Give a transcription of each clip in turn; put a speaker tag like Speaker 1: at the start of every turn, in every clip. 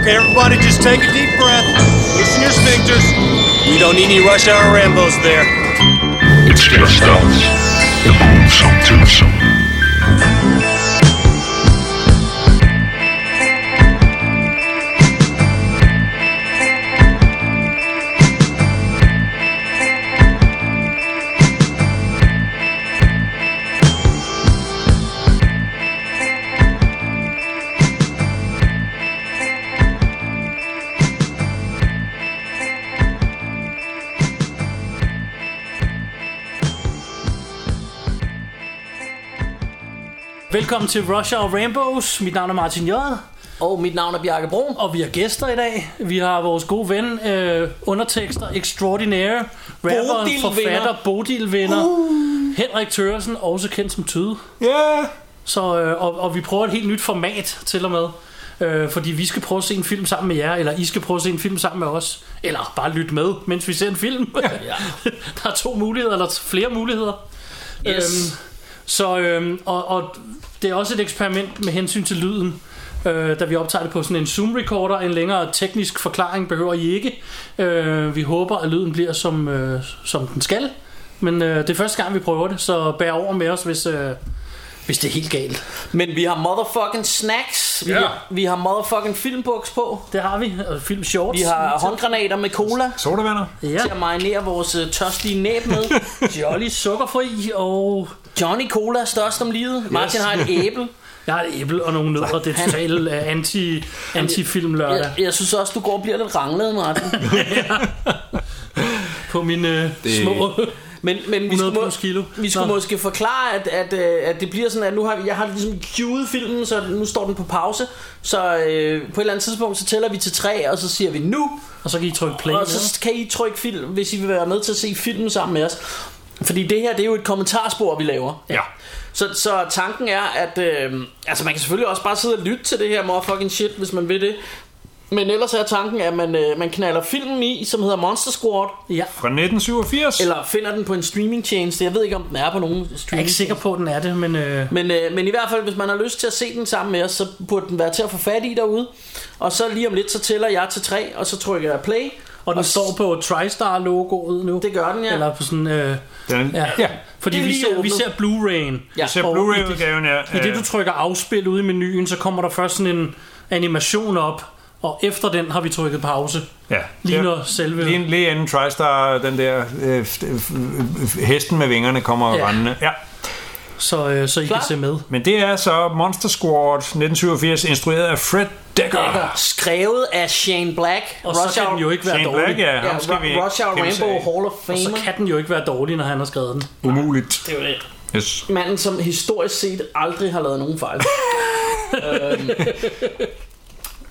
Speaker 1: Okay, everybody, just take a deep breath. Loosen your sphincters. We don't need any rush hour Rambo's there.
Speaker 2: It's just us, the lonesome twosome.
Speaker 3: Velkommen til Rush og Rambos. Mit navn er Martin J.
Speaker 4: Og mit navn er Bjarke Brun.
Speaker 3: Og vi har gæster i dag. Vi har vores gode ven, øh, undertekster extraordinaire, rapper,
Speaker 4: Bodil
Speaker 3: forfatter,
Speaker 4: vinder.
Speaker 3: Bodil vinder, uh. Henrik Tøresen, også kendt som Tyde.
Speaker 4: Yeah.
Speaker 3: Så, øh, og, og vi prøver et helt nyt format til og med. Øh, fordi vi skal prøve at se en film sammen med jer, eller I skal prøve at se en film sammen med os. Eller bare lytte med, mens vi ser en film. Ja. Der er to muligheder, eller t- flere muligheder.
Speaker 4: Yes.
Speaker 3: så, øhm, og, og det er også et eksperiment med hensyn til lyden. Øh, da vi optager det på sådan en Zoom-recorder, en længere teknisk forklaring behøver I ikke. Øh, vi håber, at lyden bliver, som, øh, som den skal. Men øh, det er første gang, vi prøver det, så bær over med os, hvis, øh, hvis det er helt galt.
Speaker 4: Men vi har motherfucking snacks. Vi,
Speaker 1: Ja.
Speaker 4: har, vi har motherfucking filmbuks på.
Speaker 3: Det har vi. Og film shorts.
Speaker 4: Vi har håndgranater med cola
Speaker 5: Sodavandet?
Speaker 3: ja.
Speaker 4: til at marinere vores øh, tørstige næb med.
Speaker 3: Jolly sukkerfri, og
Speaker 4: Johnny Cola er størst om livet. Martin har et æble.
Speaker 3: jeg har et æble og nogle nødder. Det er totalt øh, anti, anti-film lørdag
Speaker 4: Jeg, jeg synes også, du går og bliver lidt ranglet, Martin.
Speaker 3: på mine øh,
Speaker 5: Det-
Speaker 3: små...
Speaker 4: Men, men vi
Speaker 3: 100
Speaker 4: skulle, må,
Speaker 3: plus kilo.
Speaker 4: vi skulle
Speaker 3: Nå.
Speaker 4: måske forklare, at, at, øh, at det bliver sådan, at nu har vi- jeg har ligesom cued filmen, så nu står den på pause. Så øh, på et eller andet tidspunkt, så tæller vi til tre, og så siger vi nu,
Speaker 3: og så kan I trykke play.
Speaker 4: Og så kan I trykke film, hvis I vil være med til at se filmen sammen med os. Fordi det her, det er jo et kommentarspor, vi laver.
Speaker 3: Ja.
Speaker 4: Så, så tanken er, at øh, altså man kan selvfølgelig også bare sidde og lytte til det her motherfucking shit, hvis man vil det. Men ellers er tanken, at man, øh, man knaller filmen i, som hedder Monster Squad,
Speaker 3: ja.
Speaker 5: Fra 1987?
Speaker 4: eller finder den på en streamingtjeneste. Jeg ved ikke, om den er på nogen
Speaker 3: Jeg er
Speaker 4: streaming.
Speaker 3: ikke sikker på, at den er det, men øh,
Speaker 4: Men, øh, men i hvert fald, hvis man har lyst til at se den sammen med os, så burde den være til at få fat i derude. Og så lige om lidt, så tæller jeg til tre, og så trykker jeg play.
Speaker 3: og den
Speaker 4: s-
Speaker 3: står på TriStar-logoet nu.
Speaker 4: Det gør den, ja.
Speaker 3: Eller på sådan... Øh,
Speaker 5: Den,
Speaker 3: ja. ja. Fordi
Speaker 4: Det er
Speaker 3: vi
Speaker 4: lige
Speaker 3: ser, vi
Speaker 4: åbnet.
Speaker 3: ser Blu-ray'en.
Speaker 4: Ja.
Speaker 5: Jeg ser
Speaker 3: Og
Speaker 5: Blu-ray-udgaven, ja.
Speaker 3: I det du trykker afspil ude i menuen, så kommer der først sådan en animation op, og efter den har vi trykket pause.
Speaker 5: ja.
Speaker 3: Lige
Speaker 5: Det-
Speaker 3: når selve...
Speaker 5: Lige, lige inden TriStar, den der øh, f- f- f- hesten med vingerne kommer
Speaker 3: Ja.
Speaker 5: ja. rendende. Ja.
Speaker 3: Så, øh, så I
Speaker 4: Klar.
Speaker 3: kan se med.
Speaker 5: Men det er så Monster Squad 1987, instrueret af Fred Decker.
Speaker 4: Dekker, skrevet af Shane Black.
Speaker 3: Og Rush så kan den jo ikke være
Speaker 5: Shane
Speaker 3: dårlig.
Speaker 5: Black, ja.
Speaker 4: Ja,
Speaker 5: Ham skal vi
Speaker 4: Ru- Rush Hour
Speaker 5: skal vi
Speaker 4: Rainbow
Speaker 5: se.
Speaker 4: Hall of
Speaker 3: Og så
Speaker 4: Famer.
Speaker 3: kan den jo ikke være dårlig, når han har skrevet den.
Speaker 5: Umuligt.
Speaker 4: Det er jo det.
Speaker 5: Yes.
Speaker 4: Manden, som historisk set aldrig har lavet nogen fejl. Øhm,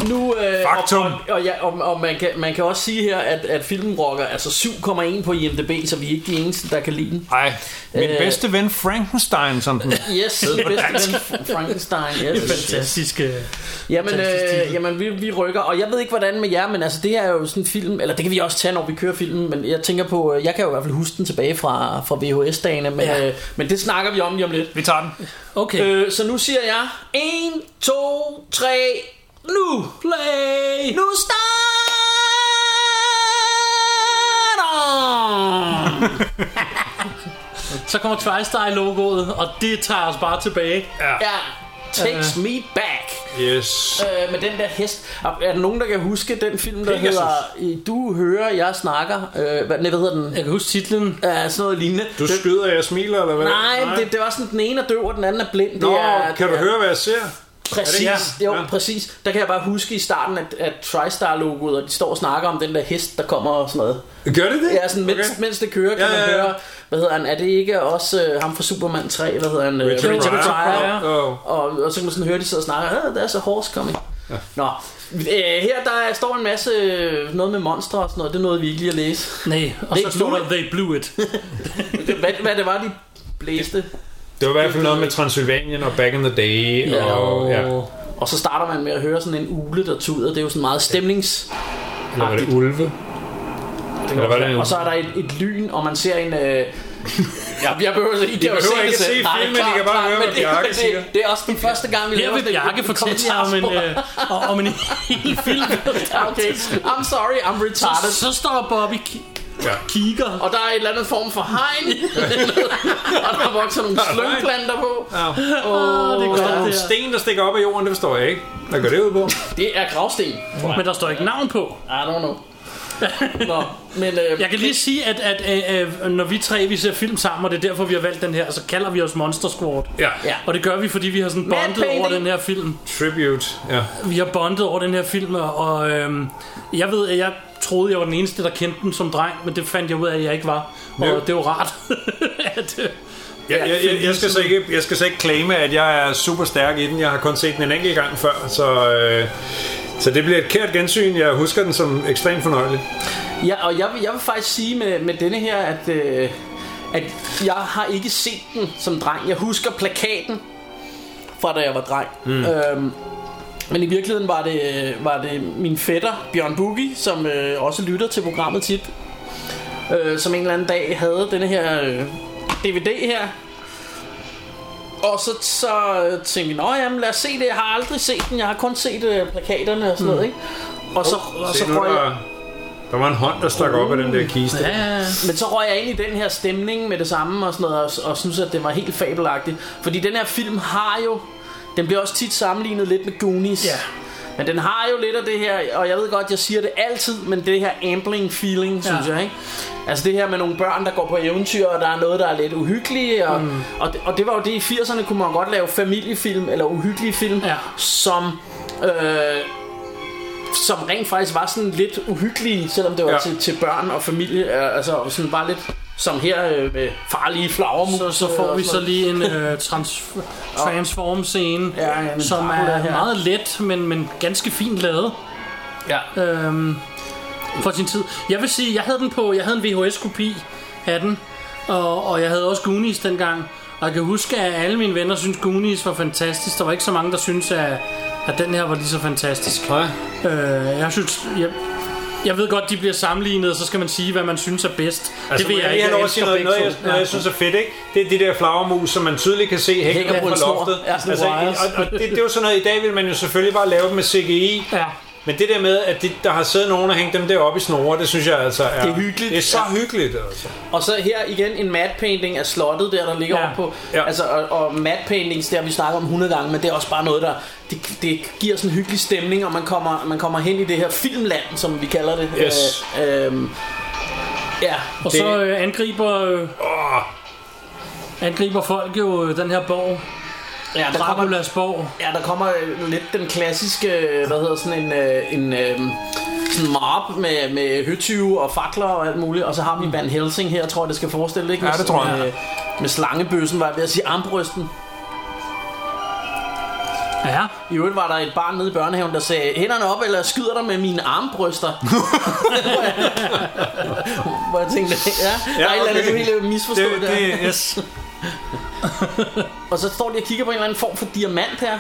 Speaker 4: nu, øh,
Speaker 5: Faktum.
Speaker 4: Og, og, og, ja, og, og man, kan, man kan også sige her, at, at filmen rocker altså 7,1 på IMDb, så vi er ikke de eneste, der kan lide den.
Speaker 5: Ej, min
Speaker 4: Øh.
Speaker 5: øh. bedste ven Frankenstein, som den
Speaker 4: Yes, det bedste ven Frankenstein. Yes, yes.
Speaker 3: Fantastisk. Øh.
Speaker 4: Jamen,
Speaker 3: Fantastisk
Speaker 4: øh,
Speaker 3: titel.
Speaker 4: jamen vi, vi rykker, og jeg ved ikke hvordan med jer, men altså det her er jo sådan en film, eller det kan vi også tage, når vi kører filmen, men jeg tænker på, øh, jeg kan jo i hvert fald huske den tilbage fra, fra VHS-dagene, men,
Speaker 3: Ja.
Speaker 4: ja. øh, men det snakker vi om lige om lidt.
Speaker 5: Vi tager den.
Speaker 3: Okay. Øh.
Speaker 4: Øh, så nu siger jeg 1, 2, 3, nu!
Speaker 3: Play!
Speaker 4: Nu starter!
Speaker 3: Så kommer TriStar-logoet, og det tager os bare tilbage.
Speaker 4: ja,
Speaker 3: Øh.
Speaker 4: takes me back.
Speaker 5: Yes.
Speaker 4: Øh, med den der hest. Er er der nogen, der kan huske den film, der
Speaker 5: Pegasus.
Speaker 4: hedder øh, Du hører, jeg snakker? Øh, hvad, nej, hvad hedder den?
Speaker 3: Jeg kan huske titlen.
Speaker 4: Ja, sådan noget lignende.
Speaker 5: Du skyder, jeg smiler, eller hvad?
Speaker 4: Nej, nej. Det, det var sådan, den ene er døv, og den anden er blind.
Speaker 5: Nå,
Speaker 4: det er,
Speaker 5: kan du
Speaker 4: det er,
Speaker 5: høre, hvad jeg ser?
Speaker 4: Præcis,
Speaker 5: Er det
Speaker 4: det
Speaker 5: her?
Speaker 4: jo, ja.
Speaker 5: Ja.
Speaker 4: præcis. Der kan jeg bare huske i starten, at, at TriStar-logoet, og de står og snakker om den der hest, der kommer og sådan noget.
Speaker 5: Gør det det?
Speaker 4: Ja, sådan mens, okay.
Speaker 5: Okay.
Speaker 4: mens det kører, kan
Speaker 5: Ja,
Speaker 4: man
Speaker 5: ja, ja.
Speaker 4: høre, hvad hedder han, er det ikke også øh, ham fra Superman 3, hvad hedder han? øh,
Speaker 5: Richard
Speaker 4: Richard
Speaker 3: Pryor.
Speaker 4: Pryor.
Speaker 5: Åh.
Speaker 4: Og, og så kan man sådan høre, de sidder og snakker, ah, der er så horse coming. Ja. Nå, øh, her der står en masse øh, noget med monstre og sådan noget, det nåede vi ikke lige at læse.
Speaker 3: Nej, og
Speaker 4: Det
Speaker 3: så
Speaker 4: er
Speaker 3: står
Speaker 4: nu-
Speaker 3: der, they blew it.
Speaker 4: Hvad, hvad det var, de blæste.
Speaker 5: Det var i hvert fald noget med Transylvanien og Back in the Day.
Speaker 4: Ja.
Speaker 5: Og, ja. Eller
Speaker 4: Og så starter man med at høre sådan en ule, der tuder. Det er jo sådan meget stemnings...
Speaker 5: var det ulve? Eller var det en...
Speaker 4: Og så er der et, et lyn, og man ser en, øh, Ja, jeg behøver, I kan jo
Speaker 5: behøver
Speaker 4: se
Speaker 5: ikke
Speaker 4: det
Speaker 5: at se
Speaker 4: selv. Nej,
Speaker 5: filmen, I
Speaker 4: klart,
Speaker 5: kan bare
Speaker 4: klart,
Speaker 5: høre,
Speaker 4: men
Speaker 5: hvad
Speaker 4: det-
Speaker 5: Bjarke
Speaker 4: det-
Speaker 5: siger.
Speaker 4: Det er også den første gang, vi
Speaker 3: Her vil
Speaker 4: sådan en
Speaker 3: Bjarke fortælle jer om en,
Speaker 4: kommentarspor.
Speaker 3: øh, om- om en hel film.
Speaker 4: Okay, I'm sorry, I'm retarded.
Speaker 3: Så står Bobby ki-
Speaker 5: Ja.
Speaker 3: kigger.
Speaker 4: Og der er en eller anden form for hegn. og der vokser nogle slyngplanter på.
Speaker 5: Ja.
Speaker 3: Åh, det er
Speaker 5: Der er
Speaker 3: godt,
Speaker 5: nogle
Speaker 3: det her.
Speaker 5: sten, der stikker op af jorden, det forstår jeg ikke. Hvad går det ud på?
Speaker 4: Det er gravsten.
Speaker 3: Men der står ikke navn på.
Speaker 4: I don't know. Nå, men øh,
Speaker 3: Jeg kan lige sige, at, at, at, at når vi tre vi ser film sammen, og det er derfor, vi har valgt den her, så kalder vi os Monster Squad.
Speaker 5: Ja.
Speaker 4: Ja.
Speaker 3: Og det gør vi, fordi vi har sådan
Speaker 4: Mad
Speaker 3: bondet over
Speaker 4: painting.
Speaker 3: den her film.
Speaker 5: Tribute. Ja.
Speaker 3: Vi har bondet over den her film, og- og øhm, jeg ved, at jeg troede, jeg var den eneste, der kendte den som dreng, men det fandt jeg ud af, at jeg ikke var. Og
Speaker 5: Ja.
Speaker 3: det var rart. at, øh,
Speaker 5: Jeg, jeg, jeg, jeg, skal så ikke, jeg skal så ikke claime, at jeg er super stærk i den. Jeg har kun set den en enkelt gang før, så, øh, så det bliver et kært gensyn. Jeg husker den som ekstremt fornøjelig.
Speaker 4: Ja, og jeg vil, jeg vil faktisk sige med, med denne her, at, øh, at jeg har ikke set den som dreng. Jeg husker plakaten fra da jeg var dreng. Mm. Øhm, men i virkeligheden var det, var det min fætter, Bjørn Bugge, som øh, også lytter til programmet tit, øh, som en eller anden dag havde denne her øh, DVD her. Og så, så øh, tænkte vi, nå jamen lad os se det, jeg har aldrig set den, jeg har kun set øh, plakaterne og sådan noget, ikke? Og så, og så
Speaker 5: Mm. Se nu,
Speaker 4: røg jeg-
Speaker 5: der, der var en hånd, der stak op af den der kiste.
Speaker 3: ja, ja.
Speaker 4: men så røg jeg ind i den her stemning med det samme og sådan noget, og, og synes, at det var helt fabelagtigt. Fordi den her film har jo, den bliver også tit sammenlignet lidt med Goonies.
Speaker 3: Ja.
Speaker 4: Men den har jo lidt af det her, og jeg ved godt, jeg siger det altid, men det her ambling feeling, synes
Speaker 3: Ja.
Speaker 4: jeg, ikke? Altså det her med nogle børn, der går på eventyr, og der er noget, der er lidt uhyggeligt, og, mm. og, det, og det var jo det, i 80'erne kunne man godt lave familiefilm, eller uhyggelige film,
Speaker 3: Ja.
Speaker 4: som... Øh, som rent faktisk var sådan lidt uhyggelige, selvom det var ja.
Speaker 5: Ja.
Speaker 4: til, til børn og familie, øh, altså sådan bare lidt som her øh, med farlige flagermus.
Speaker 5: Uh,
Speaker 3: Så, så får vi så lige en øh, trans, transform-scene,
Speaker 4: Ja, ja, men
Speaker 3: som
Speaker 4: Dracula
Speaker 3: er
Speaker 4: her.
Speaker 3: meget let, men, men ganske fint lavet.
Speaker 4: Ja.
Speaker 3: øhm, for sin tid. Jeg vil sige, jeg havde den på, jeg havde en VHS-kopi af den, og, og jeg havde også Goonies dengang. Og jeg kan huske, at alle mine venner synes Goonies var fantastisk. Der var ikke så mange, der synes at, at den her var lige så fantastisk.
Speaker 5: Nej.
Speaker 3: Øh, jeg synes, jeg, jeg ved godt, de bliver sammenlignet, og så skal man sige, hvad man synes er bedst.
Speaker 5: Altså,
Speaker 3: det
Speaker 5: må
Speaker 3: vil jeg,
Speaker 5: jeg
Speaker 3: ikke.
Speaker 5: lige have lov at
Speaker 3: elsker
Speaker 5: sige noget,
Speaker 3: begge
Speaker 5: noget,
Speaker 3: to.
Speaker 5: jeg, noget, jeg synes er fedt, ikke? Det er de der flagermus, som man tydeligt kan se hænger
Speaker 4: Hænger
Speaker 5: på
Speaker 4: på en snor.
Speaker 5: loftet.
Speaker 4: Ja, sådan
Speaker 5: altså,
Speaker 4: wires.
Speaker 5: og, og det, det er jo sådan noget, i dag vil man jo selvfølgelig bare lave dem med CGI.
Speaker 3: Ja.
Speaker 5: Men det der med, at de, der har siddet nogen og hængt dem der op i snore, det synes jeg altså er...
Speaker 4: Det er hyggeligt.
Speaker 5: Det er så
Speaker 4: Ja.
Speaker 5: hyggeligt, altså.
Speaker 4: Og så her igen en matte painting af slottet der, der ligger
Speaker 3: Ja.
Speaker 4: ja. oppe på. Ja.
Speaker 5: Ja.
Speaker 4: Altså, og, og matte paintings, der har vi snakker om 100 gange, men det er også bare noget, der det, det giver sådan en hyggelig stemning, og man kommer, man kommer hen i det her filmland, som vi kalder det.
Speaker 5: Yes.
Speaker 4: Øh, øh, ja.
Speaker 3: Og
Speaker 5: Det-
Speaker 3: så øh, angriber, øh,
Speaker 5: Åh,
Speaker 3: angriber folk jo øh, den her borg,
Speaker 4: ja, der kommer
Speaker 3: Draculas borg.
Speaker 4: Ja, der kommer øh, lidt den klassiske, øh, hvad hedder sådan en, øh, en øh, sådan mob med, med høtyve og fakler og alt muligt. Og så har vi Van Helsing her, tror jeg, det skal forestille, ikke?
Speaker 5: Mm. Ja,
Speaker 4: Med
Speaker 5: det tror
Speaker 4: sådan,
Speaker 5: jeg.
Speaker 4: øh, Med slangebøssen, var jeg ved at sige, armbrysten.
Speaker 3: Ja,
Speaker 4: I øvrigt var der et barn nede i børnehaven, der sagde, hænderne op, eller jeg skyder dig med mine armbryster. Hvor jeg tænkte, ja, ja der er et eller andet,
Speaker 5: okay.
Speaker 4: du helt misforstået
Speaker 5: det,
Speaker 4: der.
Speaker 5: det, yes.
Speaker 4: Og så står de og kigger på en eller anden form for diamant her.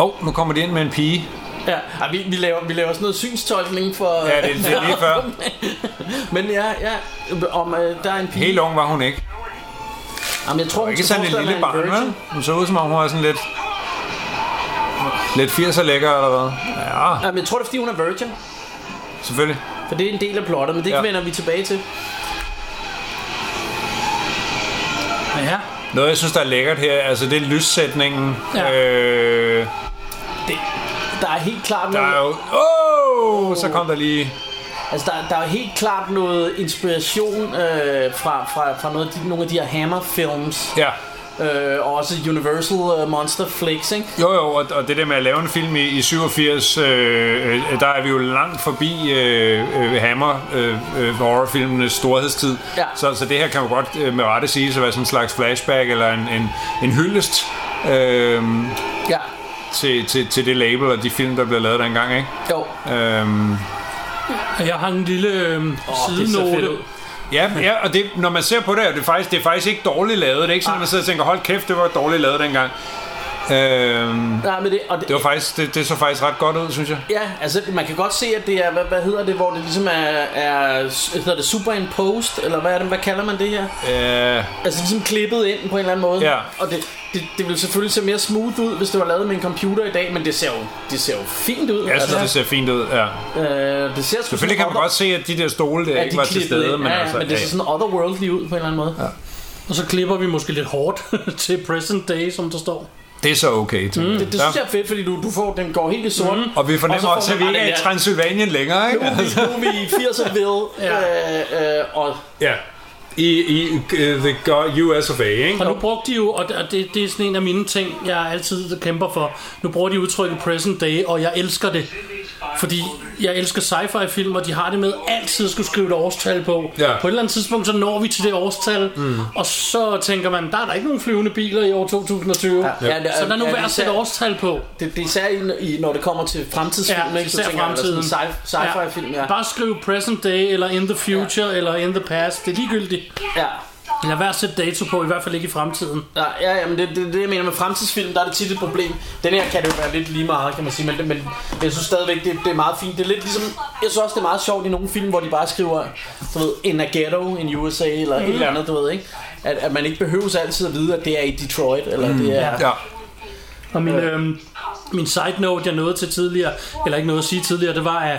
Speaker 5: Åh, oh, nu kommer de ind med en pige.
Speaker 4: Ja, Ej, vi, vi, laver, vi laver sådan noget synstolkning for...
Speaker 5: Ja, det, det er lige før.
Speaker 4: Men ja, ja, om øh, der er en pige...
Speaker 5: Helt ung var hun ikke.
Speaker 4: Jamen, jeg tror, hun
Speaker 5: Ikke
Speaker 4: skal
Speaker 5: sådan en
Speaker 4: forestille
Speaker 5: lille
Speaker 4: at være
Speaker 5: barn,
Speaker 4: en virgin.
Speaker 5: vel? Hun så ud som om, hun var sådan lidt... Lidt 80'er lækker, eller hvad? Ja,
Speaker 4: Jamen, jeg tror, det er, fordi hun er virgin.
Speaker 5: selvfølgelig.
Speaker 4: For det er en del af plottet, men det ja.
Speaker 5: Ja.
Speaker 4: vender vi tilbage til.
Speaker 3: ja.
Speaker 5: Noget, jeg synes, der er lækkert her, altså det er lyssætningen.
Speaker 3: Ja.
Speaker 5: Øh,
Speaker 4: Det, der er helt klart
Speaker 5: der
Speaker 4: noget,
Speaker 5: er jo... Åh, oh, så kom der lige...
Speaker 4: altså, der, der er helt klart noget inspiration øh, fra, fra, fra noget, af de, nogle af de her Hammer-films.
Speaker 5: Ja.
Speaker 4: Øh, og også Universal øh, Monster Flicks, ikke?
Speaker 5: Jo, jo, og, og det der med at lave en film i, i 87, øh, øh, der er vi jo langt forbi øh, øh, Hammer, øh, øh, horrorfilmenes storhedstid.
Speaker 4: Ja.
Speaker 5: Så, så det her kan man godt øh, med rette sige, så være sådan en slags flashback eller en, en, en hyldest øh,
Speaker 4: Ja.
Speaker 5: til, til, til det label og de film, der blev lavet dengang, ikke?
Speaker 4: Jo.
Speaker 5: Øh,
Speaker 3: Jeg har en lille øh,
Speaker 4: det er så fedt
Speaker 3: sidenote.
Speaker 4: ud.
Speaker 5: Ja, ja og det, når man ser på det, er det faktisk, det er faktisk ikke dårligt lavet. Det er ikke sådan, at man sidder og tænker, hold kæft, det var dårligt lavet dengang. Øhm,
Speaker 4: Nej, men det, og det,
Speaker 5: det, var faktisk, det, det så faktisk ret godt ud, synes jeg.
Speaker 4: Ja, altså man kan godt se, at det er, hvad, hvad hedder det, hvor det ligesom er, er hedder det superimposed, eller hvad er det, hvad kalder man det her?
Speaker 5: Øh,
Speaker 4: Altså ligesom klippet ind på en eller anden måde.
Speaker 5: Ja.
Speaker 4: Og det, det, det ville selvfølgelig se mere smooth ud, hvis det var lavet med en computer i dag, men det ser jo, det ser jo fint ud.
Speaker 5: jeg synes, det ser fint ud, ja.
Speaker 4: det, øh, det ser sgu
Speaker 5: Selvfølgelig kan
Speaker 4: sådan
Speaker 5: man godt se, at de der stole der
Speaker 4: Ja,
Speaker 5: ikke
Speaker 4: de
Speaker 5: var
Speaker 4: klippede
Speaker 5: til stede,
Speaker 4: ind.
Speaker 5: men
Speaker 4: ja, ja,
Speaker 5: altså...
Speaker 4: men det ser
Speaker 5: ja.
Speaker 4: sådan otherworldly ud på en eller anden måde. Ja.
Speaker 3: Og så klipper vi måske lidt hårdt til present day, som der står.
Speaker 5: Det er så okay, tænker jeg.
Speaker 4: Mm, Det, det
Speaker 5: Ja. Mm-hmm.
Speaker 4: synes jeg er fedt, fordi du, du får, den går helt i sort. Mm.
Speaker 5: Og vi fornemmer
Speaker 4: Og så får
Speaker 5: også, at vi
Speaker 4: man-
Speaker 5: ikke er i
Speaker 4: Ja.
Speaker 5: Transylvanien længere, ikke? Altså.
Speaker 4: Nu er vi i 80'er ved, øh, øh, og
Speaker 5: Ja. I, i uh, the go- US of A, ikke?
Speaker 3: Og nu brugte de jo, og det- og det, det er sådan en af mine ting, jeg altid kæmper for. Nu bruger de udtrykket present day, og jeg elsker det. Fordi jeg elsker sci-fi film, og de har det med altid at skulle skrive et årstal på.
Speaker 5: Ja.
Speaker 3: På et eller andet tidspunkt, så når vi til det årstal, mm. og så tænker man, der er der ikke nogen flyvende biler i år 2020. Ja.
Speaker 4: Ja, det er-
Speaker 3: så der er nu
Speaker 4: ja,
Speaker 3: værd
Speaker 4: det
Speaker 3: at sætte
Speaker 4: ser-
Speaker 3: årstal på.
Speaker 4: Det, det er især i, i, når det kommer til fremtidsfilm,
Speaker 3: Ja,
Speaker 4: ikke?
Speaker 3: især
Speaker 4: tænker jeg, eller
Speaker 3: fremtiden.
Speaker 4: Sådan sci- sci-fi film, ja.
Speaker 3: Bare skriv present day, eller in the future, ja. eller in the past. Det er ligegyldigt.
Speaker 4: ja.
Speaker 3: Lad være at sætte dato på, i hvert fald ikke i fremtiden.
Speaker 4: Ja, ja, ja, men det, det, det jeg mener med fremtidsfilm, der er det tit et problem. Den her kan det jo være lidt lige meget, kan man sige, men, men jeg synes stadigvæk, det, det er meget fint. Det er lidt ligesom, jeg synes også, det er meget sjovt i nogle film, hvor de bare skriver, du ved, in a ghetto in USA, eller
Speaker 3: Mm.
Speaker 4: et eller andet, du ved, ikke? At, at man ikke behøves altid at vide, at det er i Detroit, eller
Speaker 3: Mm.
Speaker 4: det er...
Speaker 5: Ja.
Speaker 3: Og min, øhm, min side note, jeg nåede til tidligere, eller ikke nåede at sige tidligere, det var, at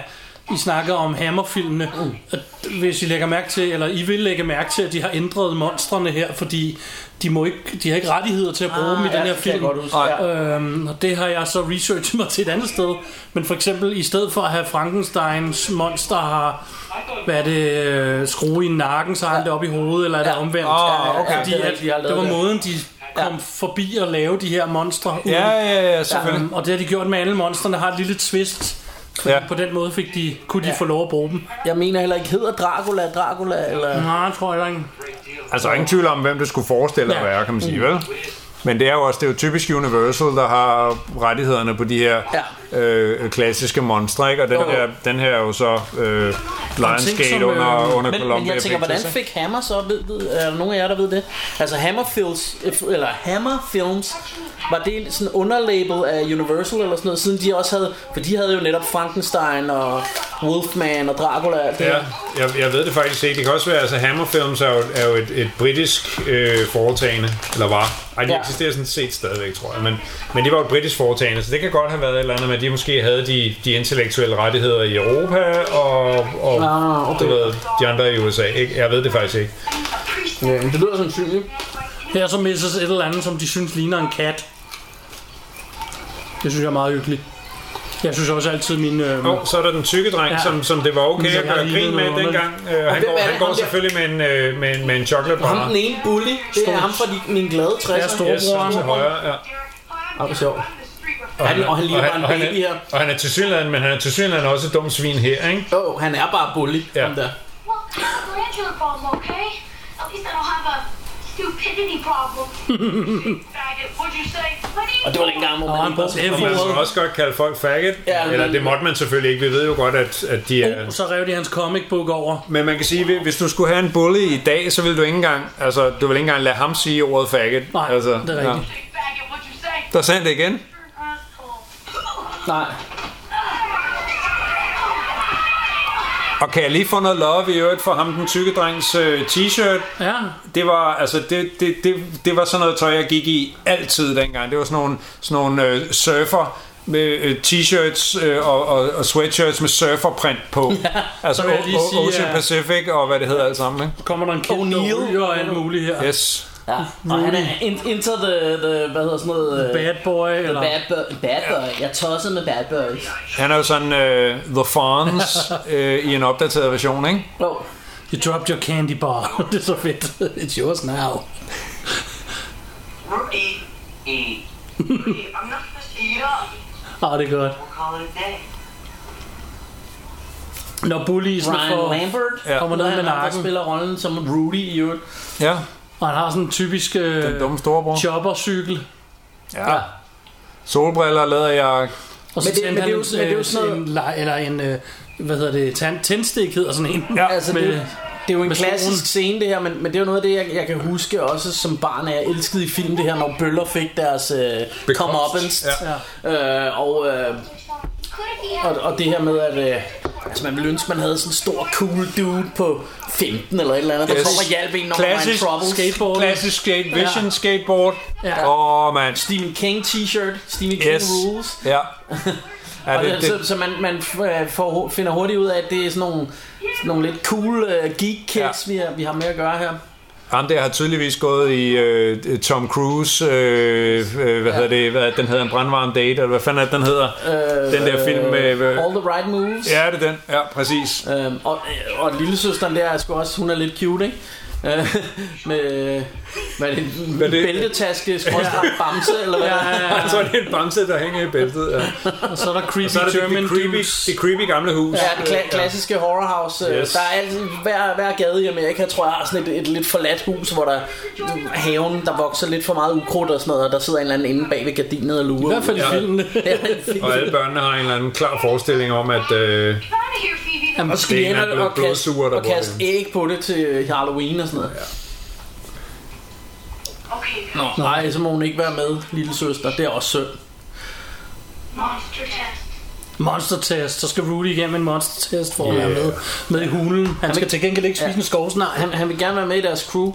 Speaker 3: I snakker om Hammerfilmene.
Speaker 4: Mm.
Speaker 3: At Hvis I lægger mærke til, eller I vil lægge mærke til, at de har ændret monstrene her, fordi de, må ikke, de har ikke rettigheder til at bruge dem i den her
Speaker 4: Ah, det kan jeg
Speaker 3: film.
Speaker 4: godt huske, ja.
Speaker 3: Øhm, og det har jeg så researchet mig til et andet sted. Men for eksempel, i stedet for at have Frankensteins monster har hvad er det, øh, skrue i nakken, så har han det op i hovedet, eller er det
Speaker 4: Ja.
Speaker 3: omvendt?
Speaker 5: Åh, okay.
Speaker 3: Fordi
Speaker 4: Ja, det
Speaker 3: at,
Speaker 4: er rigtigt, de har lavet
Speaker 3: det var
Speaker 4: det.
Speaker 3: måden, de kom forbi at lave de her monstre. uden-
Speaker 5: Ja, ja, ja, selvfølgelig.
Speaker 3: Øhm, og det har de gjort med alle monsterne, har et lille twist. Fordi
Speaker 5: Ja.
Speaker 3: ja. på den måde fik de, kunne de ja. få lov at bruge dem.
Speaker 4: Jeg mener heller ikke, hedder Dracula Dracula, eller...
Speaker 3: Nej, tror jeg ikke.
Speaker 5: Altså, der er ingen tvivl om, hvem det skulle forestille at
Speaker 3: Ja.
Speaker 5: være, kan man sige, vel? Men det er jo også, det er jo typisk Universal, der har rettighederne på de her øh, klassiske monstre, ikke? Og den, her, den her er jo så øh, Lionsgate
Speaker 3: som, øh,
Speaker 5: under, under
Speaker 4: Men, men
Speaker 5: Columbia
Speaker 4: jeg tænker, hvordan
Speaker 5: Pictures,
Speaker 4: fik Hammer så, ved, ved, er der nogen af jer, der ved det? Altså Hammer Films, eller Hammer Films, var det sådan underlabel af Universal eller sådan noget, siden de også havde, for de havde jo netop Frankenstein og Wolfman og Dracula og alt det
Speaker 5: Ja,
Speaker 4: ja.
Speaker 5: jeg, jeg ved det faktisk ikke. Det kan også være, altså Hammer Films er jo, er jo et, et britisk øh, foretagende, eller var. Ej, de ja.
Speaker 4: Ja.
Speaker 5: eksisterer sådan set stadigvæk, tror jeg. Men, men det var jo et britisk foretagende, så det kan godt have været et eller andet med, at de måske havde de, de intellektuelle rettigheder i Europa, og, og
Speaker 4: Ah, okay.
Speaker 5: du ved, de andre i USA. Ikke? Jeg ved det faktisk ikke.
Speaker 4: Ja, det lyder sandsynligt.
Speaker 3: Her er så misses et eller andet, som de synes ligner en kat. Det synes jeg er meget hyggeligt. Jeg synes også altid min... Øh,
Speaker 5: Og så er der den tykke dreng, ja.
Speaker 3: Ja.
Speaker 5: som, som det var okay
Speaker 3: Som
Speaker 5: at
Speaker 3: jeg
Speaker 5: gøre
Speaker 3: lignede
Speaker 5: grin med
Speaker 3: noget
Speaker 5: dengang.
Speaker 4: hvem
Speaker 5: Øh, han går,
Speaker 4: er det?
Speaker 5: han går
Speaker 4: Ham der?
Speaker 5: selvfølgelig med en, øh, med, en- med en chocolate
Speaker 4: Ham
Speaker 5: bar.
Speaker 4: den ene bully, det
Speaker 3: Stor-
Speaker 4: er ham fra de, min glade
Speaker 3: Ja,
Speaker 4: 60'er.
Speaker 3: stor-
Speaker 5: Yes, som til højre, ja.
Speaker 4: Ah, hvor sjovt.
Speaker 5: Og
Speaker 4: Han, og han ligner bare
Speaker 5: og
Speaker 4: en
Speaker 5: han
Speaker 4: baby
Speaker 5: er,
Speaker 4: her.
Speaker 5: og han er til synligheden, men han er til synligheden også et dumt svin her, ikke?
Speaker 4: Åh, oh, han er bare bully,
Speaker 5: Ja.
Speaker 4: ja. ham der.
Speaker 6: Well, I have a glandular problem, okay? At least I don't have a stupidity problem. Faggot, what'd you say? What do you
Speaker 4: Og det var den gang, hvor
Speaker 3: og
Speaker 4: man
Speaker 3: han
Speaker 4: lige bare
Speaker 3: brugte
Speaker 4: sådan-
Speaker 5: Man
Speaker 3: F-ordet.
Speaker 5: må også godt kalde folk faggot.
Speaker 4: Ja,
Speaker 5: Ja,
Speaker 4: men- Oh.
Speaker 5: Eller det måtte man selvfølgelig ikke. Vi ved jo godt, at, at de er...
Speaker 3: Og så rev de hans comic book over.
Speaker 5: Men man kan sige, hvis- hvis du skulle have en bully i dag, så ville du ikke engang, altså, du ville ikke engang lade ham sige ordet faggot.
Speaker 3: Nej,
Speaker 5: altså,
Speaker 3: det er rigtigt.
Speaker 6: say, faggot? What'd you say?
Speaker 5: Der sagde han det igen.
Speaker 6: You're an asshole.
Speaker 4: Nej.
Speaker 5: Og kan jeg lige få noget love i øvrigt for ham, den tykke drengs øh, t-shirt?
Speaker 3: Ja,
Speaker 5: Det var, altså, det, det, det, det var sådan noget tøj, jeg gik i altid dengang. Det var sådan nogle, sådan nogle øh, surfer med øh, t-shirts øh, og, og, og sweatshirts med surferprint på. altså
Speaker 3: så vil jeg lige
Speaker 5: o- o-
Speaker 3: sige,
Speaker 5: Ocean
Speaker 3: at-
Speaker 5: Pacific og hvad det hedder alt sammen, ikke?
Speaker 3: kommer der en kæmpe
Speaker 4: O'Neill.
Speaker 3: ryger og alt muligt her.
Speaker 5: Yes.
Speaker 4: Ja. Og han er in, into the, the, hvad hedder sådan noget... øh,
Speaker 3: Bad boy, eller...
Speaker 4: Bad, boy, bad boy. Jeg tosser med bad boys.
Speaker 5: Han er jo sådan uh, The Fawns uh, i en opdateret version, ikke?
Speaker 4: Oh.
Speaker 3: You dropped your candy bar. det er så fedt. It's yours now.
Speaker 7: Rudy, E. Rudy, I'm not supposed to eat up.
Speaker 3: Ah, det er godt.
Speaker 7: We'll call it a day.
Speaker 3: Når bulliesen
Speaker 4: Ryan
Speaker 3: får...
Speaker 4: Lambert
Speaker 5: Ja.
Speaker 3: Kommer ned med
Speaker 4: Han er ham, der
Speaker 3: nakken.
Speaker 4: spiller rollen som Rudy i øvrigt.
Speaker 5: Ja,
Speaker 3: Og han har sådan en typisk
Speaker 5: den
Speaker 3: øh,
Speaker 5: dumme storebror.
Speaker 3: choppercykel.
Speaker 5: Ja. Solbriller, læderjakke.
Speaker 3: Og så
Speaker 4: Men det-
Speaker 3: tændte
Speaker 4: men
Speaker 3: han
Speaker 4: det er jo- men det er jo
Speaker 3: øh,
Speaker 4: sådan noget-
Speaker 3: en, le- eller en, øh, hvad hedder det, tand, tændstik hedder sådan en.
Speaker 5: Ja,
Speaker 4: Altså,
Speaker 3: med,
Speaker 4: det, Det er jo en
Speaker 3: Med
Speaker 4: klassisk
Speaker 3: skoen.
Speaker 4: scene det her, men, men det er jo noget af det, jeg, jeg kan huske også som barn, at jeg elskede i film det her, når bøller fik deres øh, come ja. øh, og, øh, og, og det her med, at øh, altså man ville ønske, man havde sådan en stor cool dude på 15 eller et eller andet, der
Speaker 5: Yes.
Speaker 4: kom og hjalp en, når
Speaker 5: Klassisk
Speaker 4: man var i trouble.
Speaker 3: skateboard.
Speaker 5: Klassisk skate, vision ja. skateboard. Åh,
Speaker 3: Ja.
Speaker 5: ja. oh, man.
Speaker 4: Stephen King t-shirt, Stephen King
Speaker 5: Yes.
Speaker 4: rules.
Speaker 5: Ja. Ja,
Speaker 4: Og
Speaker 5: det,
Speaker 4: det,
Speaker 5: det,
Speaker 4: så, så man, man øh, får, finder hurtigt ud af, at det er sådan nogle, sådan nogle lidt cool uh, geek kids, ja. vi, har, vi har med at gøre her.
Speaker 5: Ham der har tydeligvis gået i øh, Tom Cruise, øh, øh, hvad ja. hedder det, hvad, den hedder en brandvarm date, eller hvad fanden er det, den hedder? Øh, den der film med... Øh,
Speaker 4: All the right moves.
Speaker 5: ja, det er den. Ja, præcis.
Speaker 4: Øhm, og, øh, og lillesøsteren der er sgu også, hun er lidt cute, ikke? Øh, med, øh, hvad er det, en
Speaker 5: er det?
Speaker 4: bæltetaske, skråstrej, bamse, eller hvad? Ja, ja, ja.
Speaker 5: Jeg tror, det er en bamse, der hænger i bæltet. Ja.
Speaker 3: Og så er der creepy
Speaker 5: Så er det det,
Speaker 3: German
Speaker 5: det, creepy,
Speaker 3: dudes.
Speaker 5: det creepy gamle hus.
Speaker 4: Ja, det kla- klassiske horror house.
Speaker 5: Yes.
Speaker 4: Yes. Der er altid, hver, hver gade i Amerika, tror jeg, har sådan et, et lidt forladt hus, hvor der haven, der vokser lidt for meget ukrudt og sådan noget, og der sidder en eller anden inde bag ved gardinet og lurer.
Speaker 3: I hvert fald i
Speaker 5: Ja.
Speaker 3: filmene.
Speaker 5: Og alle børnene har en eller anden klar forestilling om, at... Øh,
Speaker 3: Jamen,
Speaker 4: Og
Speaker 5: det er
Speaker 4: skal
Speaker 5: en, der er
Speaker 4: hen
Speaker 5: blevet
Speaker 4: og kaste,
Speaker 5: blodsuger, der
Speaker 4: og
Speaker 5: bor
Speaker 4: kaste
Speaker 5: derinde.
Speaker 4: æg på det til Halloween og sådan noget.
Speaker 7: Okay,
Speaker 4: Nej, så må hun ikke være med, lille søster. Det er også synd.
Speaker 7: monster test.
Speaker 3: Monster test. Så skal Rudy igennem en monster test for at være med, med i hulen. Han skal til gengæld ikke spise en skovsnar.
Speaker 4: Han, han vil gerne være med i deres crew.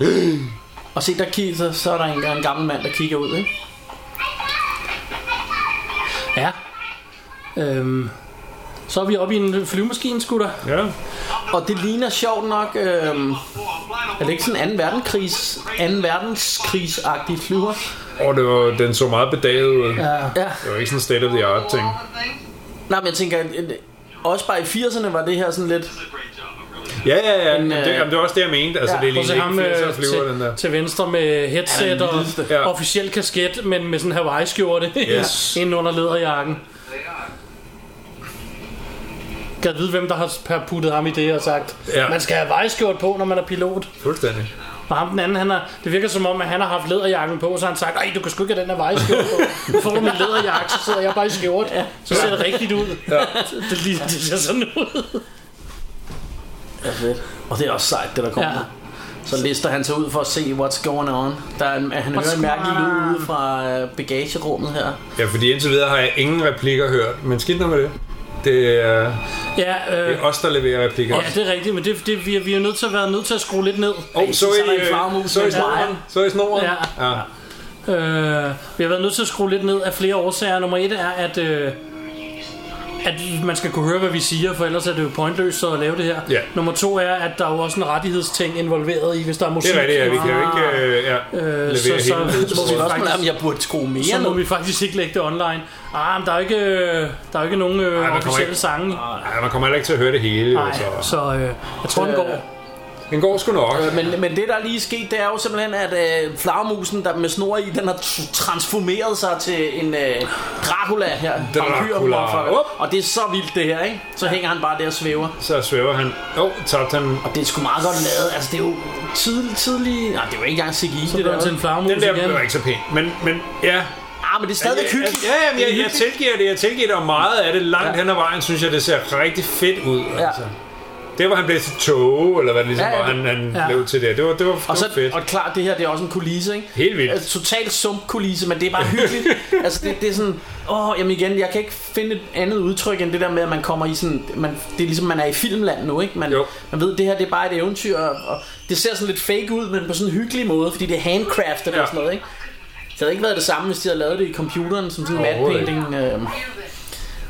Speaker 4: Og se, der kigger, så, så er der en, en gammel mand, der kigger ud, ikke?
Speaker 3: Ja. Øhm. Så er vi oppe i en flyvemaskine, skutter.
Speaker 5: ja.
Speaker 4: Og det ligner sjovt nok... Øhm, er det ikke sådan en 2. verdenskrigs, 2. verdenskrigsagtig flyver?
Speaker 5: Og det var, den så meget bedaget ud. Ja.
Speaker 4: Ja.
Speaker 5: Det var ikke sådan state of the art ting.
Speaker 4: Nej, men jeg tænker, at, at også bare i 80'erne var det her sådan lidt...
Speaker 5: Ja, ja, ja.
Speaker 4: Men,
Speaker 5: Men, øh, det,
Speaker 4: øh,
Speaker 5: jamen, det var også det, jeg mente. Altså,
Speaker 4: ja,
Speaker 5: ja, det er
Speaker 4: prøv
Speaker 3: Prøv at se
Speaker 5: lige
Speaker 3: ham
Speaker 5: ikke 80'er
Speaker 3: øh,
Speaker 5: flyver, den der.
Speaker 3: til, til venstre med headset og
Speaker 5: Ja.
Speaker 3: officiel kasket, men med sådan en Hawaii-skjorte
Speaker 5: Yes.
Speaker 3: ind under læderjakken. Kan vide, hvem der har per- puttet ham i det og sagt,
Speaker 5: Ja.
Speaker 3: ja. man skal have vejskjort på, når man er pilot.
Speaker 5: Fuldstændig.
Speaker 3: Og ham den anden, han har, det virker som om, at han har haft læderjakken på, så har han sagt, ej, du kan sgu ikke have den her vejskjort på. Nu får du min læderjakke, så sidder jeg bare i skjort. Ja. Så ser det rigtigt ud. Ja. Det, ligner- det ser sådan ud.
Speaker 4: Og det er også sejt, det der kommer.
Speaker 3: Ja.
Speaker 4: Ja. Så lister han sig ud for at se, what's going on. Der er en, han hører en mærkelig lyd ude fra øh, bagagerummet her.
Speaker 5: Ja, fordi indtil videre har jeg ingen replikker hørt. Men skidt nu med det. Det er,
Speaker 3: Ja, øh,
Speaker 5: det er os, der leverer replikker.
Speaker 3: Ja, det er rigtigt, men det, det, vi, vi er nødt til at være nødt til at skrue lidt ned.
Speaker 5: Åh, oh, så,
Speaker 4: så er der
Speaker 5: I,
Speaker 4: en
Speaker 5: øh,
Speaker 4: flagermus
Speaker 5: så, I
Speaker 4: med
Speaker 5: snoren.
Speaker 4: drejen.
Speaker 5: så I snoren.
Speaker 3: Ja.
Speaker 5: ja.
Speaker 3: Øh, vi har været nødt til at skrue lidt ned af flere årsager. Nummer et er, at, øh, at man skal kunne høre, hvad vi siger, for ellers er det jo pointløst at lave det her.
Speaker 5: Ja.
Speaker 3: Nummer to er, at der er jo også en rettighedsting involveret i, hvis der er musik.
Speaker 5: Det er rigtigt, ja. Vi kan jo ikke øh, ja, levere
Speaker 3: så- så-
Speaker 5: hele
Speaker 3: så må vi
Speaker 5: lydsporet.
Speaker 3: faktisk-
Speaker 4: Spørgsmålet er, om jeg burde skrue mere
Speaker 3: Så må
Speaker 4: ned.
Speaker 3: vi faktisk ikke lægge det online. Ah, men der er jo ikke, øh, der er jo ikke nogen øh,
Speaker 5: der kommer
Speaker 3: officielle
Speaker 5: ikke-
Speaker 3: sange.
Speaker 5: Ja, man kommer heller ikke til at høre det hele.
Speaker 3: Nej,
Speaker 5: altså.
Speaker 3: så øh, jeg tror, den går.
Speaker 5: Den går sgu nok.
Speaker 4: Men, men det der er lige sket, det er jo simpelthen, at øh, flagermusen, der med snor i, den har tr- transformeret sig til en øh, Dracula her. Vampyr, motherfucker.
Speaker 5: Up.
Speaker 4: Og det er så vildt det her, ikke? Så hænger han bare der og svæver.
Speaker 5: Så svæver han. Åh, oh, tabte han.
Speaker 4: Og det er sgu meget godt lavet. Altså, det er jo tidlig, tidlig... Nej, det er jo ikke engang CGI,
Speaker 3: Det
Speaker 4: det
Speaker 3: er
Speaker 4: der.
Speaker 3: til en flagmus
Speaker 5: Den der
Speaker 3: igen.
Speaker 5: blev ikke så pæn. Men, men ja,
Speaker 4: Ah, men det er stadigvæk hyggeligt.
Speaker 5: Ja, jamen, jeg, jeg tilgiver det. Jeg tilgiver det, og meget af det langt ja. hen ad vejen, synes jeg, det ser rigtig fedt ud. Ja. Altså. Det var han blev til tog, eller hvad det ligesom
Speaker 4: Ja,
Speaker 5: ja,
Speaker 4: ja.
Speaker 5: var, han, han
Speaker 3: Ja.
Speaker 5: ja. blev til det. Det var, det var, det var
Speaker 4: Og, så,
Speaker 5: fedt.
Speaker 4: og klart, det her det er også en kulisse, ikke?
Speaker 5: Helt vildt.
Speaker 4: Altså, total sumpkulisse, men det er bare hyggeligt. altså, det, det er sådan... Åh, jamen igen, jeg kan ikke finde et andet udtryk end det der med, at man kommer i sådan... Man, det er ligesom, man er i filmland nu, ikke? Man,
Speaker 5: Jo.
Speaker 4: man ved, det her det er bare et eventyr, og, og det ser sådan lidt fake ud, men på sådan en hyggelig måde, fordi det er handcraftet ja.
Speaker 5: Ja.
Speaker 4: og sådan noget, ikke? Det havde ikke været det samme, hvis de havde lavet det i computeren, som sådan en
Speaker 5: Overhovedet
Speaker 4: matte
Speaker 5: ikke.
Speaker 4: painting. Øh.
Speaker 6: Eugene, how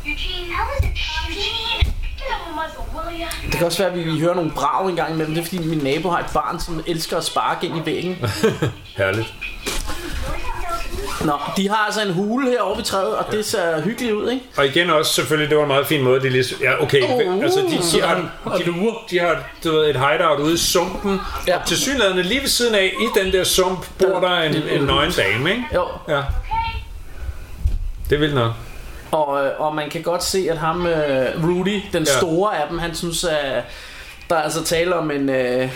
Speaker 6: is it Eugene? Get out of my muzzle, will ya?
Speaker 4: Det kan også være, at vi, vi hører nogle brag en gang imellem. Det er, fordi min nabo har et barn, som elsker at sparke ind i væggen.
Speaker 5: Herligt.
Speaker 4: Nå, de har altså en hule herovre ved træet, og det ser hyggeligt ud, ikke?
Speaker 5: Og igen også, selvfølgelig, det var en meget fin måde, de lige... Ja, okay.
Speaker 4: Uh.
Speaker 5: altså, de, de,
Speaker 3: han
Speaker 5: har,
Speaker 3: og lurer.
Speaker 5: de har du ved, et hideout ude i sumpen.
Speaker 4: Ja.
Speaker 5: Ja. Og til synligheden lige ved siden af, i den der sump, bor der en, en nøgen dame, ikke?
Speaker 4: Jo,
Speaker 5: Ja. Det er vildt nok.
Speaker 4: og, øh, og man kan godt se, at ham, øh, Rudy, den
Speaker 5: Ja.
Speaker 4: store af dem, han synes, at der er altså tale om en, øh,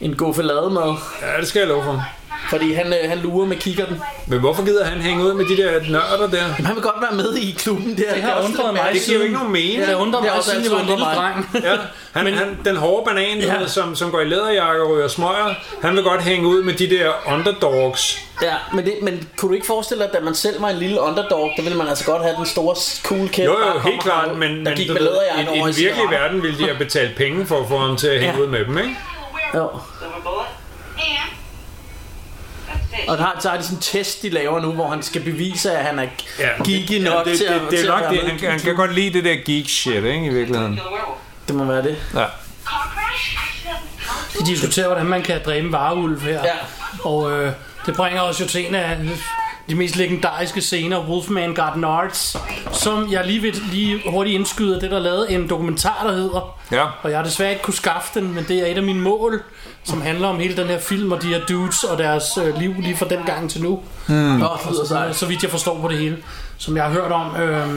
Speaker 4: en god mad.
Speaker 5: Ja, det skal jeg love for.
Speaker 4: Fordi han, øh, han lurer med kigger den.
Speaker 5: Men hvorfor gider han hænge ud med de der nørder der?
Speaker 4: Jamen, han vil godt være med i klubben der.
Speaker 3: Det har undret mig
Speaker 5: Det giver jo
Speaker 3: siden-
Speaker 5: ikke nogen mening.
Speaker 3: Det har undret
Speaker 4: Det har
Speaker 3: mig,
Speaker 4: også
Speaker 3: siden jeg var en
Speaker 4: altid
Speaker 3: lille
Speaker 4: undret
Speaker 3: dreng.
Speaker 5: Ja,
Speaker 3: Men-
Speaker 5: han, Men, han, den hårde banan,
Speaker 3: Ja.
Speaker 5: ja. som, som går i læderjakke og ryger smøger, han vil godt hænge ud med de der underdogs.
Speaker 4: Ja, men, det, men kunne du ikke forestille dig, at da man selv var en lille underdog, der ville man altså godt have den store, cool kæft,
Speaker 5: Jo,
Speaker 4: der
Speaker 5: jo,
Speaker 4: kommer
Speaker 5: helt klart,
Speaker 4: herud,
Speaker 5: men,
Speaker 4: der
Speaker 5: men
Speaker 4: gik
Speaker 5: du
Speaker 4: med
Speaker 5: ved, i,
Speaker 4: læderjern
Speaker 5: i
Speaker 4: over
Speaker 5: den virkelige
Speaker 4: cigaretter.
Speaker 5: verden ville de have betalt penge for at få ham til at hænge
Speaker 4: Ja.
Speaker 5: ud med dem, ikke?
Speaker 4: Jo,
Speaker 7: Silverboa?
Speaker 6: And
Speaker 7: That's it.
Speaker 4: og der har, så har de sådan en test, de laver nu, hvor han skal bevise, at han er ja, geeky nok
Speaker 5: det,
Speaker 4: til at
Speaker 5: det, det,
Speaker 4: til
Speaker 5: er
Speaker 4: at
Speaker 5: nok
Speaker 4: være
Speaker 5: det.
Speaker 4: med i
Speaker 5: Han,
Speaker 4: klubben.
Speaker 5: han kan godt lide det der geek shit, ikke, i virkeligheden.
Speaker 7: Kill the werewolf.
Speaker 4: Det må være det.
Speaker 5: Ja.
Speaker 6: car crash actually doesn't count.
Speaker 3: De diskuterer, hvordan man kan dræbe varulv her.
Speaker 4: Ja.
Speaker 3: Og øh, det bringer os jo til en af de mest legendariske scener, Wolfman Garden Arts, som jeg lige vil lige hurtigt indskyde, at det der er lavet en dokumentar, der hedder.
Speaker 5: Ja.
Speaker 3: Og jeg har desværre ikke kunne skaffe den, men det er et af mine mål, som handler om hele den her film og de her dudes og deres øh, liv lige fra den gang til nu.
Speaker 4: Nå, det lyder
Speaker 3: Så, øh,
Speaker 4: sejt.
Speaker 3: så vidt jeg forstår på det hele, som jeg har hørt om. Øh,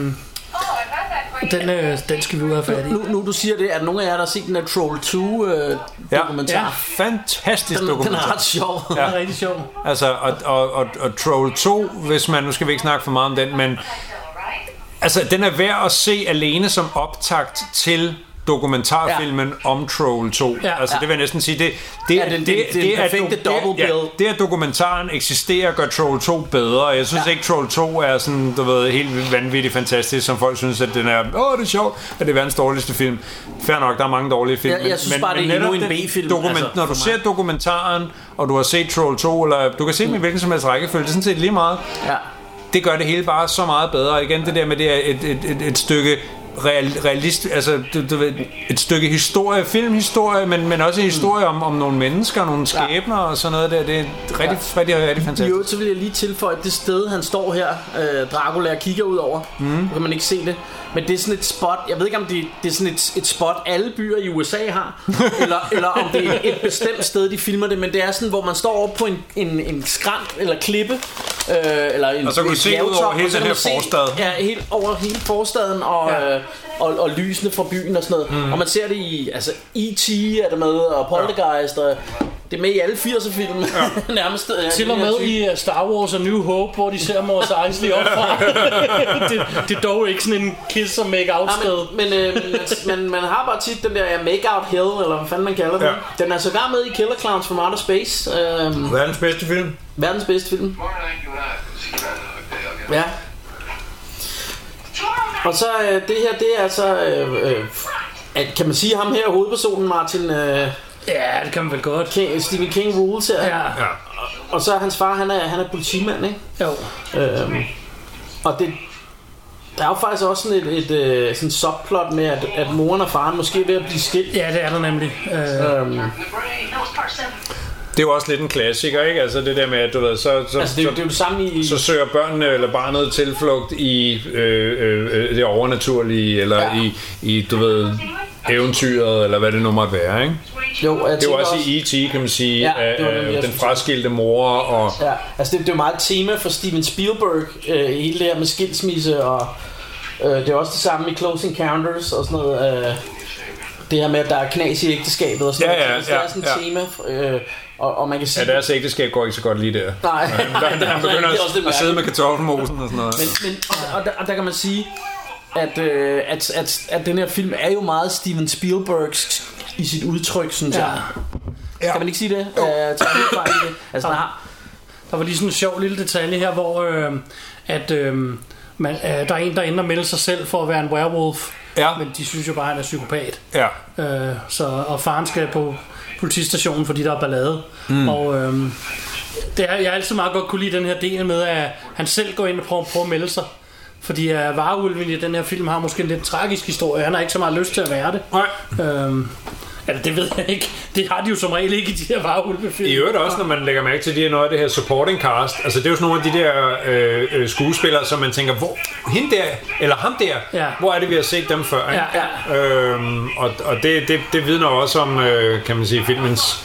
Speaker 6: Oh, I've had that for
Speaker 3: den, øh, den skal vi ud af fat i.
Speaker 4: Nu, nu du siger det, at nogle af jer, der har set den der Troll 2 øh,
Speaker 5: Ja.
Speaker 4: dokumentar,
Speaker 5: Fantastisk
Speaker 4: Den, den er
Speaker 5: dokumentar.
Speaker 4: ret sjov.
Speaker 3: Det er rigtig sjovt.
Speaker 5: Altså, og, og, og, og Troll 2, hvis man, nu skal vi ikke snakke for meget om den, men altså, den er værd at se alene som optakt til dokumentarfilmen ja. om Troll 2.
Speaker 3: Ja.
Speaker 5: Ja, altså,
Speaker 3: Ja.
Speaker 5: det vil jeg næsten sige, det, det,
Speaker 4: Ja, den- den- den
Speaker 5: er
Speaker 4: perfekte
Speaker 5: do-
Speaker 4: double
Speaker 5: det,
Speaker 4: bill.
Speaker 5: det, at dokumentaren eksisterer, gør Troll 2 bedre. Jeg synes ja. ikke, Troll 2 er sådan, du ved, helt vanvittigt fantastisk, som folk synes, at den er, åh, det er sjovt, at det er verdens dårligste film. Fair nok, der er mange dårlige film.
Speaker 4: Ja, jeg synes bare, det er
Speaker 5: netop
Speaker 4: endnu en
Speaker 5: det-
Speaker 4: B-film,
Speaker 5: Dokument,
Speaker 4: altså,
Speaker 5: altså, når du
Speaker 4: for
Speaker 5: ser dokumentaren, og du har set Troll 2, eller du kan se dem i hvilken som helst rækkefølge, det er sådan set lige meget.
Speaker 4: Ja.
Speaker 5: Det gør det hele bare så meget bedre. Og igen, det der med, det er et, et, et, et stykke real, realist, altså du, du ved, et stykke historie, filmhistorie, men, men også en historie om, om nogle mennesker, nogle skæbner og sådan noget der. Det er rigtig, ja. rigtig, rigtig, rigtig
Speaker 4: I
Speaker 5: fantastisk.
Speaker 4: øvrigt, så vil jeg lige tilføje, at det sted, han står her, øh, Dracula, og kigger ud over, mm. kan man ikke se det, men det er sådan et spot, jeg ved ikke om det, det er sådan et, et spot, alle byer i USA har, eller, eller om det er et bestemt sted, de filmer det, men det er sådan, hvor man står oppe på en, en, en skrant eller klippe, øh, eller en,
Speaker 5: Og så kan du
Speaker 4: et
Speaker 5: se ud over
Speaker 4: bjergtop,
Speaker 5: hele
Speaker 4: og så
Speaker 5: den
Speaker 4: kan
Speaker 5: her
Speaker 4: du se-
Speaker 5: forstad.
Speaker 4: Ja, helt over hele forstaden, og, ja. øh, og, og lysene fra byen og sådan noget, mm. og man ser det i, altså E.T. er der med, og Poltergeist, og det er med i alle 80'er film, ja. nærmest. øh,
Speaker 3: Til og
Speaker 4: den her
Speaker 3: med
Speaker 4: type.
Speaker 3: i øh, Star Wars og New Hope, hvor de ser Mos Eisley op fra. det, det er dog ikke sådan en kiss og make out
Speaker 4: Ja,
Speaker 3: sted.
Speaker 4: men, men, øh, man, man, man har bare tit den der ja, Make Out Hill, eller hvad fanden man kalder den. Ja. Den er sågar med i Killer Clowns from Outer Space. Øh,
Speaker 5: Verdens bedste film.
Speaker 4: verdens bedste film.
Speaker 7: Tomorrow night you and I will see around the hotel, okay?
Speaker 4: Ja.
Speaker 6: Tomorrow night.
Speaker 4: Og så øh, det her, det er altså... Øh, øh, at, kan man sige ham her, hovedpersonen Martin øh,
Speaker 3: Ja, det kan man vel godt.
Speaker 4: King, Stephen King Rules her.
Speaker 3: Ja,
Speaker 4: Og så er hans far, han er, han er politimand, ikke?
Speaker 3: jo.
Speaker 4: Øhm, og det, der er jo faktisk også sådan et, et, et sådan subplot med, at, at moren og faren måske er ved at blive skilt.
Speaker 3: ja, det er der nemlig. Øh,
Speaker 4: Øhm,
Speaker 7: The brain.
Speaker 6: That was part seven.
Speaker 5: Det er jo også lidt en klassiker, ikke? Altså det der med, at du ved, så, så,
Speaker 4: altså, det, er jo- det er jo det samme i...
Speaker 5: så søger børnene eller barnet tilflugt i øh, øh, øh, det overnaturlige, eller
Speaker 4: Ja.
Speaker 5: ja. i, i, du ved, eventyret, eller hvad det nu måtte være, ikke?
Speaker 6: It's way too
Speaker 4: Jo, jeg
Speaker 5: Det
Speaker 4: tænker
Speaker 5: var også i E.T., kan man sige,
Speaker 4: Ja,
Speaker 5: ja,
Speaker 4: det var nemlig, jeg
Speaker 5: øh, den
Speaker 4: skulle sige.
Speaker 5: fraskilte mor og...
Speaker 4: Ja, altså det, det er jo meget et tema for Steven Spielberg, øh, hele det her med skilsmisse, og øh, det er også det samme i Close Encounters og sådan noget. Øh, det her med, at der er knas i ægteskabet og sådan
Speaker 5: Ja,
Speaker 4: noget.
Speaker 5: ja,
Speaker 4: Altså, det er
Speaker 5: ja,
Speaker 4: sådan
Speaker 5: ja.
Speaker 4: et tema, øh, og, og man kan
Speaker 5: Ja,
Speaker 4: sige...
Speaker 5: deres ægteskab går ikke så godt lige der.
Speaker 4: Nej,
Speaker 5: Der, der begynder
Speaker 4: det er også lidt
Speaker 5: at, at sidde med
Speaker 4: mærkeligt.
Speaker 5: kartoffelmosen og sådan noget.
Speaker 4: Men, men, og, og, der, og der kan man sige, at, øh, at, at, at den her film er jo meget Steven Spielbergs i sit udtryk, synes
Speaker 3: Ja.
Speaker 4: jeg. Kan man ikke sige det? Øh, tager du fejl i det? Altså, der har,
Speaker 3: Der var lige sådan en sjov lille detalje her, hvor øh, at, øh, man, øh, der er en, der ender med sig selv for at være en werewolf.
Speaker 5: Ja.
Speaker 3: Men de synes jo bare, at han er psykopat.
Speaker 5: Ja.
Speaker 3: Øh, så, og faren skal på politistationen, fordi der er ballade. Mm. Og øh, det er, jeg har altid meget godt kunne lide den her del med, at han selv går ind og prøver, prøver at melde sig. Fordi uh, vareulven i den her film har måske en lidt tragisk historie. Han har ikke så meget lyst til at være det.
Speaker 5: Nej.
Speaker 3: Øhm, altså, det ved jeg ikke. Det har de jo som regel ikke i de her vareulvefilm.
Speaker 5: I øvrigt også, når man lægger mærke til, de her noget af det her supporting cast. Altså, det er jo sådan nogle af de der øh, øh, skuespillere, som man tænker, hvor, hende der, eller ham der,
Speaker 3: Ja.
Speaker 5: hvor er det, vi har set dem før? ikke?
Speaker 3: Ja,
Speaker 5: Øhm, og og det, det, det vidner også om, øh, kan man sige, filmens...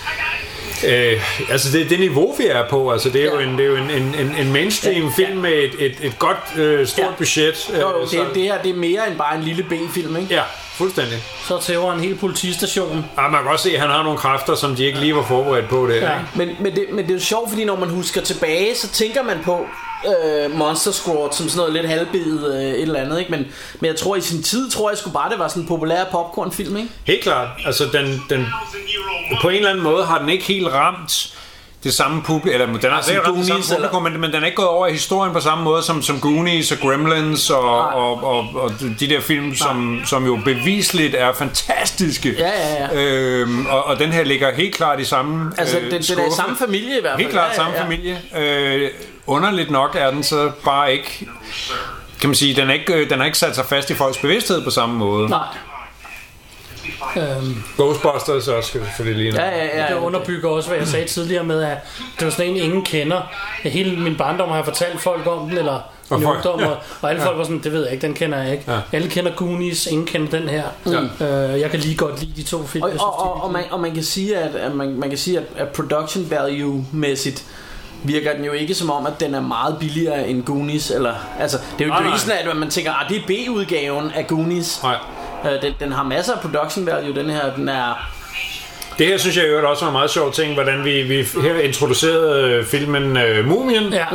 Speaker 5: Øh, altså det, det niveau vi er på altså det er jo
Speaker 4: Ja.
Speaker 5: en, det er jo en, en, en, en mainstream ja, film med et, et, et godt øh, stort
Speaker 4: Ja.
Speaker 5: budget øh,
Speaker 4: jo, jo,
Speaker 5: så-
Speaker 4: det, det her det er mere end bare en lille B-film, ikke?
Speaker 5: Ja, fuldstændig.
Speaker 3: Så tæver en hel politistation.
Speaker 5: Ja, man kan godt se, at han har nogle kræfter, som de ikke lige var forberedt på det.
Speaker 3: Ja.
Speaker 5: Ja.
Speaker 4: Men, men, det, men det er jo sjovt, fordi når man husker tilbage, så tænker man på øh, Monster Squad som sådan noget lidt halvbidet øh, et eller andet, ikke? Men, men jeg tror i sin tid, tror jeg sgu bare, det var sådan en populær popcornfilm, ikke?
Speaker 5: Helt klart. Altså, den, den, på en eller anden måde har den ikke helt ramt det samme publikum, eller den har sikkert ramt det samme
Speaker 4: Goonies, eller-
Speaker 5: publikum, men, men den er ikke gået over i historien på samme måde som, som Goonies og Gremlins og, og, og, og de der film, som, som jo bevisligt er fantastiske.
Speaker 4: Ja, ja, ja.
Speaker 5: Øhm, og, og den her ligger helt klart i samme øh,
Speaker 4: Altså, den, den er i
Speaker 5: skuffe.
Speaker 4: samme familie i hvert fald.
Speaker 5: Helt klart samme familie. Øh, underligt nok er den så bare ikke... Kan man sige, den er ikke, øh, den har ikke sat sig fast i folks bevidsthed på samme måde.
Speaker 3: Nej. Øhm,
Speaker 5: Ghostbusters også skal selvfølgelig lige
Speaker 4: Ja, ja, ja.
Speaker 3: det
Speaker 4: ja.
Speaker 3: underbygger også, hvad jeg sagde tidligere med, at det var sådan en, ingen kender. Hele min barndom har jeg fortalt folk om den, eller min
Speaker 5: folk-
Speaker 3: ungdom, og, og alle folk var sådan, det ved jeg ikke, den kender jeg ikke.
Speaker 5: Ja.
Speaker 3: Alle kender Goonies, ingen kender den her. Øh, jeg kan lige godt lide de to film.
Speaker 4: Og,
Speaker 3: jeg synes,
Speaker 4: og,
Speaker 3: de er
Speaker 4: og, og, man, og man kan sige, at, at, man, man kan sige, at, at production value-mæssigt virker den jo ikke som om, at den er meget billigere end Goonies. Eller, altså, det er jo, det er jo
Speaker 5: nej.
Speaker 4: ikke sådan, at man tænker, at det er B-udgaven af Goonies.
Speaker 5: Nej.
Speaker 4: Øh, den, den har masser af production value, den her. Den er,
Speaker 5: Det her synes jeg i øvrigt også var en meget sjov ting, hvordan vi, vi her introducerede øh, filmen øh, Mumien,
Speaker 3: Ja,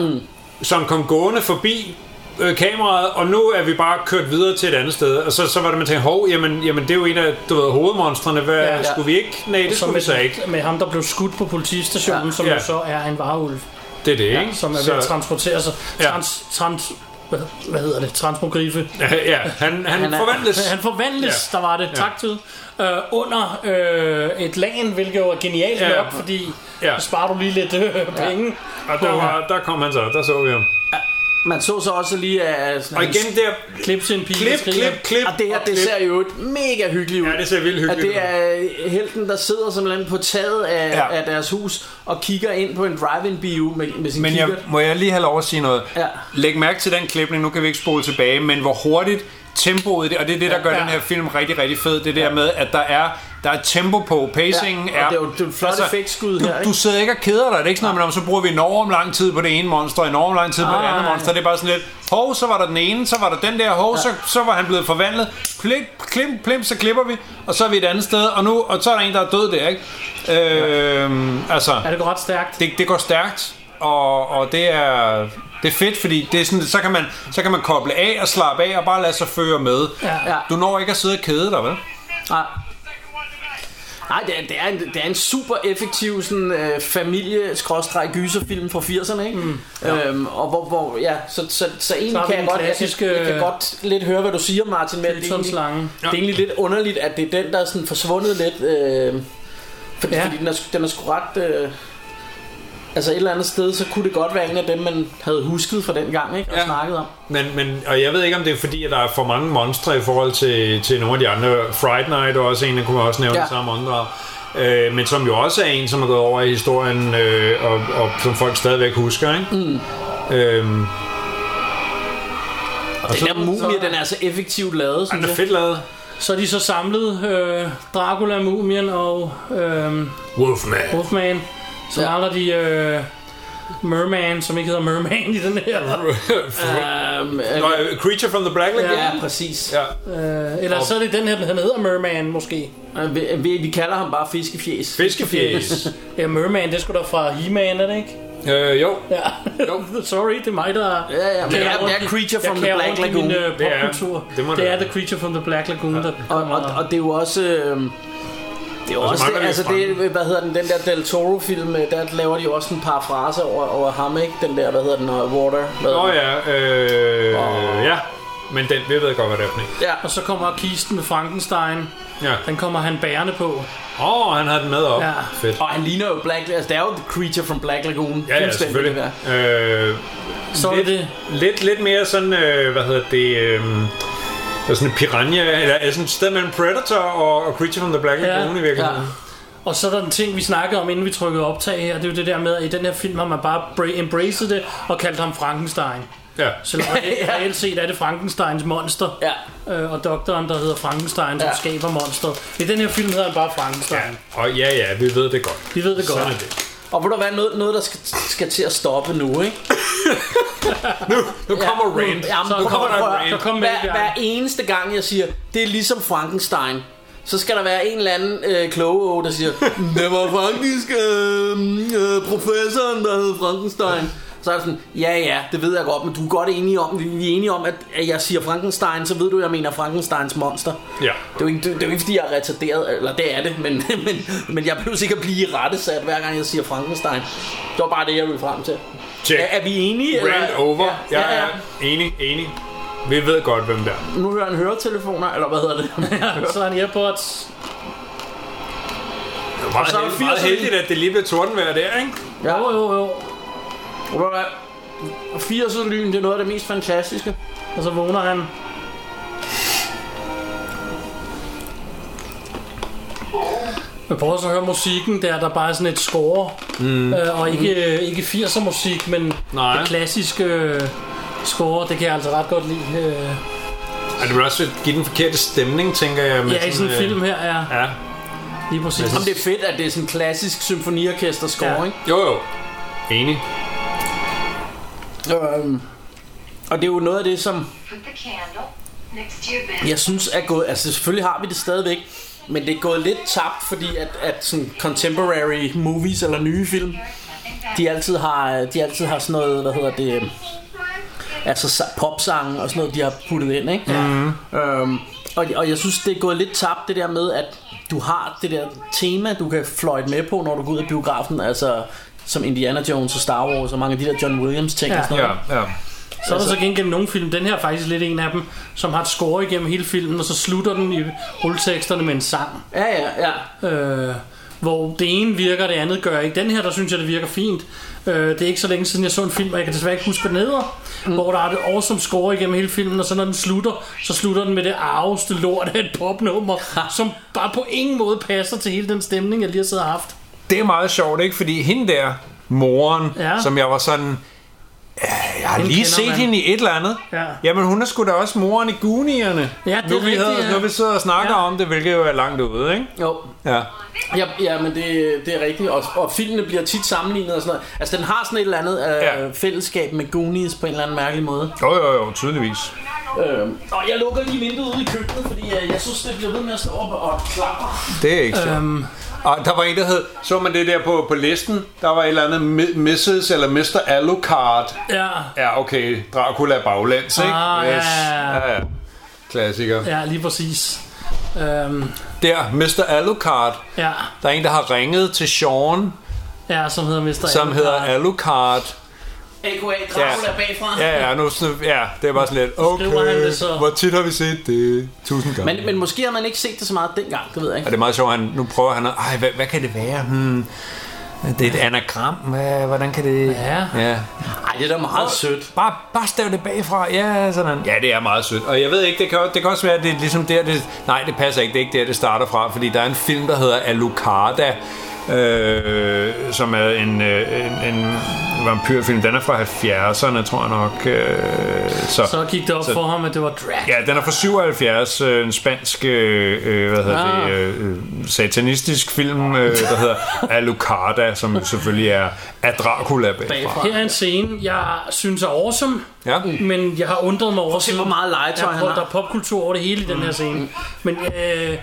Speaker 5: som kom gående forbi øh, kameraet, og nu er vi bare kørt videre til et andet sted. Og så, så var det, man tænkte, hov, jamen, jamen det er jo en af du ved, hovedmonstrene. Hvad,
Speaker 3: Ja,
Speaker 5: ja,
Speaker 3: ja.
Speaker 5: ja. Skulle vi ikke? Nej, det
Speaker 3: som
Speaker 5: skulle vi så ikke.
Speaker 3: med, med ham, der blev skudt på politistationen, ja.
Speaker 4: Ja.
Speaker 3: som
Speaker 5: Ja.
Speaker 3: jo så er en varulv,
Speaker 5: Det er det, ikke?
Speaker 3: som er ved at transportere sig.
Speaker 5: Ja.
Speaker 3: Trans, trans, hvad, hvad hedder det? Transmogrife.
Speaker 5: ja, han, han,
Speaker 4: Han
Speaker 5: han
Speaker 4: er-
Speaker 5: forvandles.
Speaker 3: Han forvandles, ja.
Speaker 5: Ja.
Speaker 3: der var det, tak til, øh, under øh, et lagen, hvilket jo er genialt ja.
Speaker 5: Ja.
Speaker 3: nok, fordi ja.
Speaker 5: Ja.
Speaker 3: sparer du lige lidt øh, penge.
Speaker 5: Og der, var, der kom han så, der så vi ham.
Speaker 4: man så så også lige, at sådan,
Speaker 5: Og igen der,
Speaker 3: Klip til en pige,
Speaker 5: klip,
Speaker 3: der skriger.
Speaker 5: klip, klip.
Speaker 4: Og det her,
Speaker 5: og
Speaker 4: det
Speaker 5: klip.
Speaker 4: ser jo et mega hyggeligt ud.
Speaker 5: Ja, det ser vildt hyggeligt
Speaker 4: At det er øh, helten, der sidder simpelthen på taget af, ja.
Speaker 5: Ja.
Speaker 4: af deres hus og kigger ind på en drive-in bio med, med sin
Speaker 5: Men jeg,
Speaker 4: kikkert.
Speaker 5: må jeg lige have lov at sige noget?
Speaker 4: Ja.
Speaker 5: Læg mærke til den klipning, nu kan vi ikke spole tilbage, men hvor hurtigt tempoet, i det, og det er det, der gør
Speaker 3: Ja.
Speaker 5: den her film rigtig, rigtig fed, det der med, at der er, der er tempo på, pacingen
Speaker 4: Ja, og
Speaker 5: er... Altså,
Speaker 4: det er jo- det er jo et flot effektskud
Speaker 5: du,
Speaker 4: her, ikke?
Speaker 5: Du sidder ikke og keder dig, det er ikke sådan noget, men så bruger vi enormt lang tid på det ene monster, og enormt lang tid på
Speaker 4: Ah,
Speaker 5: det
Speaker 3: Ej.
Speaker 5: andet monster, det er bare sådan lidt, hov, så var der den ene, så var der den der, hov, så, så var han blevet forvandlet, klip, klim, klim, så klipper vi, og så er vi et andet sted, og nu, og så er der en, der er død der, ikke? Øhm, altså...
Speaker 3: Ja, det går ret stærkt.
Speaker 5: det, det går stærkt, og, og det er det er fedt, fordi det er sådan, så, kan man, så kan man koble af og slappe af og bare lade sig føre med.
Speaker 3: Ja.
Speaker 4: Ja.
Speaker 5: Du når ikke at sidde og kede dig, vel?
Speaker 6: Uh,
Speaker 4: Nej. Nej, det er, det, er en, det er en super effektiv sådan, øh, familie-gyserfilm fra 80'erne, ikke? Mm, ja. øhm, og hvor, hvor, ja, så, så, så egentlig
Speaker 3: Så har vi
Speaker 4: kan
Speaker 3: den
Speaker 4: jeg, godt, jeg,
Speaker 3: klassiske-
Speaker 4: kan, jeg kan godt lidt høre, hvad du siger, Martin, med at det, er egentlig,
Speaker 3: Simpsons-slange.
Speaker 4: det er egentlig lidt underligt, at det er den, der er sådan forsvundet lidt, øh, fordi,
Speaker 3: Ja.
Speaker 4: ja. fordi den, er, sgu- den er sgu ret... Øh, altså et eller andet sted, så kunne det godt være en af dem, man havde husket fra den gang, ikke? Og ja.
Speaker 5: Ja.
Speaker 4: snakket om.
Speaker 5: Men, men, og jeg ved ikke, om det er fordi, at der er for mange monstre i forhold til, til nogle af de andre. Fright Night er også en, der kunne man også nævne
Speaker 4: Ja.
Speaker 5: ja. samme andre. Øh, men som jo også er en, som er gået over i historien, øh, og, og som folk stadigvæk husker, ikke? Mm. Øhm, og
Speaker 4: Den
Speaker 5: så,
Speaker 4: der mumie, den er så effektivt lavet,
Speaker 5: den
Speaker 4: synes
Speaker 5: er
Speaker 4: jeg.
Speaker 5: fedt lavet.
Speaker 3: Så er de så samlet øh, Dracula, Mumien og øh,
Speaker 5: Wolfman.
Speaker 3: Wolfman. Så
Speaker 4: Ja.
Speaker 3: ja. mangler de øh, Merman, som ikke hedder Merman i den her.
Speaker 4: Øhm, øh,
Speaker 5: Nå, øh, Creature from the Black Lagoon.
Speaker 4: ja, præcis.
Speaker 5: Ja.
Speaker 3: Øh, eller så er det den her, den hedder Merman måske.
Speaker 4: Øh, Vi, vi, vi kalder ham bare fiskefjes.
Speaker 5: Fiskefjæs.
Speaker 3: Ja, Merman, det skulle da fra He-Man, er det ikke?
Speaker 5: øh, jo,
Speaker 3: Ja. Sorry, det er mig, der...
Speaker 4: Ja, ja, men det er- det er Creature from the Black Lagoon.
Speaker 3: Det
Speaker 5: Det er-
Speaker 3: er, øh, popkultur.
Speaker 5: det må
Speaker 3: det
Speaker 5: det
Speaker 3: er
Speaker 5: være.
Speaker 3: The Creature from the Black Lagoon, der
Speaker 4: Og, og, og det er jo også... Øh, det er jo
Speaker 5: Og så
Speaker 4: også det,
Speaker 5: mangler vi
Speaker 4: altså
Speaker 5: Frank.
Speaker 4: det, hvad hedder den, den der Del Toro-film, øh, der laver de jo også en par fraser over, over ham, ikke? Den der, hvad hedder den, uh, Water. Hvad
Speaker 5: Nå
Speaker 4: hedder den?
Speaker 5: ja, øh, ja. Men den, vi ved godt, hvad det er for en.
Speaker 4: ja.
Speaker 3: Og så kommer kisten med Frankenstein.
Speaker 5: Ja.
Speaker 3: Den kommer han bærende på.
Speaker 5: Åh, oh, han har den med op.
Speaker 3: Ja.
Speaker 5: Ja. Fedt.
Speaker 4: Og han ligner jo Black... Altså, det er jo The Creature from Black Lagoon.
Speaker 5: Ja, ja,
Speaker 4: fuldstændig,
Speaker 5: selvfølgelig.
Speaker 4: det
Speaker 5: Øh,
Speaker 3: Så er
Speaker 5: lidt,
Speaker 3: det...
Speaker 5: Lidt, lidt mere sådan, øh, hvad hedder det... Øh, der er sådan en piranha, eller er sådan et sted mellem Predator og, og Creature from the Black
Speaker 3: Ja.
Speaker 5: Lagoon i virkeligheden.
Speaker 4: Ja.
Speaker 3: Og så er der den ting, vi snakkede om, inden vi trykkede optag her. Det er jo det der med, at i den her film har man bare bra- embraced det og kaldt ham Frankenstein.
Speaker 5: Ja.
Speaker 3: Så reelt- reelt set er det Frankensteins monster.
Speaker 4: Ja.
Speaker 3: Øh, og doktoren, der hedder Frankenstein, som
Speaker 4: Ja.
Speaker 3: skaber monster. I den her film hedder han bare Frankenstein.
Speaker 5: Og ja, ja, vi ved det godt.
Speaker 3: Vi ved det godt.
Speaker 5: Sådan er det.
Speaker 4: Og ved du hvad, noget, noget der skal, skal til at stoppe nu, ikke?
Speaker 5: Nu, nu kommer Rand.
Speaker 4: Jamen,
Speaker 3: Så
Speaker 4: nu
Speaker 3: kommer der
Speaker 4: prøv at-
Speaker 3: Rand. Så kom med det,
Speaker 4: hver,
Speaker 3: Bjarne.
Speaker 4: hver eneste gang, jeg siger, det er ligesom Frankenstein, så skal der være en eller anden øh, kloge åge, der siger, det var faktisk øh, øh, professoren, der hed Frankenstein. Så er det sådan, ja ja, det ved jeg godt, men du er godt enig om, vi er enige om, at, at jeg siger Frankenstein, så ved du, jeg mener Frankensteins monster.
Speaker 5: Ja.
Speaker 4: Det er jo ikke, det, det er jo ikke fordi, jeg er retarderet, eller det er det, men, men, men jeg behøver sikkert blive rettesat, hver gang jeg siger Frankenstein. Det var bare det, jeg ville frem til.
Speaker 5: Check.
Speaker 4: Er, er vi enige?
Speaker 5: Rand
Speaker 4: eller?
Speaker 5: over.
Speaker 4: Ja, ja,
Speaker 5: Jeg
Speaker 4: ja.
Speaker 5: er enig, enig. Vi ved godt, hvem der er.
Speaker 4: Nu hører han høretelefoner, eller hvad hedder det?
Speaker 3: Så er han AirPods.
Speaker 5: Det er meget,
Speaker 4: så er der
Speaker 5: heldigt, meget
Speaker 4: 80'erne.
Speaker 5: heldigt, at det lige blev tordenvejr der, ikke?
Speaker 4: ja,
Speaker 3: Jo, jo, jo.
Speaker 4: og ved du hvad? 80'er lyn, det er noget af det mest fantastiske.
Speaker 3: Og så vågner han. Men prøv også at høre musikken der, der bare er sådan et score. Mm. Øh, og ikke, ikke 80'er musik, men
Speaker 5: Nej.
Speaker 3: det klassiske øh, score, det kan jeg altså ret godt lide. Øh,
Speaker 5: Og det vil også give den forkerte stemning, tænker jeg. Med
Speaker 3: ja, i sådan en
Speaker 5: øh,
Speaker 3: film her, ja.
Speaker 5: Ja.
Speaker 3: Lige præcis.
Speaker 4: Jamen, det er fedt, at det er sådan en klassisk symfoniorkester score,
Speaker 3: Ja.
Speaker 4: ikke?
Speaker 5: Jo, jo. Enig.
Speaker 4: Øhm. Og det er jo noget af det, som
Speaker 6: Put the candle next to your bed.
Speaker 4: jeg synes er gået... Altså, selvfølgelig har vi det stadigvæk, men det er gået lidt tabt, fordi at, at sådan contemporary movies eller nye film, de altid har, de altid har sådan noget, hvad hedder det... øhm, altså sa- popsange og sådan noget, de har puttet ind, ikke? Mm. Øhm, og, og jeg synes, det er gået lidt tabt, det der med, at du har det der tema, du kan fløjte med på, når du går ud af biografen, altså som Indiana Jones og Star Wars og mange af de der John Williams ting
Speaker 3: Ja.
Speaker 4: og sådan
Speaker 5: Ja,
Speaker 4: noget.
Speaker 5: ja.
Speaker 3: Så er der så gengæld nogle film, den her er faktisk lidt en af dem, som har et score igennem hele filmen, og så slutter den i rulleteksterne med en sang.
Speaker 4: Ja, ja, ja.
Speaker 3: Øh, hvor det ene virker, det andet gør ikke. Den her, der synes jeg, det virker fint. Øh, det er ikke så længe siden, jeg så en film, og jeg kan desværre ikke huske, hvad den hedder, mm. hvor der er et awesome score igennem hele filmen, og så når den slutter, så slutter den med det arveste lort af et popnummer, som bare på ingen måde passer til hele den stemning, jeg lige har siddet og haft.
Speaker 5: Det er meget sjovt, ikke? Fordi hende der, moren,
Speaker 3: Ja.
Speaker 5: ja. som jeg var sådan... "Ja, Jeg har
Speaker 3: Hende
Speaker 5: lige
Speaker 3: kender
Speaker 5: set
Speaker 3: man."
Speaker 5: hende i et eller andet.
Speaker 3: Ja.
Speaker 5: Jamen, hun er sgu da også moren i Goonierne.
Speaker 3: Ja, det
Speaker 5: nu,
Speaker 3: er
Speaker 5: vi
Speaker 3: rigtigt, ja.
Speaker 5: nu vi sidder og snakker
Speaker 3: Ja.
Speaker 5: ja. om det, hvilket jo er langt ude, ikke?
Speaker 4: Jo,
Speaker 5: Ja.
Speaker 4: Ja, ja men det, det er rigtigt, og, og filmene bliver tit sammenlignet og sådan noget. Altså, den har sådan et eller andet øh, ja.
Speaker 5: Ja.
Speaker 4: fællesskab med Goonies på en eller anden mærkelig måde.
Speaker 5: Jo, jo, jo, tydeligvis.
Speaker 4: Øh, og jeg lukker lige vinduet ude i køkkenet, fordi øh, jeg synes, det bliver ved med at stå op og klapper.
Speaker 5: Det er ikke sjovt.
Speaker 3: Øhm.
Speaker 5: Og der var en, der hed... Så man det der på, på listen? Der var et eller andet mi- Mrs. eller Mr. Alucard.
Speaker 3: Ja,
Speaker 5: Ja, okay. Dracula baglæns, ikke?
Speaker 3: Ah, ja, ja, ja.
Speaker 5: ja, ja. Klassiker. Ja.
Speaker 3: ja lige præcis. Øhm,
Speaker 5: Der, Mr. Alucard.
Speaker 3: ja,
Speaker 5: Der er en, der har ringet til Sean,
Speaker 3: ja, som hedder Mr.
Speaker 5: som hedder Alucard.
Speaker 4: A.K.A. Dracula ja. bagfra.
Speaker 5: Ja, ja, nu, sådan- ja, det er bare sådan lidt,
Speaker 3: Skriver han
Speaker 5: okay,
Speaker 3: det så?
Speaker 5: hvor tit har vi set det? Tusind gange.
Speaker 4: Men, men måske har man ikke set det så meget dengang, det ved jeg
Speaker 5: Og
Speaker 4: ikke.
Speaker 5: det er meget sjovt, han, nu prøver han at, ej, hvad, hvad kan det være? Hmm, det er et anagram, hvad, hvordan kan det...
Speaker 3: Ja.
Speaker 5: ja.
Speaker 4: Ej, det er da meget sødt.
Speaker 5: Bare, bare stav det bagfra, ja, sådan. Ja, det er meget sødt. Og jeg ved ikke, det kan, det kan også være, at det er ligesom der, det... Nej, det passer ikke, det er ikke der, det starter fra, fordi der er en film, der hedder Alucarda, øh, som er en, øh, en, en vampyrfilm. Den er fra 70'erne, tror jeg nok. Øh, så.
Speaker 3: Så gik det op for ham, at det var drag.
Speaker 5: Ja, den er fra 77, øh, en spansk, øh, øh, hvad hedder
Speaker 4: Ah.
Speaker 5: ah. det, øh, øh, satanistisk film, øh, der hedder Alucarda, som jo selvfølgelig er, er Dracula bagfra.
Speaker 4: Bagfra.
Speaker 3: Her er en scene, jeg synes er awesome,
Speaker 5: Ja.
Speaker 3: men jeg har undret mig over
Speaker 4: se, hvor meget legetøj
Speaker 3: Ja,
Speaker 4: han
Speaker 3: prøv,
Speaker 4: har.
Speaker 3: Der er popkultur over det hele i den her
Speaker 5: Mm.
Speaker 3: scene. Men øh,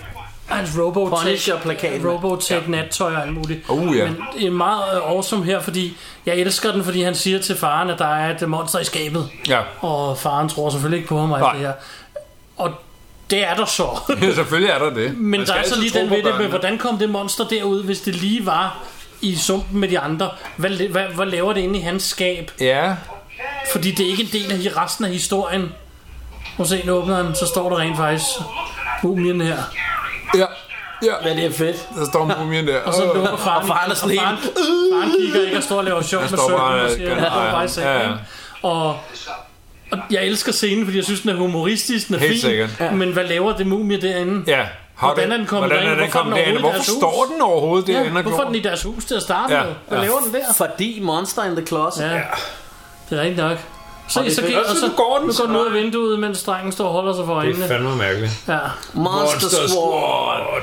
Speaker 3: hans Robotech,
Speaker 4: Punisher-plakaten.
Speaker 3: Robotech nattøj og alt muligt.
Speaker 5: Oh, ja.
Speaker 3: Men det er meget øh, awesome her, fordi jeg elsker den, fordi han siger til faren, at der er et øh, monster i skabet.
Speaker 5: Ja.
Speaker 3: Og faren tror selvfølgelig ikke på ham og alt
Speaker 5: Nej.
Speaker 3: det her. Og det er der så.
Speaker 5: selvfølgelig er der det. Man
Speaker 3: Men der
Speaker 5: skal
Speaker 3: er så
Speaker 5: altid
Speaker 3: lige
Speaker 5: tro
Speaker 3: den
Speaker 5: på
Speaker 3: ved det med,
Speaker 5: børnene.
Speaker 3: hvordan kom det monster derud, hvis det lige var i sumpen med de andre. Hvad, la- hvad, hvad laver det inde i hans skab?
Speaker 5: Ja,
Speaker 3: Fordi det er ikke en del af hi- resten af historien. Prøv at se, nu åbner han, så står der rent faktisk mumien her.
Speaker 5: ja, ja.
Speaker 4: Ja, det er fedt.
Speaker 5: Der står mumien der.
Speaker 3: Og så lukker faren,
Speaker 4: Og faren er sådan
Speaker 3: og faren, faren kigger ikke og står og laver sjov med
Speaker 5: står
Speaker 3: søvn
Speaker 5: bare,
Speaker 3: og siger,
Speaker 5: øh,
Speaker 3: ja,
Speaker 5: ja,
Speaker 3: bare i sengen,
Speaker 5: ja, ja.
Speaker 3: ikke? Og, og jeg elsker scenen, fordi jeg synes, den er humoristisk, den er
Speaker 5: Helt
Speaker 3: fin.
Speaker 5: sikkert.
Speaker 3: Ja. Men hvad laver det mumie derinde?
Speaker 5: Ja. Har
Speaker 3: Hvordan
Speaker 5: det-
Speaker 3: er den kommet
Speaker 5: hvordan er
Speaker 3: derind?
Speaker 5: den
Speaker 3: Hvorfor er
Speaker 5: kommet
Speaker 3: den overhovedet
Speaker 5: derind?
Speaker 3: i
Speaker 5: Hvorfor
Speaker 3: deres
Speaker 5: står
Speaker 3: hus?
Speaker 5: den overhovedet
Speaker 3: Ja,
Speaker 5: derinde? og
Speaker 3: hvorfor er
Speaker 5: går?
Speaker 3: den i deres hus til at starte
Speaker 5: Ja,
Speaker 3: med? Hvad
Speaker 5: ja.
Speaker 3: laver den der?
Speaker 4: Fordi Monster in the Closet.
Speaker 3: Ja.
Speaker 4: Ja.
Speaker 3: Det er rigtigt nok. Se,
Speaker 4: Og det er
Speaker 3: så,
Speaker 4: fedt.
Speaker 3: gik, og
Speaker 5: Og
Speaker 3: så
Speaker 5: så går den
Speaker 3: nu går
Speaker 5: så.
Speaker 3: den ud af vinduet, mens drengen står og holder sig for øjnene.
Speaker 5: fandme mærkeligt.
Speaker 3: Ja.
Speaker 4: Monster, Squad.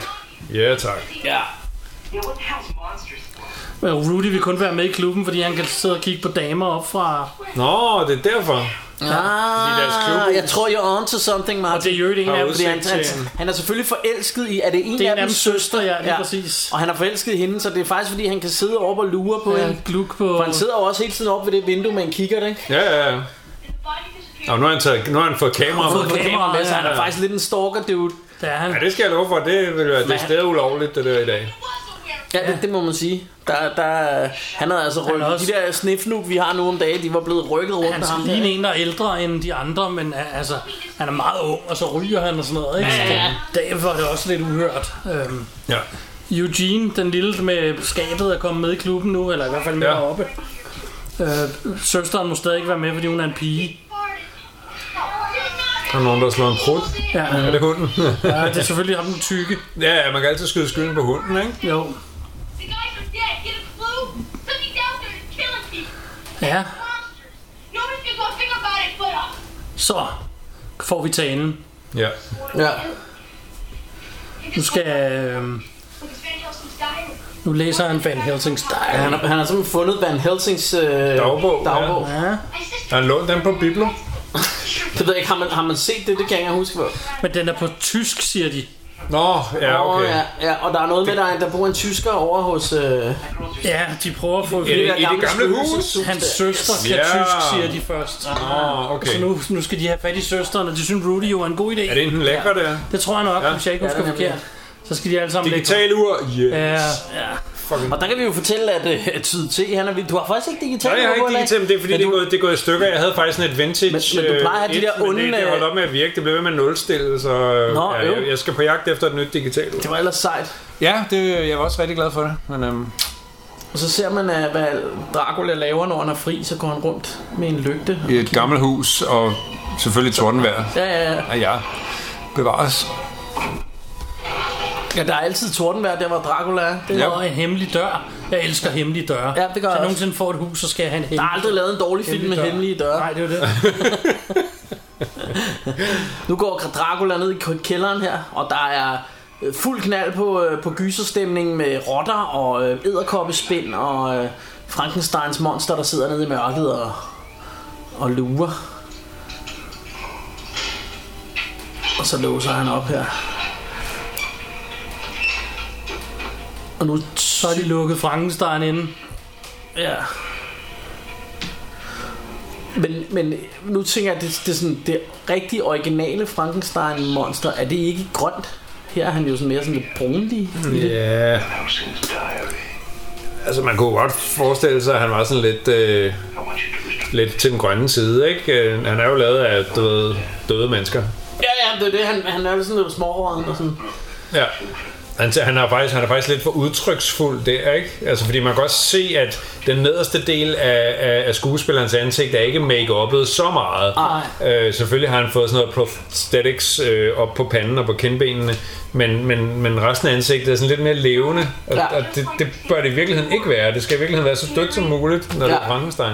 Speaker 5: Ja, tak.
Speaker 4: Ja.
Speaker 7: Yeah, what the hell's monsters?
Speaker 3: Øh, Rudy vil kun være med i klubben, fordi han kan sidde og kigge på damer op fra...
Speaker 5: Nå, det er derfor.
Speaker 4: Ah,
Speaker 5: deres klubhus.
Speaker 4: jeg tror, you're on to something, Martin.
Speaker 3: Og det er jo ikke en
Speaker 5: Har
Speaker 3: af
Speaker 5: udsigt
Speaker 4: Fordi han, han,
Speaker 5: til en-
Speaker 4: han er selvfølgelig forelsket i, er det en
Speaker 3: øh, Det er
Speaker 4: af
Speaker 3: en af
Speaker 4: dem
Speaker 3: dem søster, ja, lige ja. præcis.
Speaker 4: Og han er forelsket i hende, så det er faktisk fordi, han kan sidde op og lure på ja.
Speaker 3: Ja,
Speaker 4: hende.
Speaker 3: gluk på...
Speaker 4: For han sidder jo også hele tiden op ved det vindue med en kigger, ikke?
Speaker 5: Ja, ja, ja. Nå, nu har han, taget, nu har han fået kamera
Speaker 3: Fået
Speaker 5: med.
Speaker 3: kamera.
Speaker 4: Kamera, altså, han er
Speaker 5: ja.
Speaker 4: faktisk lidt en stalker dude.
Speaker 3: Der er han.
Speaker 5: Ja, det skal jeg love for. Det vil være det sted ulovligt, det der i dag.
Speaker 4: Ja, det, det må man sige. Der, der, han havde altså rykket.
Speaker 3: også-
Speaker 4: De der snifnuk, vi har nu om dagen, de var blevet rykket rundt
Speaker 3: Han
Speaker 4: af ham
Speaker 3: er
Speaker 4: der.
Speaker 3: lige en, der er ældre end de andre, men øh, altså, han er meget ung, og så ryger han og sådan noget, ikke? Ja. Derfor er det også lidt uhørt. Øhm,
Speaker 5: Ja.
Speaker 3: Eugene, den lille med skabet, er kommet med i klubben nu, eller i hvert fald med
Speaker 5: Ja.
Speaker 3: ja. heroppe. Øh, søsteren må stadig ikke være med, fordi hun er en pige.
Speaker 5: Der er nogen, der slår en prut.
Speaker 3: Ja,
Speaker 5: Er det hunden?
Speaker 3: ja det er selvfølgelig ham den tykke.
Speaker 5: ja, ja, man kan altid skyde skylden på hunden, ikke?
Speaker 3: Jo,
Speaker 6: The guys are dead. Get a clue. Something down there is killing people.
Speaker 3: ja.
Speaker 6: Monsters. Nobody's gonna do a thing about it, but uh,
Speaker 3: Så får vi talen.
Speaker 5: Ja.
Speaker 4: Ja.
Speaker 6: you
Speaker 3: Nu
Speaker 6: just
Speaker 3: skal... Øh,
Speaker 6: look at Van Helsing's diary.
Speaker 3: nu læser han Van Helsings
Speaker 4: Ja, Han
Speaker 3: dig.
Speaker 4: har, han har simpelthen fundet Van Helsings øh,
Speaker 5: Dagbog, ja.
Speaker 4: dagbog. Ja.
Speaker 3: Ja.
Speaker 6: My sister.
Speaker 5: Han lånte den på Biblo.
Speaker 4: Det ved jeg ikke, har man, har man set det? Det kan jeg ikke huske. hvor-
Speaker 3: Men den er på tysk, siger de.
Speaker 5: Nå, ja,
Speaker 4: Åh,
Speaker 5: okay.
Speaker 4: ja, ja, og der er noget med, der, er en- der bor en tysker over hos... Øh,
Speaker 3: Ja, de prøver at få...
Speaker 5: I det gamle hus?
Speaker 3: Hans søster kan
Speaker 5: Ja.
Speaker 3: tysk, siger de først.
Speaker 5: Nå, okay.
Speaker 3: Så nu, nu skal de have fat i søsteren, og det synes Rudy jo er en god idé.
Speaker 5: Er det enten lækker, der?
Speaker 3: Det tror jeg nok, ja. hvis jeg ikke
Speaker 4: Ja,
Speaker 3: husker
Speaker 4: det er nemlig.
Speaker 3: forkert. Så skal de alle sammen lægge...
Speaker 5: Digital ur? Yes.
Speaker 3: Ja,
Speaker 4: Og der kan vi jo fortælle, at uh, Tyd T, han er vild. Du har faktisk ikke digitalt
Speaker 5: Nej, jeg har
Speaker 4: logo
Speaker 5: ikke
Speaker 4: i dag.
Speaker 5: digitalt, men det er fordi,
Speaker 4: Men
Speaker 5: det er,
Speaker 4: du-
Speaker 5: gået, det er gået i stykker. Jeg havde faktisk sådan et vintage...
Speaker 4: Men- men du plejer at have de
Speaker 5: øh,
Speaker 4: der
Speaker 5: et, men
Speaker 4: onde-
Speaker 5: Det, det holdt op med at virke. Det blev ved med at nulstille, så øh,
Speaker 4: Nå,
Speaker 5: ja,
Speaker 4: øv.
Speaker 5: jeg, jeg, skal på jagt efter et nyt digitalt ur.
Speaker 4: Det var ellers sejt.
Speaker 5: Ja, det, jeg var også rigtig glad for det. Men, øhm,
Speaker 4: Og så ser man, uh, hvad Dracula laver, når han er fri, så går han rundt med en lygte.
Speaker 5: I et gammelt hus, og selvfølgelig tordenvejr.
Speaker 4: Ja, ja, ja.
Speaker 5: Og ja, bevares.
Speaker 4: ja der er altid tordenvejr, der hvor Dracula er. Det,
Speaker 5: Ja.
Speaker 3: og en hemmelig dør. Jeg elsker hemmelige døre.
Speaker 4: Ja, det gør
Speaker 3: Hvis
Speaker 4: jeg
Speaker 3: jeg
Speaker 4: også.
Speaker 3: nogensinde får et hus, så skal jeg have en
Speaker 4: Der er
Speaker 3: hemmelig
Speaker 4: aldrig lavet en dårlig film med hemmelige døre.
Speaker 3: Nej, det er jo det.
Speaker 4: Nu går Dracula ned i kælderen her, og der er øh, fuld knald på, øh, på gyserstemningen med rotter og øh, edderkoppespind og øh, Frankensteins monster, der sidder nede i mørket og, og lurer. Og så låser han op her. Og nu
Speaker 3: Så har de lukket Frankenstein inde.
Speaker 4: Ja. Men, men nu tænker jeg, at det, det, er sådan, det rigtig originale Frankenstein-monster, er det ikke grønt? Her er han jo sådan mere sådan lidt brunlig.
Speaker 5: Mm. Ja, altså man kunne godt forestille sig, at han var sådan lidt, øh, lidt til den grønne side, ikke? Øh, Han er jo lavet af du ved, døde mennesker.
Speaker 4: Ja, ja, det er det. Han, han er jo sådan lidt smårøden og sådan.
Speaker 5: Ja. Han, han, er faktisk, han er faktisk lidt for udtryksfuld der, ikke? Altså, fordi man kan godt se, at den nederste del af, af, af skuespillerens ansigt er ikke make-uppet så meget.
Speaker 4: Nej.
Speaker 5: Øh, selvfølgelig har han fået sådan noget prosthetics øh, op på panden og på kindbenene, men, men, men resten af ansigtet er sådan lidt mere levende, og,
Speaker 4: Ja.
Speaker 5: ja. og det, det bør det i virkeligheden ikke være. Det skal i virkeligheden være så dødt som muligt, når ja. det
Speaker 4: Ja.
Speaker 5: er Frankenstein.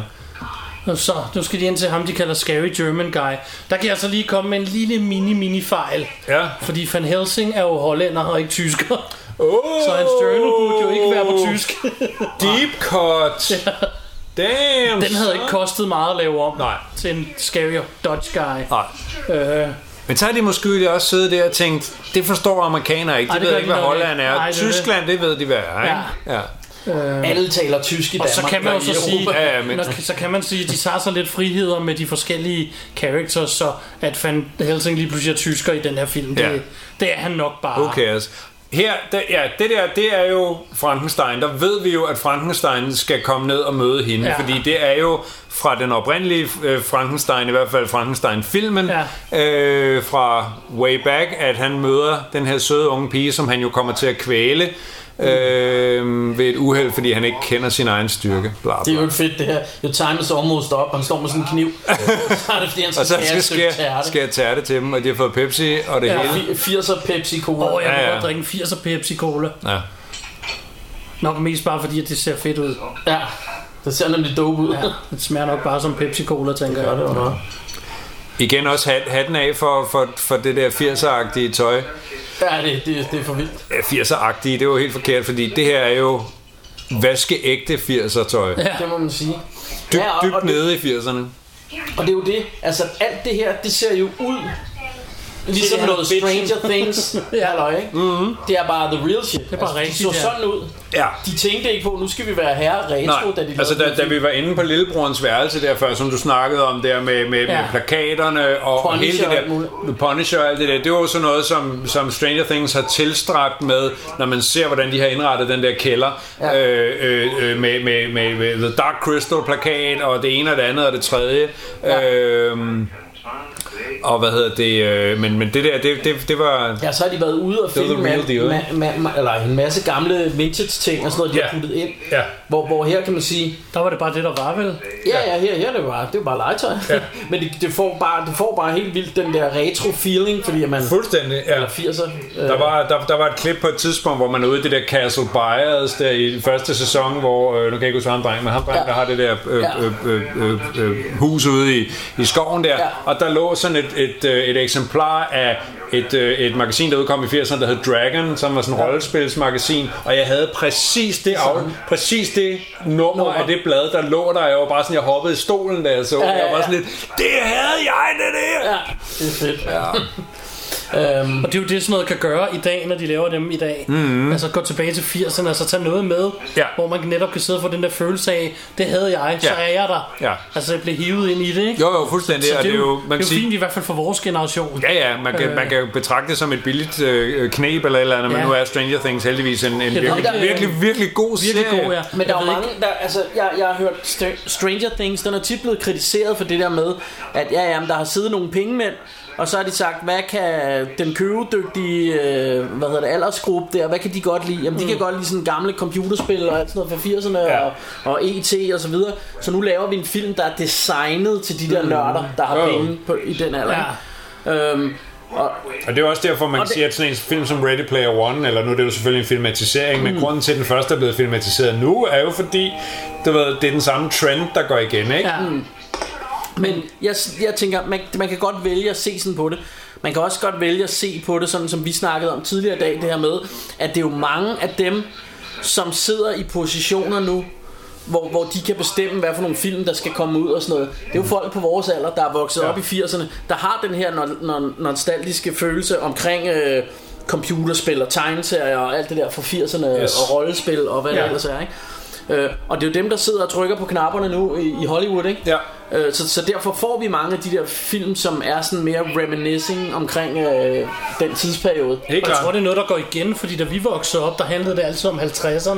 Speaker 3: Og så, nu skal de ind til ham, de kalder Scary German Guy. Der kan jeg så lige komme med en lille mini-mini-fejl.
Speaker 5: Ja.
Speaker 3: Fordi Van Helsing er jo hollænder og ikke tysker.
Speaker 5: Oh,
Speaker 3: Så hans journal burde jo ikke være på tysk.
Speaker 5: Deep cut! Damn!
Speaker 3: Den havde ikke kostet meget at lave om
Speaker 5: Nej.
Speaker 3: til en scary Dutch guy.
Speaker 5: Nej.
Speaker 3: Øh,
Speaker 5: Men så har de måske også siddet der og tænkt, det forstår amerikanere ikke. De
Speaker 3: Ej,
Speaker 5: Ej,
Speaker 3: det
Speaker 5: ved
Speaker 3: gør
Speaker 5: ikke,
Speaker 3: de
Speaker 5: hvad
Speaker 3: nok
Speaker 5: Holland
Speaker 3: ikke.
Speaker 5: er.
Speaker 3: Nej,
Speaker 5: Ej,
Speaker 3: det er det.
Speaker 5: Tyskland, det ved de, hvad er. Ikke? Ja.
Speaker 4: Alle taler tysk i Danmark.
Speaker 3: så kan man jo
Speaker 4: og i
Speaker 3: så sige,
Speaker 4: Europa.
Speaker 5: Ja, ja, men-
Speaker 3: Nå, så kan man sige, at de tager sig lidt friheder med de forskellige characters, så at Van Helsing lige pludselig er tysker i den her film. Det,
Speaker 5: Ja.
Speaker 3: det er han nok bare.
Speaker 5: Who cares? Her, der, ja, det der, det er jo Frankenstein. Der ved vi jo, at Frankenstein skal komme ned og møde hende,
Speaker 3: Ja.
Speaker 5: ja. fordi det er jo fra den oprindelige øh, Frankenstein, i hvert fald Frankenstein-filmen, ja. øh, fra way back, at han møder den her søde unge pige, som han jo kommer til at kvæle
Speaker 3: Mm.
Speaker 5: øh, ved et uheld, fordi han ikke kender sin egen styrke. Bla,
Speaker 4: Det er
Speaker 5: bla.
Speaker 4: jo ikke fedt det her. Your time is almost up. Han står med sådan en kniv. så er det fordi, han skal,
Speaker 5: Og så
Speaker 4: skære
Speaker 5: skal,
Speaker 4: et stykke
Speaker 5: skal,
Speaker 4: tærte.
Speaker 5: skal jeg tærte til dem, og de har fået Pepsi og det
Speaker 3: Ja.
Speaker 5: ja. hele.
Speaker 4: Fi- 80'er Pepsi Cola.
Speaker 3: Åh, jeg kan
Speaker 5: Ja, ja.
Speaker 3: godt drikke en 80'er Pepsi Cola.
Speaker 5: Ja.
Speaker 3: Nok mest bare fordi, at det ser fedt ud.
Speaker 4: ja. Det ser nemlig dope ud. Ja.
Speaker 3: Det smager nok bare som Pepsi Cola, tænker
Speaker 4: Gør
Speaker 3: jeg.
Speaker 4: det jo noget.
Speaker 5: Igen også hat, hatten af for, for, for det der 80'er-agtige tøj.
Speaker 4: Ja, det, det, det er for vildt.
Speaker 5: Ja, 80'er-agtige, det var helt forkert, fordi det her er jo vaskeægte 80'er tøj.
Speaker 3: Ja.
Speaker 4: det må man sige.
Speaker 5: Dyb,
Speaker 4: Ja, og- og
Speaker 5: dybt
Speaker 4: det-
Speaker 5: nede i 80'erne.
Speaker 4: Og det er jo det, altså alt det her, det ser jo ud ligesom
Speaker 3: Det er
Speaker 4: noget
Speaker 3: bitchen.
Speaker 4: Stranger Things,
Speaker 3: Ja.
Speaker 4: halløj, ikke? Mm-hmm. Det er bare the real shit. Det
Speaker 3: er bare
Speaker 4: altså, de
Speaker 3: rigtigt,
Speaker 4: så
Speaker 3: ja.
Speaker 4: sådan ud.
Speaker 5: Ja.
Speaker 4: De tænkte ikke på, nu skal vi være herre retro,
Speaker 5: Nej,
Speaker 4: da de lavede
Speaker 5: altså da,
Speaker 4: den
Speaker 5: da
Speaker 4: film.
Speaker 5: vi var inde på lillebrorens værelse der før, som du snakkede om der med, med, ja.
Speaker 3: Ja.
Speaker 5: med plakaterne og, og
Speaker 4: Punisher
Speaker 5: hele det
Speaker 4: og alt muligt.
Speaker 5: der, Punisher og alt det der, det var jo sådan noget, som, som Stranger Things har tilstræbt med, når man ser, hvordan de har indrettet den der kælder
Speaker 4: Ja.
Speaker 5: øh, øh, øh, med, med, med, med The Dark Crystal plakat og det ene og det andet og det tredje. Ja. Øhm, og hvad hedder det, øh, men, men det der, det, det, det var...
Speaker 4: Ja, så har de været ude og
Speaker 5: Det var
Speaker 4: finde
Speaker 5: the real
Speaker 4: ma-
Speaker 5: deal,
Speaker 4: ma- ma- ma- eller en masse gamle vintage ting og sådan noget, de
Speaker 5: Ja.
Speaker 4: har puttet ind.
Speaker 5: Ja.
Speaker 4: Hvor, hvor her kan man sige,
Speaker 3: Der var det bare det, der var vel.
Speaker 4: ja, ja, her, her er det bare, det er bare legetøj. Ja. Men det, det, får bare, det får bare helt vildt den der retro-feeling, fordi at man
Speaker 5: Fuldstændig, ja.
Speaker 4: er 80'er. øh,
Speaker 5: Der var, der, der var et klip på et tidspunkt, hvor man er ude i det der Castle Byers der i første sæson, hvor, øh, nu kan jeg ikke huske, hvad ham dreng, men ham dreng, ja.
Speaker 4: Ja.
Speaker 5: der har det der øh,
Speaker 4: Ja.
Speaker 5: øh, øh, øh, øh, hus ude i, i skoven der, ja.
Speaker 4: Ja.
Speaker 5: og der lå sådan et, et, øh, et eksemplar af et, øh, et magasin, der udkom i 80'erne, der hed Dragon, som var sådan et ja. rollespilsmagasin, og jeg havde præcis det, af, præcis det nummer, nummer af det blad, der lå der, og jeg var bare sådan, jeg hoppede i stolen, da jeg så, ja, ja, ja. jeg var bare sådan lidt, det havde jeg, det der!
Speaker 4: Ja, det er fedt. Ja. øhm,
Speaker 3: Og det er jo det, sådan noget kan gøre i dag, når de laver dem i dag. Mm-hmm. Altså gå tilbage til 80'erne og så tage noget med,
Speaker 5: Mhm. Ja.
Speaker 3: hvor man netop kan sidde og få den der følelse af, det havde jeg, så
Speaker 5: Ja.
Speaker 3: er jeg der.
Speaker 5: Ja.
Speaker 3: Altså jeg blev hivet ind i det, ikke?
Speaker 5: Jo, jo, fuldstændig,
Speaker 3: Så
Speaker 5: og
Speaker 3: det er jo,
Speaker 5: man
Speaker 3: det er
Speaker 5: kan
Speaker 3: jo
Speaker 5: sige-
Speaker 3: fint i hvert fald for vores generation.
Speaker 5: Ja, ja, man kan, øh. man kan jo betragte det som et billigt øh, knep eller et eller andet, ja.
Speaker 3: Ja.
Speaker 5: men nu er Stranger Things heldigvis en, en virkelig,
Speaker 3: der er-
Speaker 5: virkelig, virkelig god
Speaker 3: Virkelig
Speaker 5: serie.
Speaker 3: god, ja.
Speaker 4: Men der er
Speaker 3: Jeg
Speaker 4: jo
Speaker 3: ved
Speaker 4: mange, der, altså, jeg, jeg har hørt Str- Stranger Things, den er tit blevet kritiseret for det der med, at ja, jamen, der har siddet nogle pengemænd, og så har de sagt, hvad kan den købedygtige, øh, hvad hedder det, aldersgruppe der, hvad kan de godt lide? Jamen, de kan godt lide sådan gamle computerspil og alt sådan noget fra 80'erne
Speaker 5: Ja.
Speaker 4: og, og E.T. og så videre. Så nu laver vi en film, der er designet til de der nørder, der har
Speaker 5: Jo, jo.
Speaker 4: penge på, i den alder. Ja. Øhm, og,
Speaker 5: Og det er også derfor, man
Speaker 4: Og
Speaker 5: det...
Speaker 4: det-
Speaker 5: siger, at sådan en film som Ready Player One, eller nu er det jo selvfølgelig en filmatisering, mm. men grunden til, at den første er blevet filmatiseret nu, er jo fordi, du ved, det er den samme trend, der går igen, ikke?
Speaker 3: Ja.
Speaker 4: Men jeg, jeg tænker, man, man kan godt vælge at se sådan på det. Man kan også godt vælge at se på det, sådan som vi snakkede om tidligere i dag, det her med, at det er jo mange af dem, som sidder i positioner nu, hvor, hvor de kan bestemme, hvad for nogle film, der skal komme ud og sådan noget. Det er jo folk på vores alder, der er vokset
Speaker 5: Ja.
Speaker 4: ja. op i 80'erne, der har den her no- no- nostalgiske følelse omkring øh, computerspil og tegneserier og alt det der fra 80'erne
Speaker 5: Yes.
Speaker 4: yes. og rollespil og hvad ja.
Speaker 5: Ja.
Speaker 4: det ellers er, ikke? Øh, og det er jo dem, der sidder og trykker på knapperne nu i, i Hollywood, ikke?
Speaker 5: Ja.
Speaker 4: Øh, så, så derfor får vi mange af de der film, som er sådan mere reminiscing omkring øh, den tidsperiode.
Speaker 5: Helt
Speaker 3: Og jeg
Speaker 5: klart.
Speaker 3: tror, det er noget, der går igen, fordi da vi voksede op, der handlede det altid om 50'erne. Så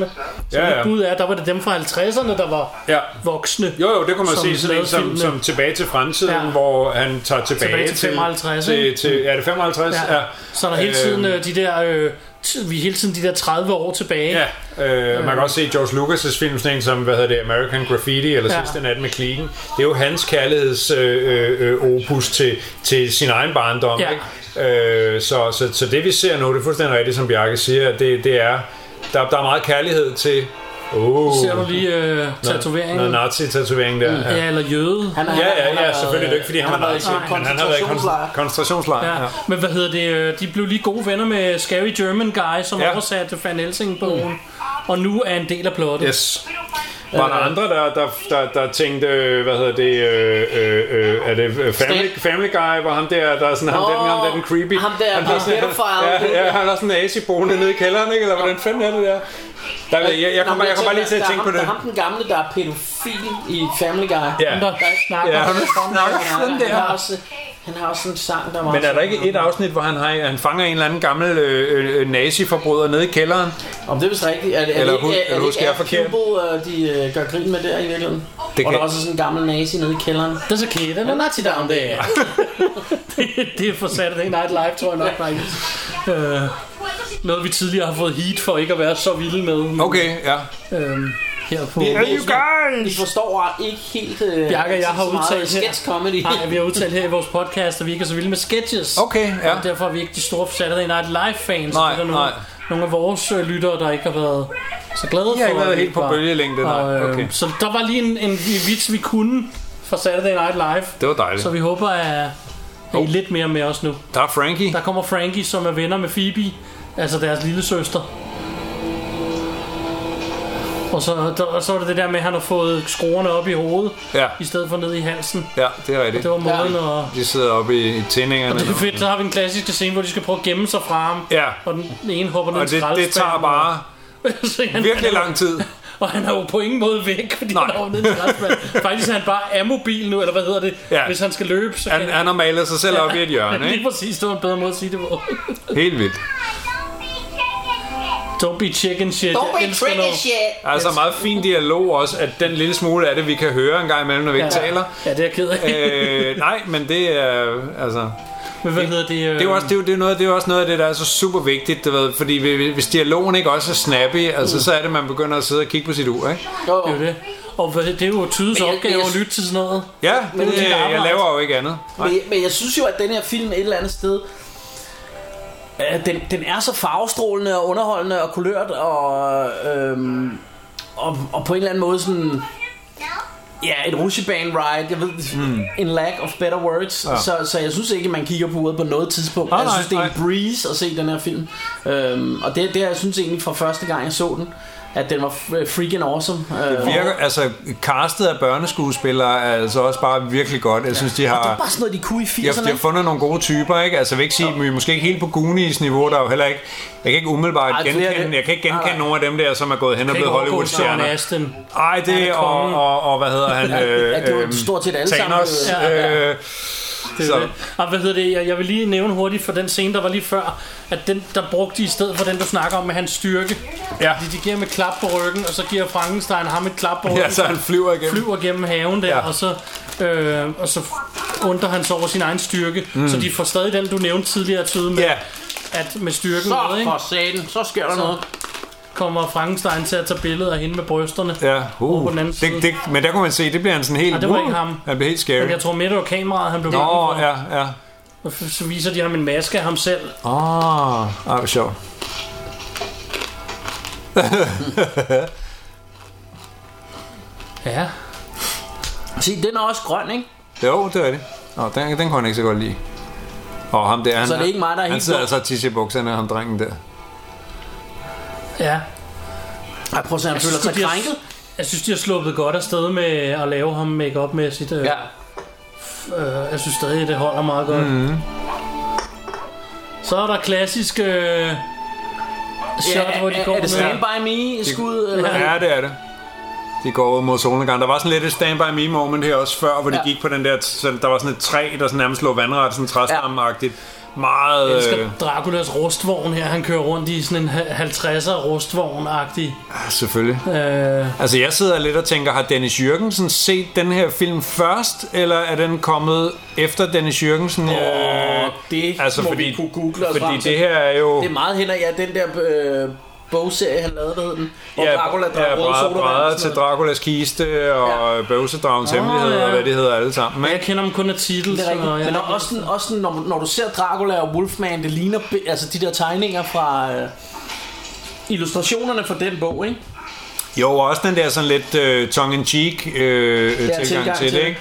Speaker 5: Ja,
Speaker 3: ja,
Speaker 5: ja.
Speaker 3: ja. bud er, der var det dem fra 50'erne, der var
Speaker 5: Ja.
Speaker 3: voksne.
Speaker 5: Jo, jo, det kunne man
Speaker 3: som
Speaker 5: se sådan en
Speaker 3: lavede
Speaker 5: som,
Speaker 3: filmene.
Speaker 5: som Tilbage til fremtiden, ja.
Speaker 3: Ja.
Speaker 5: hvor han tager tilbage,
Speaker 3: Tilbage til 55,
Speaker 5: til,
Speaker 3: ikke?
Speaker 5: til, er det 55?
Speaker 3: Ja. ja. Så er der hele tiden
Speaker 5: Øhm.
Speaker 3: øh, de der... Øh, t- vi er hele tiden de der 30 år tilbage.
Speaker 5: Ja, øh, man kan også se George Lucas' film, sådan en som, hvad hedder det, American Graffiti, eller ja.
Speaker 3: Ja.
Speaker 5: Sidste Nat med Kliken. Det er jo hans kærligheds øh, øh, opus til, til sin egen barndom,
Speaker 3: Ja.
Speaker 5: ikke? Øh, så, så, så det vi ser nu, det er fuldstændig rigtigt, som Bjarke siger, at det, det er, der, der er meget kærlighed til... Oh,
Speaker 3: Ser du lige øh, tatoveringen?
Speaker 5: Noget nazi-tatovering der. Ja.
Speaker 3: Ja, eller jøde.
Speaker 4: Han,
Speaker 5: Ja, ja, ja, selvfølgelig. Det er ikke, fordi han,
Speaker 4: han
Speaker 5: var
Speaker 4: har
Speaker 5: nazi,
Speaker 4: været i
Speaker 5: men han har været i
Speaker 4: koncentrationslejr.
Speaker 5: kon- koncentrationslejr.
Speaker 3: Ja.
Speaker 5: Ja.
Speaker 3: ja. Men hvad hedder det? øh, De blev lige gode venner med Scary German Guy, som
Speaker 5: Ja. Mm.
Speaker 3: ja. oversatte Van Helsing-bogen. Og nu er en del af plottet.
Speaker 5: Yes. Var der
Speaker 4: Øh.
Speaker 5: andre, der, der, der, der tænkte, øh, hvad hedder det, øh, øh, øh, er det øh, family,
Speaker 4: Stan.
Speaker 5: family Guy, hvor ham der, der er sådan, ham, oh,
Speaker 4: Åh,
Speaker 5: den, ham der, den creepy.
Speaker 4: ham der,
Speaker 5: han
Speaker 4: den
Speaker 5: har sådan,
Speaker 4: pedophile.
Speaker 5: ja, ja, han har sådan en AC boende nede i kælderen, ikke? Eller hvordan fanden er det der? der jeg, jeg, jeg,
Speaker 4: øh, Nå,
Speaker 5: kommer,
Speaker 4: men
Speaker 5: jeg kommer lige til at
Speaker 4: der er
Speaker 5: tænke på
Speaker 4: ham-
Speaker 5: det.
Speaker 4: Der er ham den gamle, der er pædofil i Family Guy.
Speaker 5: Ja.
Speaker 4: Ham, Der ikke snakker.
Speaker 5: Ja,
Speaker 4: Ja,
Speaker 5: ham, der snakker sådan
Speaker 4: han,
Speaker 5: der.
Speaker 4: har også, han har også en sang, der var
Speaker 5: Men er der ikke et afsnit, hvor han, har, han fanger en eller anden gammel øh, øh, nazi-forbryder nede i kælderen?
Speaker 4: Om det er vist rigtigt. Er, det- er
Speaker 5: Eller
Speaker 4: det,
Speaker 5: hu-
Speaker 4: ikke- er,
Speaker 5: eller
Speaker 4: det
Speaker 5: husker
Speaker 4: ikke
Speaker 5: jeg
Speaker 4: Air
Speaker 5: forkert?
Speaker 4: Pupil, øh, de øh, gør grin med der i virkeligheden?
Speaker 5: Det
Speaker 4: Og
Speaker 5: kan-
Speaker 4: der er også sådan en gammel nazi nede i kælderen.
Speaker 3: Det er så kæde, den er
Speaker 4: Nazi down there.
Speaker 3: det er for Saturday Night Live, tror jeg nok faktisk. Øh, noget vi tidligere har fået heat for ikke at være så vilde med. men,
Speaker 5: Okay, ja.
Speaker 3: øhm, her på.
Speaker 5: Are you
Speaker 4: I
Speaker 5: guys?
Speaker 4: forstår ikke helt... Øh,
Speaker 3: Bjarke og jeg har
Speaker 4: så meget
Speaker 3: udtalt her-
Speaker 4: sketch comedy.
Speaker 3: Nej, vi har udtalt her i vores podcast, at vi ikke er så vilde med sketches.
Speaker 5: Okay, ja.
Speaker 3: Og derfor er vi ikke de store Saturday Night Live-fans.
Speaker 5: Nej,
Speaker 3: der er
Speaker 5: nej.
Speaker 3: nogle, nogle af vores øh, lyttere, der ikke har været så glade
Speaker 5: Jeg har ikke
Speaker 3: for.
Speaker 5: været
Speaker 3: at vi
Speaker 5: helt på
Speaker 3: var.
Speaker 5: bølgelængde, nej.
Speaker 3: Og, øh,
Speaker 5: Okay.
Speaker 3: Så der var lige en, en vits, vi kunne fra Saturday Night Live.
Speaker 5: Det Oh. var dejligt.
Speaker 3: Så vi håber, at, at I er lidt mere med os nu.
Speaker 5: Der er Frankie.
Speaker 3: Der kommer Frankie, som er venner med Phoebe, altså deres lille søster. Og så, der, og så var det det der med, at han har fået skruerne op i hovedet,
Speaker 5: Ja.
Speaker 3: i stedet for ned i halsen.
Speaker 5: Ja, det er rigtigt.
Speaker 3: Det var måden, og
Speaker 5: De sidder oppe i, i tændingerne.
Speaker 3: det er
Speaker 5: nu.
Speaker 3: fedt, så har vi en klassisk scene, hvor de skal prøve at gemme sig fra ham.
Speaker 5: Ja.
Speaker 3: Og den ene hopper ned i
Speaker 5: Og det, det tager bare
Speaker 3: så han,
Speaker 5: virkelig
Speaker 3: han, er-
Speaker 5: lang tid.
Speaker 3: Og han er jo på ingen måde væk, fordi Nej.
Speaker 5: Nej.
Speaker 3: han er jo nede i skraldespanden. Faktisk er han bare amobil nu, eller hvad hedder det?
Speaker 5: Ja.
Speaker 3: Hvis han skal løbe, så
Speaker 5: Han,
Speaker 3: kan
Speaker 5: han har malet sig selv op i et hjørne,
Speaker 3: Lige
Speaker 5: ikke?
Speaker 3: præcis, det var en bedre måde at sige det på.
Speaker 5: Helt vildt.
Speaker 3: Don't be chicken shit.
Speaker 4: Don't
Speaker 3: Jeg
Speaker 4: be
Speaker 3: elsker,
Speaker 4: tricky
Speaker 3: når-
Speaker 4: shit.
Speaker 5: Altså meget fin dialog også, at den lille smule af det, vi kan høre en gang imellem, når vi ikke taler.
Speaker 3: Ja, det er jeg ked af.
Speaker 5: Øh, nej, men det er, altså,
Speaker 3: Men hvad hedder det? øh,
Speaker 5: det er jo også, det er, jo- det er noget, det er jo også noget af det, der er så super vigtigt, du ved, fordi vi- hvis dialogen ikke også er snappy, altså, så er det, man begynder at sidde og kigge på sit ur, ikke?
Speaker 4: Jo,
Speaker 3: Det er jo det. Og hvad- det er jo tydes
Speaker 4: Men jeg-
Speaker 3: opgave
Speaker 4: jeg-
Speaker 3: at lytte til sådan noget.
Speaker 5: Ja,
Speaker 4: Men
Speaker 5: det,
Speaker 4: det er
Speaker 5: jeg
Speaker 3: arbejde.
Speaker 5: laver jo ikke andet. Nej.
Speaker 4: Men, men jeg synes jo, at den her film et eller andet sted, øh, den, den er så farvestrålende og underholdende og kulørt og, øh, og, og på en eller anden måde sådan... Ja, et rushebane ride, jeg ved, mm. in lack of better words, ja.
Speaker 5: Hmm. Ja.
Speaker 4: så, så jeg synes ikke, man kigger på uret på noget tidspunkt.
Speaker 5: Nej,
Speaker 4: jeg synes, det er
Speaker 5: nej,
Speaker 4: en breeze at se den her film. Øhm, og det, det har jeg synes egentlig fra første gang, jeg så den, at den var f- freaking awesome. Øh,
Speaker 5: Virker, altså, castet af børneskuespillere er altså også bare virkelig godt. Jeg synes, de har...
Speaker 4: det er bare sådan noget, de kunne i
Speaker 5: Jeg,
Speaker 4: 80'erne.
Speaker 5: jeg har fundet nogle gode typer, ikke? Altså, jeg vil ikke sige, vi er måske ikke helt på Goonies niveau, der er jo heller ikke... Jeg kan ikke umiddelbart
Speaker 4: Ej,
Speaker 5: Ej,
Speaker 4: flere af
Speaker 5: genkende,
Speaker 4: det.
Speaker 5: jeg kan ikke
Speaker 4: Nej,
Speaker 5: genkende
Speaker 4: nej.
Speaker 5: nogen af dem der, som er gået hen og
Speaker 3: Ikke
Speaker 5: blevet
Speaker 3: overgå Sean
Speaker 5: Hollywood-stjerner.
Speaker 3: Aston.
Speaker 5: Ej,
Speaker 3: Han er
Speaker 5: det og,
Speaker 3: kongen.
Speaker 5: og, og, hvad hedder han? Øh,
Speaker 4: ja, det var
Speaker 5: øhm,
Speaker 4: stort set alle sammen,
Speaker 5: Thanos,
Speaker 4: øh,
Speaker 5: sammen. Øh,
Speaker 3: Det er
Speaker 5: Så-
Speaker 3: det. Og ah, hvad hedder det? Jeg, jeg vil lige nævne hurtigt for den scene, der var lige før, at den, der brugte de i stedet for den, du snakker om med hans styrke.
Speaker 5: Ja.
Speaker 3: Fordi de giver ham et klap på ryggen, og så giver Frankenstein ham et klap på ryggen.
Speaker 5: ja, så han flyver igennem.
Speaker 3: flyver gennem haven der, ja.
Speaker 5: Ja.
Speaker 3: og så, øh, og så undrer han sig over sin egen styrke. Mm. Så de får stadig den, du nævnte tidligere, tyde med,
Speaker 5: Ja,
Speaker 3: at med styrken
Speaker 4: Så
Speaker 3: med, ikke?
Speaker 4: for satan, så sker der noget.
Speaker 3: kommer Frankenstein til at tage billeder af hende med brysterne.
Speaker 5: ja.
Speaker 3: Over på
Speaker 5: Uh.
Speaker 3: den anden side.
Speaker 5: Det, det, men der kunne man se, det bliver han sådan helt...
Speaker 3: Nej, det var ikke
Speaker 5: uh,
Speaker 3: ham.
Speaker 5: Han bliver helt scary.
Speaker 3: Men jeg tror midt over kameraet, han blev bange
Speaker 5: Nå,
Speaker 3: for.
Speaker 5: ja, ja.
Speaker 3: Og f- så viser de ham en maske af ham selv.
Speaker 5: Åh, oh, ah, hvor sjovt.
Speaker 3: Ja.
Speaker 4: Se, den er også grøn, ikke?
Speaker 5: Jo, det er det. Nå, den, den kunne han ikke så godt lide. Og ham der, han,
Speaker 4: Så det er ikke mig, der er
Speaker 5: han
Speaker 4: helt
Speaker 5: sidder
Speaker 4: dum.
Speaker 5: altså og tisser i bukserne, ham drengen der.
Speaker 3: Ja.
Speaker 4: Ej, prøv at se, han føler sig
Speaker 3: de har-
Speaker 4: krænket.
Speaker 3: Jeg synes, de har sluppet godt afsted med at lave ham make-up mæssigt. Øh,
Speaker 4: Ja.
Speaker 3: øh, jeg synes stadig, det holder meget godt.
Speaker 5: Mhm.
Speaker 3: Mm. Så er der klassisk øh, shot,
Speaker 4: ja,
Speaker 3: hvor de går
Speaker 4: er, er
Speaker 3: med...
Speaker 4: det Stand By Me skud? Eller?
Speaker 5: Ja, det er det. De går ud mod solnedgang. Der var sådan lidt et stand-by me moment her også før, hvor de
Speaker 4: Ja.
Speaker 5: gik på den der... så Der var sådan et træ, der sådan nærmest lå vandret, sådan træstammeagtigt. Meget...
Speaker 3: Jeg
Speaker 5: Øh,
Speaker 3: elsker Draculas rustvogn her. Han kører rundt i sådan en ha- 50'er rustvogn-agtig.
Speaker 5: selvfølgelig.
Speaker 3: Øh,
Speaker 5: Altså, jeg sidder lidt og tænker, har Dennis Jørgensen set den her film først, eller er den kommet efter Dennis Jørgensen?
Speaker 4: Åh, det må vi kunne google os frem
Speaker 5: Altså, Fordi
Speaker 4: til.
Speaker 5: det her er jo...
Speaker 4: Det er meget hen ad, ja, den der øh, bogserie, han lavede, hvad hed den? Hvor ja, Dracula drak ja, røde
Speaker 5: brædder-
Speaker 4: sodavand.
Speaker 5: brædder
Speaker 4: og
Speaker 5: til
Speaker 4: sådan noget.
Speaker 5: Draculas kiste og ja. bøvsedragens oh, hemmeligheder
Speaker 3: ja.
Speaker 5: ja. og hvad det hedder alle sammen.
Speaker 3: jeg
Speaker 5: Ikke?
Speaker 3: kender dem kun af titel.
Speaker 4: Det er
Speaker 3: så
Speaker 4: rigtigt.
Speaker 3: jeg
Speaker 4: Men også, sådan, også sådan, når, når du ser Dracula og Wolfman, det ligner bi- altså de der tegninger fra øh, illustrationerne fra den bog, ikke?
Speaker 5: Jo, og også den der sådan lidt øh, tongue-in-cheek øh, ja, tilgang,
Speaker 4: tilgang
Speaker 5: til
Speaker 4: til
Speaker 5: det,
Speaker 4: det.
Speaker 5: ikke? Øh,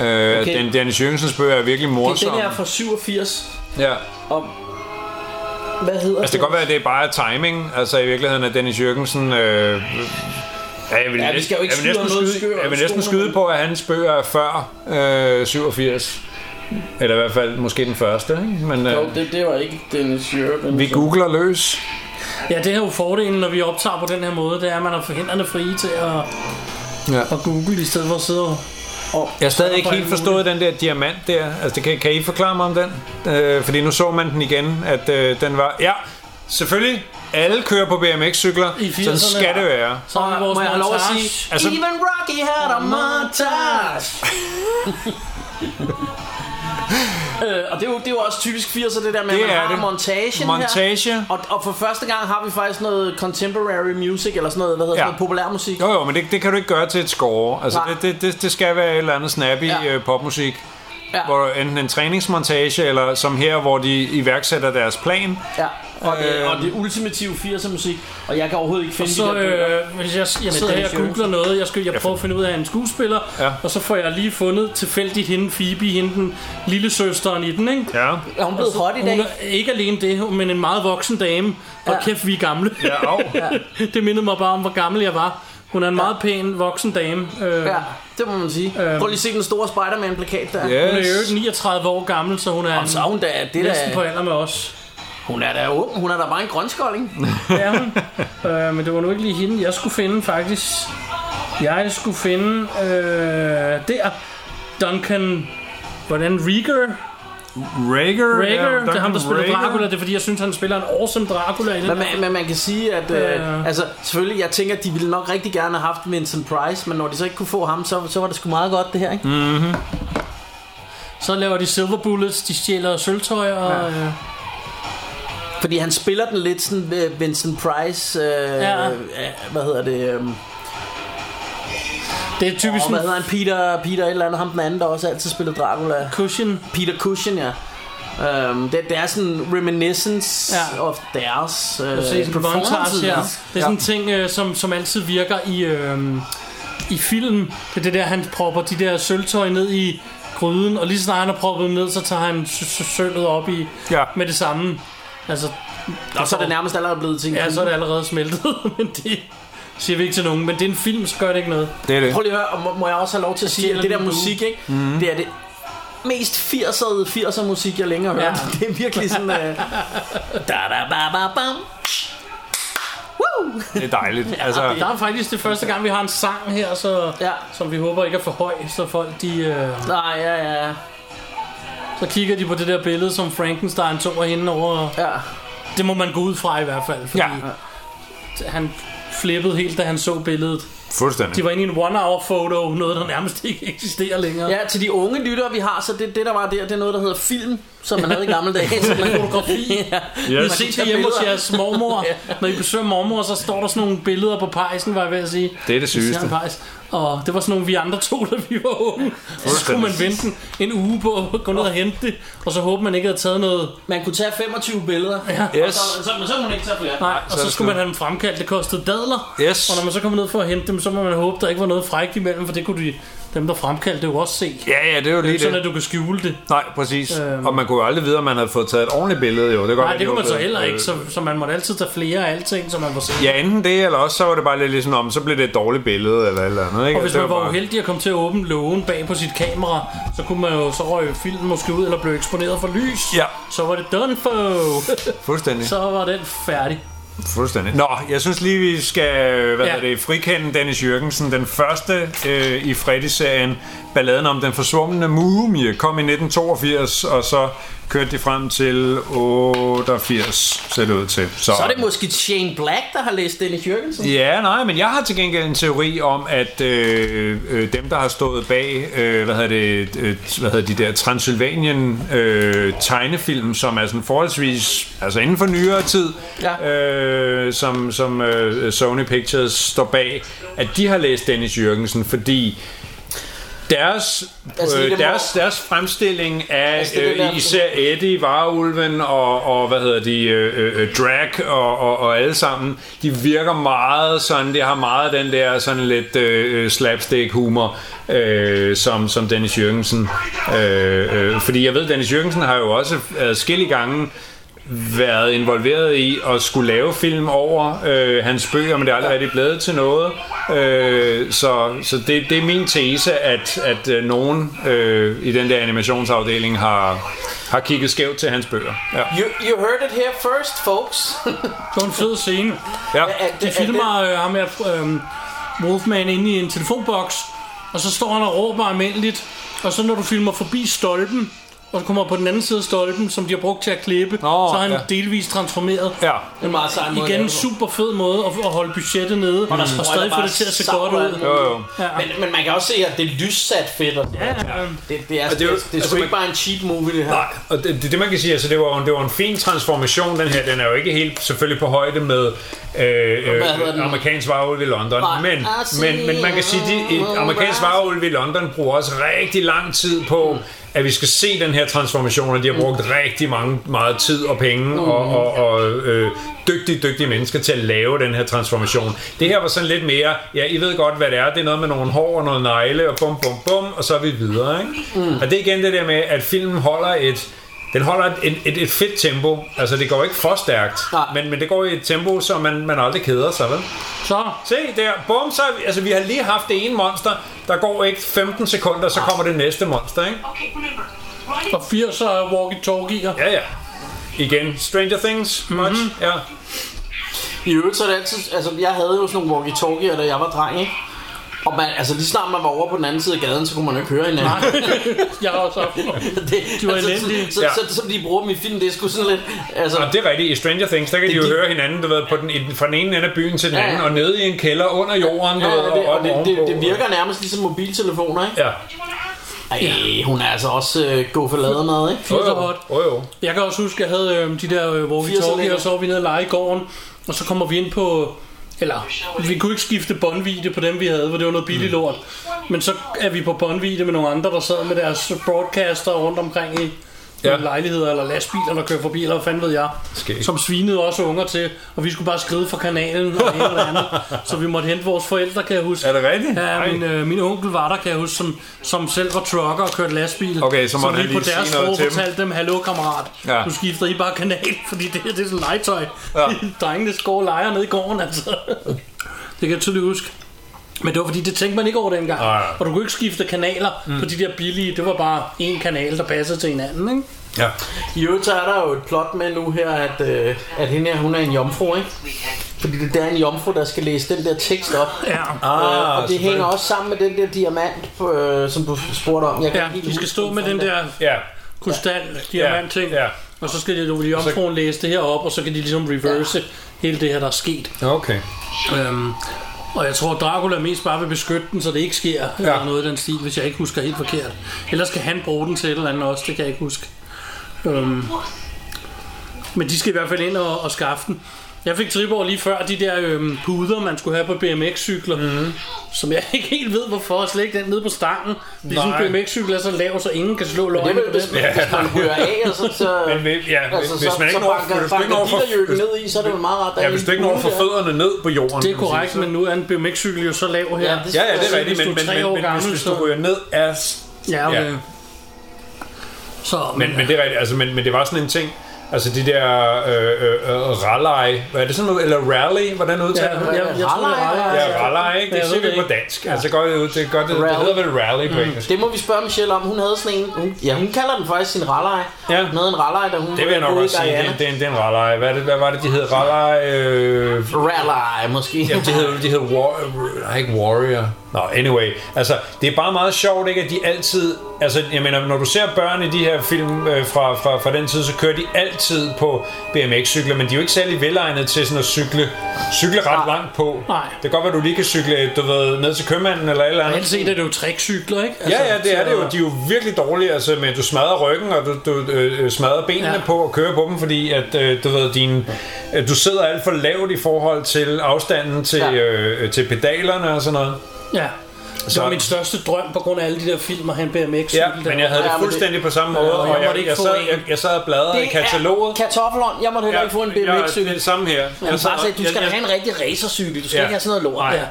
Speaker 4: Okay.
Speaker 5: okay. den, Dennis Jørgensens bøger er virkelig
Speaker 4: Det er
Speaker 5: morsom.
Speaker 4: den her fra 87.
Speaker 5: ja.
Speaker 4: Om, hvad hedder
Speaker 5: Altså, det kan godt være, at det er bare timing. Altså, i virkeligheden er Dennis Jørgensen... Øh, Ja, jeg vil,
Speaker 4: Ja, vi
Speaker 5: næsten-
Speaker 4: skal jo ikke
Speaker 5: jeg
Speaker 4: skyde
Speaker 5: vil næsten
Speaker 4: om noget skør-
Speaker 5: jeg vil næsten
Speaker 4: skolen.
Speaker 5: skyde på, at hans bøger er før øh, 87. Eller i hvert fald måske den første. Ikke? Men
Speaker 4: Jo,
Speaker 5: øh,
Speaker 4: det, det var ikke Dennis Jørgen.
Speaker 5: vi googler løs.
Speaker 3: Ja, det er jo fordelen, når vi optager på den her måde, det er, at man har forhindrende frie til at,
Speaker 5: Ja.
Speaker 3: at google, i stedet for at sidde og...
Speaker 5: Jeg har stadig ikke
Speaker 3: Hvorfor
Speaker 5: helt
Speaker 3: er det
Speaker 5: forstået den der diamant der. Altså, det kan, kan I forklare mig om den? Øh, fordi nu så man den igen, at øh, den var... Ja, selvfølgelig. Alle kører på BMX-cykler.
Speaker 3: I 80'erne.
Speaker 5: Sådan skal det være.
Speaker 3: Så har vi vores
Speaker 4: må jeg have lov at
Speaker 3: montage.
Speaker 4: sige,
Speaker 5: Altså-
Speaker 4: Even Rocky had a montage. øh, og det er, jo, det er jo også typisk 80'er, det der med, at
Speaker 5: Det
Speaker 4: man
Speaker 5: er
Speaker 4: har
Speaker 5: det.
Speaker 4: montagen
Speaker 5: Montage.
Speaker 4: her. Og, og for første gang har vi faktisk noget contemporary music, eller sådan noget, hvad hedder ja.
Speaker 5: Ja.
Speaker 4: sådan noget populærmusik.
Speaker 5: Jo, jo, men det, det kan du ikke gøre til et score. Altså,
Speaker 4: Nej.
Speaker 5: det, det, det, det skal være et eller andet snappy
Speaker 4: Ja.
Speaker 5: ja. øh, popmusik.
Speaker 4: Ja.
Speaker 5: hvor enten en træningsmontage, eller som her, hvor de iværksætter deres plan.
Speaker 4: Ja. Og, det,
Speaker 5: Øh.
Speaker 4: og det ultimative 80'er musik, og jeg kan overhovedet ikke finde
Speaker 3: Så
Speaker 4: de der bøger.
Speaker 3: øh, hvis jeg, jeg sidder her
Speaker 4: Dennis
Speaker 3: og googler noget, jeg, skal, jeg prøver at finde ud af en skuespiller,
Speaker 5: Ja.
Speaker 3: og så får jeg lige fundet tilfældigt hende, Phoebe, hende den lille søsteren i den, ikke?
Speaker 5: Ja,
Speaker 4: Er hun blevet hot i dag?
Speaker 3: Hun er ikke alene det, men en meget voksen dame, og
Speaker 4: Ja.
Speaker 3: kæft, vi er gamle.
Speaker 5: ja, og,
Speaker 3: det mindede mig bare om, hvor gammel jeg var. Hun er en meget pæn voksen dame. Øh,
Speaker 4: Ja, det må man sige. Prøv lige at se den store Spider-Man-plakat der.
Speaker 5: yes.
Speaker 3: Hun er jo 39 år gammel, så hun er
Speaker 4: Og så er hun da, det
Speaker 3: næsten på
Speaker 4: der,
Speaker 3: alder med os.
Speaker 4: hun er da ung, hun er da bare en grønskolding.
Speaker 3: Det er hun. øh, men det var nu ikke lige hende, jeg skulle finde faktisk. Jeg skulle finde øh, der Duncan Hvordan Rieger?
Speaker 5: Rager,
Speaker 3: Rieger, ja, det er ham, der spiller
Speaker 5: Rager.
Speaker 3: Dracula. Det er fordi, jeg synes, han spiller en awesome Dracula i den.
Speaker 4: Men man, men man kan sige, at
Speaker 3: Ja.
Speaker 4: øh, altså, selvfølgelig, jeg tænker, at de ville nok rigtig gerne have haft Vincent Price, men når de så ikke kunne få ham, så, så var det sgu meget godt det her, ikke? Mm.
Speaker 3: Så laver de Silver Bullets, de stjæler sølvtøj og... Ja. Øh,
Speaker 4: Fordi han spiller den lidt sådan øh, Vincent Price, øh,
Speaker 3: Ja.
Speaker 4: ja. øh, hvad hedder det, øh,
Speaker 3: det er typisk
Speaker 4: og hvad hedder
Speaker 3: sådan
Speaker 4: han, Peter, Peter et eller andet, ham den anden, der også altid spiller Dracula.
Speaker 3: cushion.
Speaker 4: Peter Cushing, ja. Um, det, det er sådan reminiscence
Speaker 3: Ja.
Speaker 4: ja. of deres
Speaker 3: Se
Speaker 4: uh,
Speaker 3: sådan en montage her. Det er sådan en
Speaker 4: ja.
Speaker 3: ting, øh, som, som altid virker i, øh, i film. Det er det der, han propper de der sølvtøj ned i gryden, og lige så snart han har proppet dem ned, så tager han sø- sø- sølvet op i
Speaker 5: Ja.
Speaker 3: med det samme. Altså,
Speaker 4: Og så er det nærmest allerede blevet til en
Speaker 3: ja,
Speaker 4: film.
Speaker 3: så er det allerede smeltet, men det siger vi ikke til nogen. Men det er en film, så gør det ikke noget.
Speaker 5: Det er det.
Speaker 4: Prøv lige at høre, og må, må jeg også have lov til at sige,
Speaker 3: stjæler
Speaker 4: at det der
Speaker 3: den bue.
Speaker 4: musik, ikke? Mm. det er det mest 80'er 80'er musik, jeg længere har hørt.
Speaker 3: Ja.
Speaker 4: Det er virkelig sådan... Uh, da da ba ba bam. Woo!
Speaker 5: Det er dejligt. Altså,
Speaker 3: Og der er faktisk det første gang, vi har en sang her, så,
Speaker 4: Ja.
Speaker 3: som vi håber ikke er for høj, så folk de... Øh,
Speaker 4: Nej, ja, ja, ja.
Speaker 3: så kigger de på det der billede, som Frankenstein tog af hende over...
Speaker 4: ja.
Speaker 3: Det må man gå ud fra i hvert fald, fordi ja. han flippede helt, da han så billedet.
Speaker 5: fuldstændig.
Speaker 3: De var inde i en one-hour-foto, noget der nærmest ikke eksisterer længere.
Speaker 4: Ja, til de unge lyttere, vi har, så det, det der var der, det er noget, der hedder film, som man havde i gamle dage. som man
Speaker 3: Fotografi.
Speaker 4: ja.
Speaker 3: Yes.
Speaker 5: Man
Speaker 3: I
Speaker 5: kan
Speaker 3: set
Speaker 4: tage
Speaker 3: det hjemme hos
Speaker 4: billeder.
Speaker 3: jeres mormor. Når I besøger mormor, så står der sådan nogle billeder på pejsen, var jeg ved at sige.
Speaker 5: Det er det sygeste.
Speaker 3: Især pejs. Og det var sådan nogle, vi andre tog, da vi var unge. Så skulle man vente en- en uge på at gå ned og hente det, og så håbe, man ikke havde taget noget.
Speaker 4: Man kunne tage 25 billeder. Ja.
Speaker 5: Yes.
Speaker 4: Så, så, men så kunne man ikke tage flere.
Speaker 3: Nej, og
Speaker 5: er
Speaker 3: så
Speaker 5: det
Speaker 3: skulle man
Speaker 5: slut.
Speaker 3: have dem fremkaldt. Det kostede dadler.
Speaker 5: Yes.
Speaker 3: Og når man så kom ned for at hente dem, så må man håbe, der ikke var noget frækt imellem, for det kunne de, dem, der fremkaldte det jo også se.
Speaker 5: Ja, ja, det er jo lige
Speaker 3: Sådan,
Speaker 5: det.
Speaker 3: at du kan skjule det.
Speaker 5: Nej, præcis. Øhm. Og man kunne jo aldrig vide, om man havde fået taget et ordentligt billede, jo. Det, øh,
Speaker 3: Nej, Ah, det kunne man så heller ikke, så, så man måtte altid tage flere af alting, så man var sikker.
Speaker 5: Ja, enten det, eller også så var det bare lidt ligesom om, så blev det et dårligt billede, eller et eller andet, ikke?
Speaker 3: Og hvis
Speaker 5: det
Speaker 3: man var
Speaker 5: bare-
Speaker 3: uheldig at komme til at åbne lågen bag på sit kamera, så kunne man jo så røge filmen måske ud, eller blive eksponeret for lys.
Speaker 5: Ja.
Speaker 3: Så var det done for.
Speaker 5: Fuldstændig,
Speaker 3: så var den færdig.
Speaker 5: fuldstændig. Nå, jeg synes lige, vi skal, øh, hvad
Speaker 3: Ja.
Speaker 5: ja. det, frikende Dennis Jørgensen. Den første øh, i Freddy-serien, balladen om den forsvundne mumie, kom i 1982, og så kørte de frem til 88, ser det ud til.
Speaker 4: Så er det måske Shane Black, der har læst Dennis Jørgensen.
Speaker 5: Ja, nej, men jeg har til gengæld en teori om, at øh, øh, dem, der har stået bag, øh, hvad hedder det, øh, hvad hedder de der Transylvanien øh, tegnefilm, som er sådan forholdsvis, altså inden for nyere tid,
Speaker 4: Ja.
Speaker 5: øh, som, som øh, Sony Pictures står bag, at de har læst Dennis Jørgensen, fordi deres,
Speaker 4: Altså,
Speaker 5: altså,
Speaker 4: i det
Speaker 5: øh, deres,
Speaker 4: hvor-
Speaker 5: deres fremstilling af
Speaker 4: Altså,
Speaker 5: altså,
Speaker 4: det er det der-
Speaker 5: øh, især Eddie, Varulven og, og hvad hedder de, øh, øh, Drag og, og, og alle sammen, de virker meget sådan, det har meget den der sådan lidt øh, slapstick humor, øh, som, som Dennis Jørgensen. Øh, øh, fordi jeg ved, Dennis Jørgensen har jo også adskillige gange været involveret i at skulle lave film over øh, hans bøger, men det er aldrig rigtig blevet til noget. Øh, så så det, det er min tese, at, at øh, nogen øh, i den der animationsafdeling har, har kigget skævt til hans bøger. Ja.
Speaker 4: You, you heard it here first, folks.
Speaker 3: Det var en fed scene.
Speaker 5: Ja.
Speaker 3: De filmer øh, ham her, øh, Wolfman, inde i en telefonboks, og så står han og råber almindeligt, og så når du filmer forbi stolpen, og så kommer på den anden side af stolpen, som de har brugt til at klippe,
Speaker 5: Nå,
Speaker 3: så er han
Speaker 5: ja.
Speaker 3: delvist transformeret.
Speaker 5: ja.
Speaker 4: Det er meget sej måde
Speaker 3: Igen
Speaker 4: at lave
Speaker 3: en
Speaker 4: det på.
Speaker 3: super fed måde at, at holde budgettet nede, mm. og stadig få det til at se godt ud.
Speaker 5: Jo, jo.
Speaker 3: Ja.
Speaker 4: Men, men man kan også se, at det er lyssat fedt. Og ja.
Speaker 3: Ja.
Speaker 4: det, det, er,
Speaker 5: Og
Speaker 4: det,
Speaker 5: det er jo-
Speaker 4: det, det er
Speaker 5: altså,
Speaker 4: sgu
Speaker 5: man-
Speaker 4: ikke bare en cheap movie, det her.
Speaker 5: Nej, og det, det, det man kan sige, altså det var, jo- det var en fin transformation, den her. Den er jo ikke helt selvfølgelig på højde med øh, øh,
Speaker 4: hedder den?
Speaker 5: amerikansk varulv i London.
Speaker 4: Nej.
Speaker 5: Men, men, men man kan sige, at amerikansk varulv i London bruger også rigtig lang tid på at vi skal se den her transformation, og de har brugt rigtig mange, meget tid og penge og, og, og øh, dygtige, dygtige mennesker til at lave den her transformation. Det her var sådan lidt mere, ja, I ved godt, hvad det er. Det er noget med nogle hår og noget negle, og bum, bum, bum, og så er vi videre, ikke? Mm. Og det er igen det der med, at filmen holder et den holder et, et- et, et fedt tempo. Altså, det går ikke for stærkt,
Speaker 4: Nej.
Speaker 5: men, men det går i et tempo, så man, man aldrig keder sig, vel?
Speaker 3: Så,
Speaker 5: Se der, bum, så er vi- altså vi har lige haft det ene monster, der går ikke 15 sekunder, så kommer det næste monster, ikke?
Speaker 7: Okay, remember. Ronnie
Speaker 3: og 80'er walkie-talkie'er.
Speaker 5: Ja, ja. Igen, Stranger Things, much, mm-hmm. ja.
Speaker 4: I øvrigt så er det altid, altså jeg havde jo sådan nogle walkie-talkier, da jeg var dreng, ikke? Og man, altså lige snart man var over på den anden side af gaden, så kunne man jo ikke høre hinanden.
Speaker 3: Nej, jeg har også haft
Speaker 4: det,
Speaker 3: De var
Speaker 4: altså,
Speaker 3: elendige.
Speaker 4: så,
Speaker 5: Ja.
Speaker 4: så, så, så, de bruger dem i film, det er sgu sådan lidt... Altså,
Speaker 5: Og det er rigtigt, i Stranger Things, der kan de jo
Speaker 4: de-
Speaker 5: høre hinanden, du ved, på den, i den- fra den ene ende af byen til den
Speaker 4: Ja, ja.
Speaker 5: anden, og nede i en kælder under jorden, du
Speaker 4: ja,
Speaker 5: ved,
Speaker 4: ja, det,
Speaker 5: og,
Speaker 4: og
Speaker 5: op
Speaker 4: det, det,
Speaker 5: ovenpå.
Speaker 4: det, virker nærmest ligesom mobiltelefoner, ikke?
Speaker 5: Ja,
Speaker 7: What do you want to ask?
Speaker 4: Ej, hun er altså også øh, god for laden med, ikke?
Speaker 5: jo,
Speaker 3: så
Speaker 5: jo,
Speaker 3: hot.
Speaker 5: jo, jo.
Speaker 3: Jeg kan også huske, at jeg havde øh, de der øh, walkie-talkie,
Speaker 4: Firserlænger.
Speaker 3: og så var vi nede og lege i gården, og så kommer vi ind på... Eller, vi kunne ikke skifte båndvidde på dem, vi havde, for det var noget billigt
Speaker 5: Mm.
Speaker 3: lort. Men så er vi på båndvidde med nogle andre, der sad med deres broadcaster rundt omkring i
Speaker 5: Ja.
Speaker 3: ja. lejligheder eller lastbiler, der kører forbi, eller hvad fanden ved jeg.
Speaker 5: Skægt.
Speaker 3: Som svinede også unger til, og vi skulle bare skride fra kanalen og det ene og det andet. Så vi måtte hente vores forældre, kan jeg huske.
Speaker 5: Er det rigtigt?
Speaker 3: Ja,
Speaker 5: Ej.
Speaker 3: min, øh, min onkel var der, kan jeg huske, som, som selv var trucker og kørte lastbil.
Speaker 5: Okay, så måtte han
Speaker 3: vi
Speaker 5: lige
Speaker 3: på
Speaker 5: sige
Speaker 3: deres
Speaker 5: noget
Speaker 3: sprog
Speaker 5: til dem.
Speaker 3: fortalte dem, hallo kammerat,
Speaker 5: Ja.
Speaker 3: ja. nu skifter I bare kanal, fordi det her det er sådan legetøj.
Speaker 5: Ja.
Speaker 3: Ja. Drengene skår og leger ned i gården, altså. Det kan jeg tydeligt huske. Men det var fordi, det tænkte man ikke over dengang.
Speaker 5: Nej.
Speaker 3: Og du kunne ikke skifte kanaler mm. på de der billige. Det var bare en kanal, der passede til hinanden, ikke?
Speaker 5: Ja.
Speaker 4: I øvrigt så er der jo et plot med nu her, at, øh, at hende her, hun er en jomfru, ikke? Fordi det der er en jomfru, der skal læse den der tekst op.
Speaker 3: Ja.
Speaker 4: Ah, øh, og det hænger
Speaker 5: altså, selvfølgelig.
Speaker 4: også sammen med den der diamant, på, øh, som du spurgte om. Jeg kan
Speaker 3: ja
Speaker 4: ikke helt
Speaker 3: de skal
Speaker 4: huske,
Speaker 3: stå med
Speaker 4: hvorfor
Speaker 3: den der
Speaker 5: Ja,
Speaker 3: krystal, diamant-ting.
Speaker 5: ja.
Speaker 3: Og så skal de jo jomfruen læse det her op, og så kan de ligesom reverse ja. hele det her, der er sket.
Speaker 5: okay.
Speaker 3: Øhm, og jeg tror, Dracula mest bare vil beskytte den, så det ikke sker ja. eller noget i den stil, hvis jeg ikke husker helt forkert. Ellers skal han bruge den til et eller andet også, det kan jeg ikke huske. Øhm, men de skal i hvert fald ind og, og skaffe den. Jeg fik trip over lige før de der øhm, puder, man skulle have på BMX-cykler,
Speaker 5: Mhm.
Speaker 3: mm-hmm. som jeg ikke helt ved hvorfor, og slet ikke den nede på stangen. Ligesom Det er sådan, en BMX-cykel er så lav, så ingen kan slå
Speaker 4: Det
Speaker 3: løgene
Speaker 4: er vel,
Speaker 3: på
Speaker 4: hvis,
Speaker 3: den.
Speaker 4: ja. hvis man hører af, og så, så, altså,
Speaker 5: Men vi- ja, hvis- hvis man ikke
Speaker 4: så
Speaker 5: når-
Speaker 4: banker,
Speaker 5: hvis du
Speaker 4: banker
Speaker 5: ikke når for-
Speaker 4: dillerjøkken ned i, så er det jo meget rart. der
Speaker 5: Ja,
Speaker 4: er
Speaker 5: hvis
Speaker 4: en
Speaker 5: du ikke når
Speaker 4: hule
Speaker 5: at få
Speaker 4: der.
Speaker 5: fødderne ned på
Speaker 3: Det er
Speaker 5: jorden. kan man sige,
Speaker 3: korrekt,
Speaker 5: så-
Speaker 3: men nu er en BMX-cykel jo så lav her.
Speaker 4: Ja,
Speaker 3: Ja,
Speaker 4: det,
Speaker 5: Ja, ja, det er rigtigt,
Speaker 3: hvis
Speaker 5: men,
Speaker 3: du er
Speaker 5: men,
Speaker 3: tre
Speaker 5: men,
Speaker 3: år
Speaker 5: men
Speaker 3: gammel,
Speaker 5: hvis du
Speaker 3: så-
Speaker 5: ryger ned af
Speaker 3: ja, okay.
Speaker 5: Ja.
Speaker 3: ja. Så, men,
Speaker 5: Men, men det er rigtigt, altså, men, men det var sådan en ting, altså de der øh, øh, øh, rally, hvad er det sådan noget, eller rally, hvordan udtaler
Speaker 3: Ja,
Speaker 5: man
Speaker 3: jeg,
Speaker 5: det?
Speaker 3: jeg, jeg tror, det er Altså,
Speaker 5: Ja, rally, ikke?
Speaker 3: Jeg
Speaker 5: Det
Speaker 3: ved
Speaker 5: siger
Speaker 3: det
Speaker 5: vi på
Speaker 3: ikke.
Speaker 5: dansk. Altså, godt, det, det, godt, det, det
Speaker 4: Rally.
Speaker 5: hedder vel rally på engelsk.
Speaker 4: det må vi spørge Michelle om. Hun havde sådan en... Hun, ja, hun kalder den faktisk sin rallej.
Speaker 5: Ja.
Speaker 4: Hun havde en rallej, da hun
Speaker 5: Det vil jeg nok
Speaker 4: boede i
Speaker 5: også sige, det,
Speaker 4: Guyana.
Speaker 5: er- det, er en- det er en rally. Hvad, er det, hvad var det, de hed? Rally, øh,
Speaker 4: Rallej, måske.
Speaker 5: Jamen, de hedder, de hedder war, nej, ikke Warrior. Nå, anyway. Altså, det er bare meget sjovt, ikke, at de altid... Altså, jeg mener, når du ser børn i de her film øh, fra, fra, fra den tid, så kører de altid på BMX-cykler, men de er jo ikke særlig velegnet til sådan at cykle, cykle ret langt på.
Speaker 3: Nej.
Speaker 5: Det kan godt være, du lige kan cykle, du ved, ned til købmanden eller et eller andet.
Speaker 3: Reelt set er det jo trickcykler, ikke? Altså,
Speaker 5: Ja, ja, det er
Speaker 3: så-
Speaker 5: det jo. De er jo virkelig dårlige, altså, men du smadrer ryggen, og du, du øh, smadrer benene ja.
Speaker 3: Ja.
Speaker 5: på og kører på dem, fordi at, øh, du, ved, din, øh, du sidder alt for lavt i forhold til afstanden til, ja.
Speaker 4: Ja.
Speaker 5: øh, øh, til pedalerne og sådan noget.
Speaker 3: Ja. Det
Speaker 5: Så-
Speaker 3: var min største drøm på grund af alle de der film og han BMX.
Speaker 5: Altså- Ja, men jeg havde det
Speaker 4: Ja, men det-
Speaker 5: fuldstændig på samme måde,
Speaker 3: Ja, og
Speaker 5: og
Speaker 3: jeg måtte
Speaker 5: jeg,
Speaker 3: ikke
Speaker 5: jeg,
Speaker 3: få
Speaker 5: sad,
Speaker 3: en.
Speaker 5: jeg, jeg sad og bladrede i kataloget.
Speaker 4: Kartoffelhånd, jeg måtte heller ikke få en BMX-cykel.
Speaker 5: Jeg, det samme her. Jeg
Speaker 4: Han
Speaker 5: sad-
Speaker 4: bare sagde, du skal
Speaker 5: jeg-
Speaker 4: have en rigtig racercykel, du skal
Speaker 5: Ja.
Speaker 4: ikke have sådan noget lort.
Speaker 5: Nej.
Speaker 4: Ja.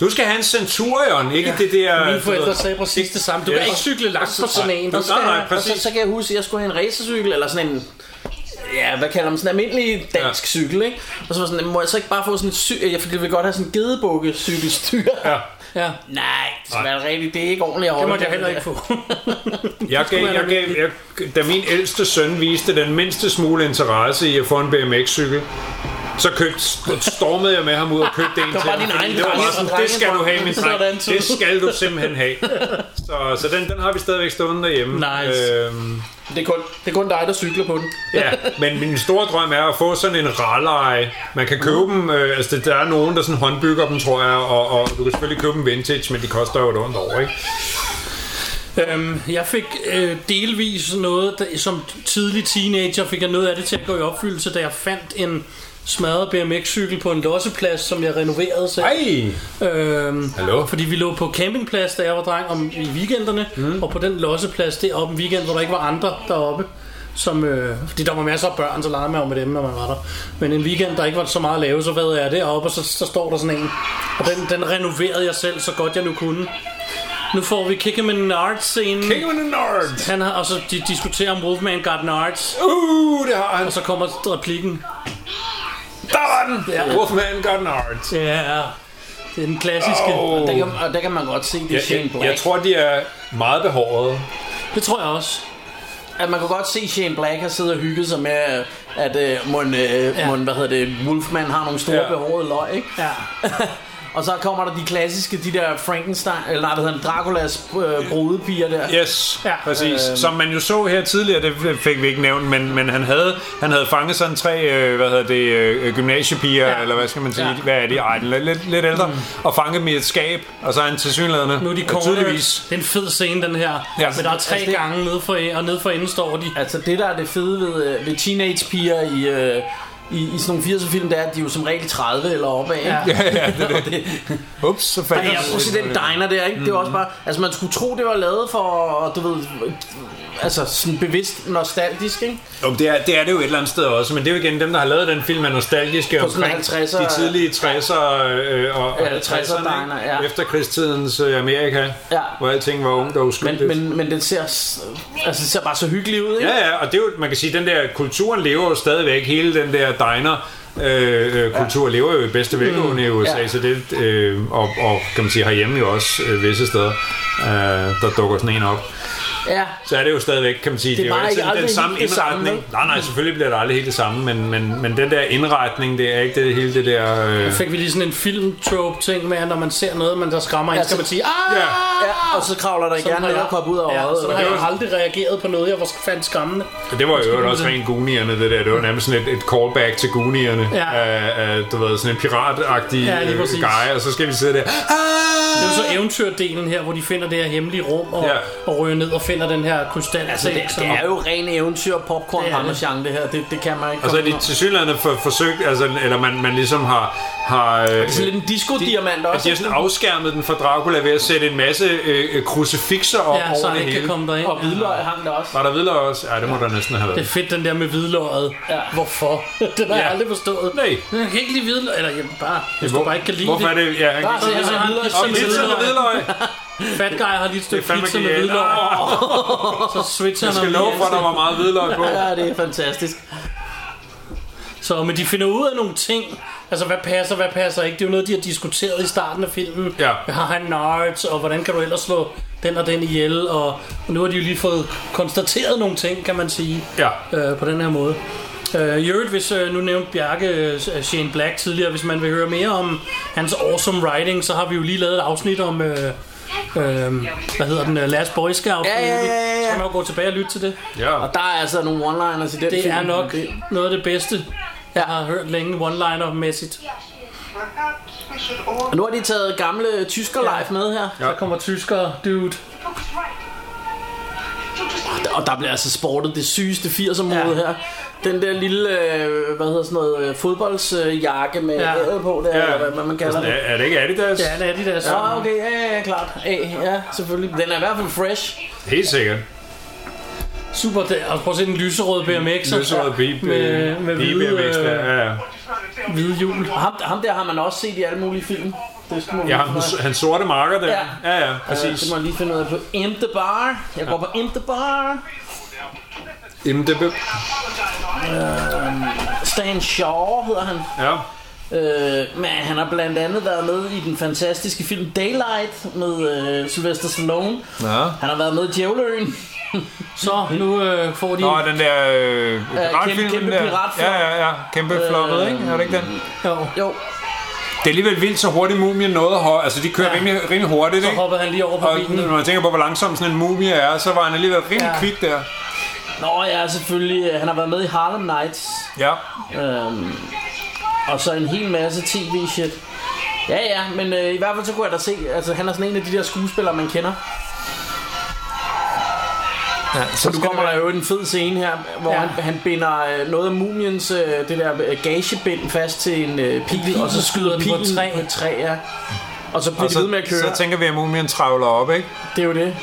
Speaker 5: Du skal have en Centurion, ikke ja. det der...
Speaker 3: Mine
Speaker 5: du
Speaker 3: forældre
Speaker 5: ved-
Speaker 3: sagde præcis det samme. Du
Speaker 5: Ja.
Speaker 3: kan ikke cykle langt på sådan en.
Speaker 5: Nej,
Speaker 3: Du-
Speaker 5: nej, nej,
Speaker 4: Og så,
Speaker 5: præcis.
Speaker 4: så kan jeg huske, at jeg skulle have en racercykel, eller sådan en, ja, hvad kalder man, sådan en almindelig dansk
Speaker 5: Ja.
Speaker 4: ja. cykel, ikke? Og så var sådan, må jeg så ikke bare få sådan et sy... Jeg fordi jeg vil godt have sådan en gedebukke cykelstyr.
Speaker 5: Ja.
Speaker 3: Ja,
Speaker 4: Nej, det skal
Speaker 5: Nej.
Speaker 4: være rigtigt, det er ikke ordentligt at
Speaker 3: det
Speaker 4: holde
Speaker 3: måtte jeg
Speaker 4: på.
Speaker 3: heller ikke få.
Speaker 5: Jeg gav, jeg gav, jeg, da min ældste søn viste den mindste smule interesse i at få en BMX-cykel, så købte, stormede jeg med ham ud og købte en til
Speaker 4: bare
Speaker 5: ham,
Speaker 4: din
Speaker 5: fordi
Speaker 4: egen
Speaker 5: det, var bare
Speaker 4: drenge-
Speaker 5: sådan, det skal du have, min
Speaker 3: Sådan,
Speaker 5: dreng.
Speaker 3: så.
Speaker 5: Det skal du simpelthen have. Så, så den, den har vi stadigvæk stående derhjemme.
Speaker 3: Nice.
Speaker 5: Øhm,
Speaker 4: Det er, kun, det er kun dig, der cykler på den.
Speaker 5: ja, men min store drøm er at få sådan en rallye. Man kan købe dem, øh, altså der er nogen, der sådan håndbygger dem, tror jeg, og, og du kan selvfølgelig købe dem vintage, men de koster jo et ondt år, ikke?
Speaker 3: øhm, jeg fik øh, delvis noget, der, som tidlig teenager fik jeg noget af det til at gå i opfyldelse, da jeg fandt en smadret BMX-cykel på en losseplads, som jeg renoverede selv.
Speaker 5: Ej!
Speaker 3: Øhm,
Speaker 5: Hallo?
Speaker 3: Fordi vi lå på campingplads, da jeg var dreng, om, i weekenderne, mm. og på den losseplads deroppe en weekend, hvor der ikke var andre deroppe. Som, øh, fordi der var masser af børn, så legede man jo med dem, når man var der. Men en weekend, der ikke var så meget at lave, så hvad jeg deroppe, og så, så står der sådan en. Og den, den renoverede jeg selv, så godt jeg nu kunne. Nu får vi Kickerman Arts-scenen.
Speaker 5: King of the North!
Speaker 3: Han har, og så de diskuterer om Wolfman got an arts,
Speaker 5: Uh, det har han.
Speaker 3: og så kommer replikken.
Speaker 5: Der var den! Ja. Wolfman got an art.
Speaker 3: Ja, yeah. det er den klassiske.
Speaker 5: Åh.
Speaker 4: Der kan, og der kan man godt se, det er
Speaker 5: Jeg,
Speaker 4: Shane
Speaker 5: jeg,
Speaker 4: Black.
Speaker 5: jeg tror, de er meget behårede.
Speaker 3: Det tror jeg også.
Speaker 4: at man kan godt se, at Shane Black har siddet og hygget sig med, at øh, mon, øh,
Speaker 3: Ja.
Speaker 4: ja. mon, hvad hedder det, Wolfman har nogle store
Speaker 5: Ja.
Speaker 4: ja. behårede løg, ikke?
Speaker 3: Ja.
Speaker 4: Og så kommer der de klassiske, de der Frankenstein, eller nej, hvad hedder den, Draculas øh, brudepiger der.
Speaker 5: Yes,
Speaker 3: Ja.
Speaker 5: ja, Øhm. præcis. Som man jo så her tidligere, det fik vi ikke nævnt, men, men han, havde, han havde fanget sådan tre øh, hvad hedder det, øh, gymnasiepiger,
Speaker 3: Ja.
Speaker 5: ja. eller hvad skal man sige,
Speaker 3: Ja.
Speaker 5: ja. hvad er de? Ej, den er lidt, lidt ældre, mm. og fanget dem i et skab, og så er han tilsyneladende
Speaker 3: Nu er de
Speaker 5: og
Speaker 3: cornered.
Speaker 5: tydeligvis.
Speaker 3: Det er en fed scene, den her. Ja.
Speaker 5: Ja.
Speaker 3: Men der er tre
Speaker 4: Altså, det-
Speaker 3: gange nede for, og nede for enden står de.
Speaker 4: Altså det, der er det fede ved, øh, ved teenagepiger i, øh, i, i sådan nogle 80'er film, det er, at de er jo som regel 30 eller opad, ikke?
Speaker 3: Ja.
Speaker 5: ja, det er det. Ups, så
Speaker 4: Ja,
Speaker 5: faldt
Speaker 4: ja, prøv at se den diner der, ikke? Det var også bare... Altså, man skulle tro, det var lavet for, du ved... Altså, sådan bevidst nostalgisk, ikke?
Speaker 5: Jo, det, er, det er det jo et eller andet sted også, men det er jo igen dem, der har lavet den film, er nostalgiske
Speaker 4: På sådan
Speaker 5: omkring
Speaker 4: 50'er
Speaker 5: de tidlige 60'er øh, og, og
Speaker 4: Ja, 60'er diner, ja.
Speaker 5: efterkrigstidens øh, Amerika,
Speaker 4: Ja.
Speaker 5: hvor alting var ungt og uskyldigt.
Speaker 4: Men, men, men den ser... s- Altså, det ser bare så hyggeligt ud, ikke?
Speaker 5: Ja, ja, og det er jo, man kan sige, den der kulturen lever jo stadigvæk, hele den der diner, Øh, øh, kultur lever jo i bedste velgående i USA,
Speaker 4: Mm, ja.
Speaker 5: så det, øh, og, og kan man sige herhjemme jo også øh, visse steder, øh, der dukker sådan en op.
Speaker 4: Ja.
Speaker 5: Så er det jo stadigvæk, kan man sige, det,
Speaker 4: bare
Speaker 5: jo
Speaker 4: ikke
Speaker 5: altid den
Speaker 4: aldrig
Speaker 5: samme
Speaker 4: helt det samme,
Speaker 5: indretning. nej, nej, selvfølgelig bliver det aldrig helt det samme, men, men, men den der indretning, det er ikke det hele det der... Øh,
Speaker 3: Fik vi lige sådan en film-trope-ting med, at når man ser noget, man der skræmmer en,
Speaker 4: Ja,
Speaker 3: så kan
Speaker 4: så-
Speaker 3: man sige, ah!
Speaker 5: ja.
Speaker 4: ja. Og så kravler der
Speaker 3: Sådan
Speaker 4: gerne noget kop ud af
Speaker 3: ja, sådan
Speaker 4: øjet. eller
Speaker 3: har
Speaker 4: hvad?
Speaker 3: jeg jo aldrig reageret på noget, jeg var fandt skræmmende.
Speaker 5: Og Det var jo øvrigt også rent Goonierne, det der. Det var nærmest sådan et, et callback til Goonierne.
Speaker 3: Ja.
Speaker 5: Af, af, du ved, sådan en piratagtig
Speaker 3: Ja,
Speaker 5: ja,
Speaker 3: lige præcis.
Speaker 5: guy, og så skal vi sidde der.
Speaker 3: Det er jo
Speaker 4: Ah.
Speaker 3: så eventyrdelen her, hvor de finder det her hemmelige rum, og,
Speaker 5: Ja.
Speaker 3: og ryger ned og finder den her krystal.
Speaker 4: Altså, det, det er jo ren eventyr og popcorn
Speaker 3: Det er det.
Speaker 4: rammerchang, det her. Det, det kan man ikke
Speaker 5: Og så er
Speaker 4: komme
Speaker 5: de til synligheden for, forsøgt, altså, eller man, man ligesom har... har øh,
Speaker 4: sådan lidt en disco-diamant
Speaker 5: at
Speaker 4: også.
Speaker 5: de altså, har sådan afskærmet den fra Dracula ved at sætte en masse øh, øh, krucifixer op
Speaker 3: Ja,
Speaker 5: over
Speaker 3: så han
Speaker 5: det
Speaker 3: ikke
Speaker 5: hele.
Speaker 3: kan komme derind.
Speaker 4: Og hvidløg hang der også.
Speaker 5: Var der videre også? Ja, det må der næsten have
Speaker 3: Det er
Speaker 5: været.
Speaker 3: fedt, den der med hvidløget.
Speaker 4: Ja.
Speaker 3: Hvorfor? Den har jeg
Speaker 5: Ja.
Speaker 3: aldrig forstået.
Speaker 5: Nej.
Speaker 3: Jeg kan ikke lide hvidløg. Eller jeg bare, hvis du
Speaker 5: Hvor-
Speaker 3: bare ikke kan lide
Speaker 5: Hvorfor er
Speaker 3: det.
Speaker 5: det? Ja, han
Speaker 4: Der
Speaker 5: kan
Speaker 4: er sådan
Speaker 3: Så har han
Speaker 4: en
Speaker 3: lige
Speaker 5: Og
Speaker 3: sådan en
Speaker 5: pizza med
Speaker 3: hvidløg.
Speaker 5: hvidløg.
Speaker 3: Fat guy har lige et
Speaker 5: Det er
Speaker 3: stykke
Speaker 5: fandme
Speaker 3: pizza med
Speaker 5: genialt.
Speaker 3: hvidløg.
Speaker 5: Åh,
Speaker 3: Så switcher
Speaker 5: Jeg skal
Speaker 3: han. om
Speaker 5: love for, at der
Speaker 3: lige.
Speaker 5: var meget hvidløg på.
Speaker 4: Ja, det er fantastisk.
Speaker 3: Så men de finder ud af nogle ting. Altså, hvad passer, hvad passer ikke? Det er jo noget, de har diskuteret i starten af filmen.
Speaker 5: Ja.
Speaker 3: Har han nards, og hvordan kan du ellers slå den og den ihjel? Og nu har de jo lige fået konstateret nogle ting, kan man sige.
Speaker 5: Ja.
Speaker 3: øh, på den her måde. Øh, I øvrigt, hvis øh, nu nævnte Bjarke øh, Shane Black tidligere, hvis man vil høre mere om hans awesome writing, så har vi jo lige lavet et afsnit om, øh, øh, hvad hedder den, øh, Last Boy Scout.
Speaker 4: Ja, ja, ja, ja, ja.
Speaker 3: Så kan man jo gå tilbage og lytte til det.
Speaker 5: Ja.
Speaker 4: Og der er altså nogle one-liners i den
Speaker 3: Det
Speaker 4: film.
Speaker 3: er nok
Speaker 4: Det-
Speaker 3: noget af det bedste, jeg har hørt længe one-liner-mæssigt.
Speaker 6: Uh,
Speaker 7: Perhaps we should all
Speaker 4: Og nu har de taget gamle tysker live med her.
Speaker 5: Ja.
Speaker 3: Der kommer tyskere, dude.
Speaker 7: focus right. You just
Speaker 4: Og der bliver altså sportet det sygeste 80'er mode
Speaker 3: Ja.
Speaker 4: her. Den der lille, øh, hvad hedder sådan noget, øh, fodboldsjakke med
Speaker 3: Ja.
Speaker 4: æder på, der, ja. hvad, hvad man
Speaker 3: Altså,
Speaker 4: kalder
Speaker 5: Er,
Speaker 4: det.
Speaker 5: er det ikke Adidas?
Speaker 3: Ja, det er de der så.
Speaker 4: Ja, Ah, okay, ja, ja, ja, klart. A, ja, selvfølgelig. Den er i hvert fald fresh.
Speaker 5: Helt sikkert.
Speaker 3: Super, der. og prøv at se den lyserøde BMX'er.
Speaker 5: Lyserød bib,
Speaker 3: Med, med hvide, øh,
Speaker 5: ja, ja.
Speaker 3: hvide hjul.
Speaker 4: Og ham, ham der har man også set i alle mulige film. Det skal man
Speaker 5: Ja, han, han sorte marker der.
Speaker 4: Ja.
Speaker 5: Ja, ja, ja
Speaker 4: Præcis. Det
Speaker 5: præcis.
Speaker 4: må jeg lige finde ud af på Imp the Bar. Jeg går på Imp the Bar.
Speaker 5: IMDb.
Speaker 4: Stan Shaw hedder han.
Speaker 5: Ja.
Speaker 4: Øh, men han har blandt andet været med i den fantastiske film Daylight med øh, Sylvester Stallone.
Speaker 5: ja.
Speaker 4: Han har været med i Djævløen.
Speaker 3: Så, nu øh, får de...
Speaker 5: Nå, den der øh, piratfilm.
Speaker 4: kæmpe- kæmpe
Speaker 5: der.
Speaker 4: piratfilm.
Speaker 5: Ja, ja, ja. Kæmpe øh, floppet, ikke? Er det ikke den?
Speaker 3: Jo.
Speaker 4: Jo,
Speaker 5: Det er alligevel vildt, så hurtigt mumien nåede her. Altså, de kører
Speaker 3: Ja.
Speaker 5: ja. rimelig, rimelig hurtigt,
Speaker 3: Så
Speaker 5: ikke?
Speaker 3: hoppede han lige over på
Speaker 5: Og
Speaker 3: bilen.
Speaker 5: når man tænker på, hvor langsom sådan en mumie er, så var han alligevel rimelig
Speaker 3: Ja.
Speaker 5: ja. kvik der.
Speaker 4: Nå ja, selvfølgelig. øh, Han har været med i Harlem Nights.
Speaker 5: Ja.
Speaker 4: Øhm, og så en hel masse tv-shit. Ja, ja, men øh, i hvert fald så kunne jeg da se, altså han er sådan en af de der skuespillere, man kender.
Speaker 5: Ja, så
Speaker 4: Nu
Speaker 5: skal
Speaker 4: kommer
Speaker 5: det
Speaker 4: der
Speaker 5: være-
Speaker 4: jo en fed scene her, hvor
Speaker 3: Ja.
Speaker 4: ja. han, han binder øh, noget af mumiens, øh, det der øh, gagebind fast til en øh, pil,
Speaker 3: Pil,
Speaker 4: og så skyder den på et træ, på et træ ja. Og så bliver
Speaker 5: og
Speaker 4: de ved med at
Speaker 5: så,
Speaker 4: køre.
Speaker 5: så tænker vi, at mumien travler op, ikke?
Speaker 4: det er jo det.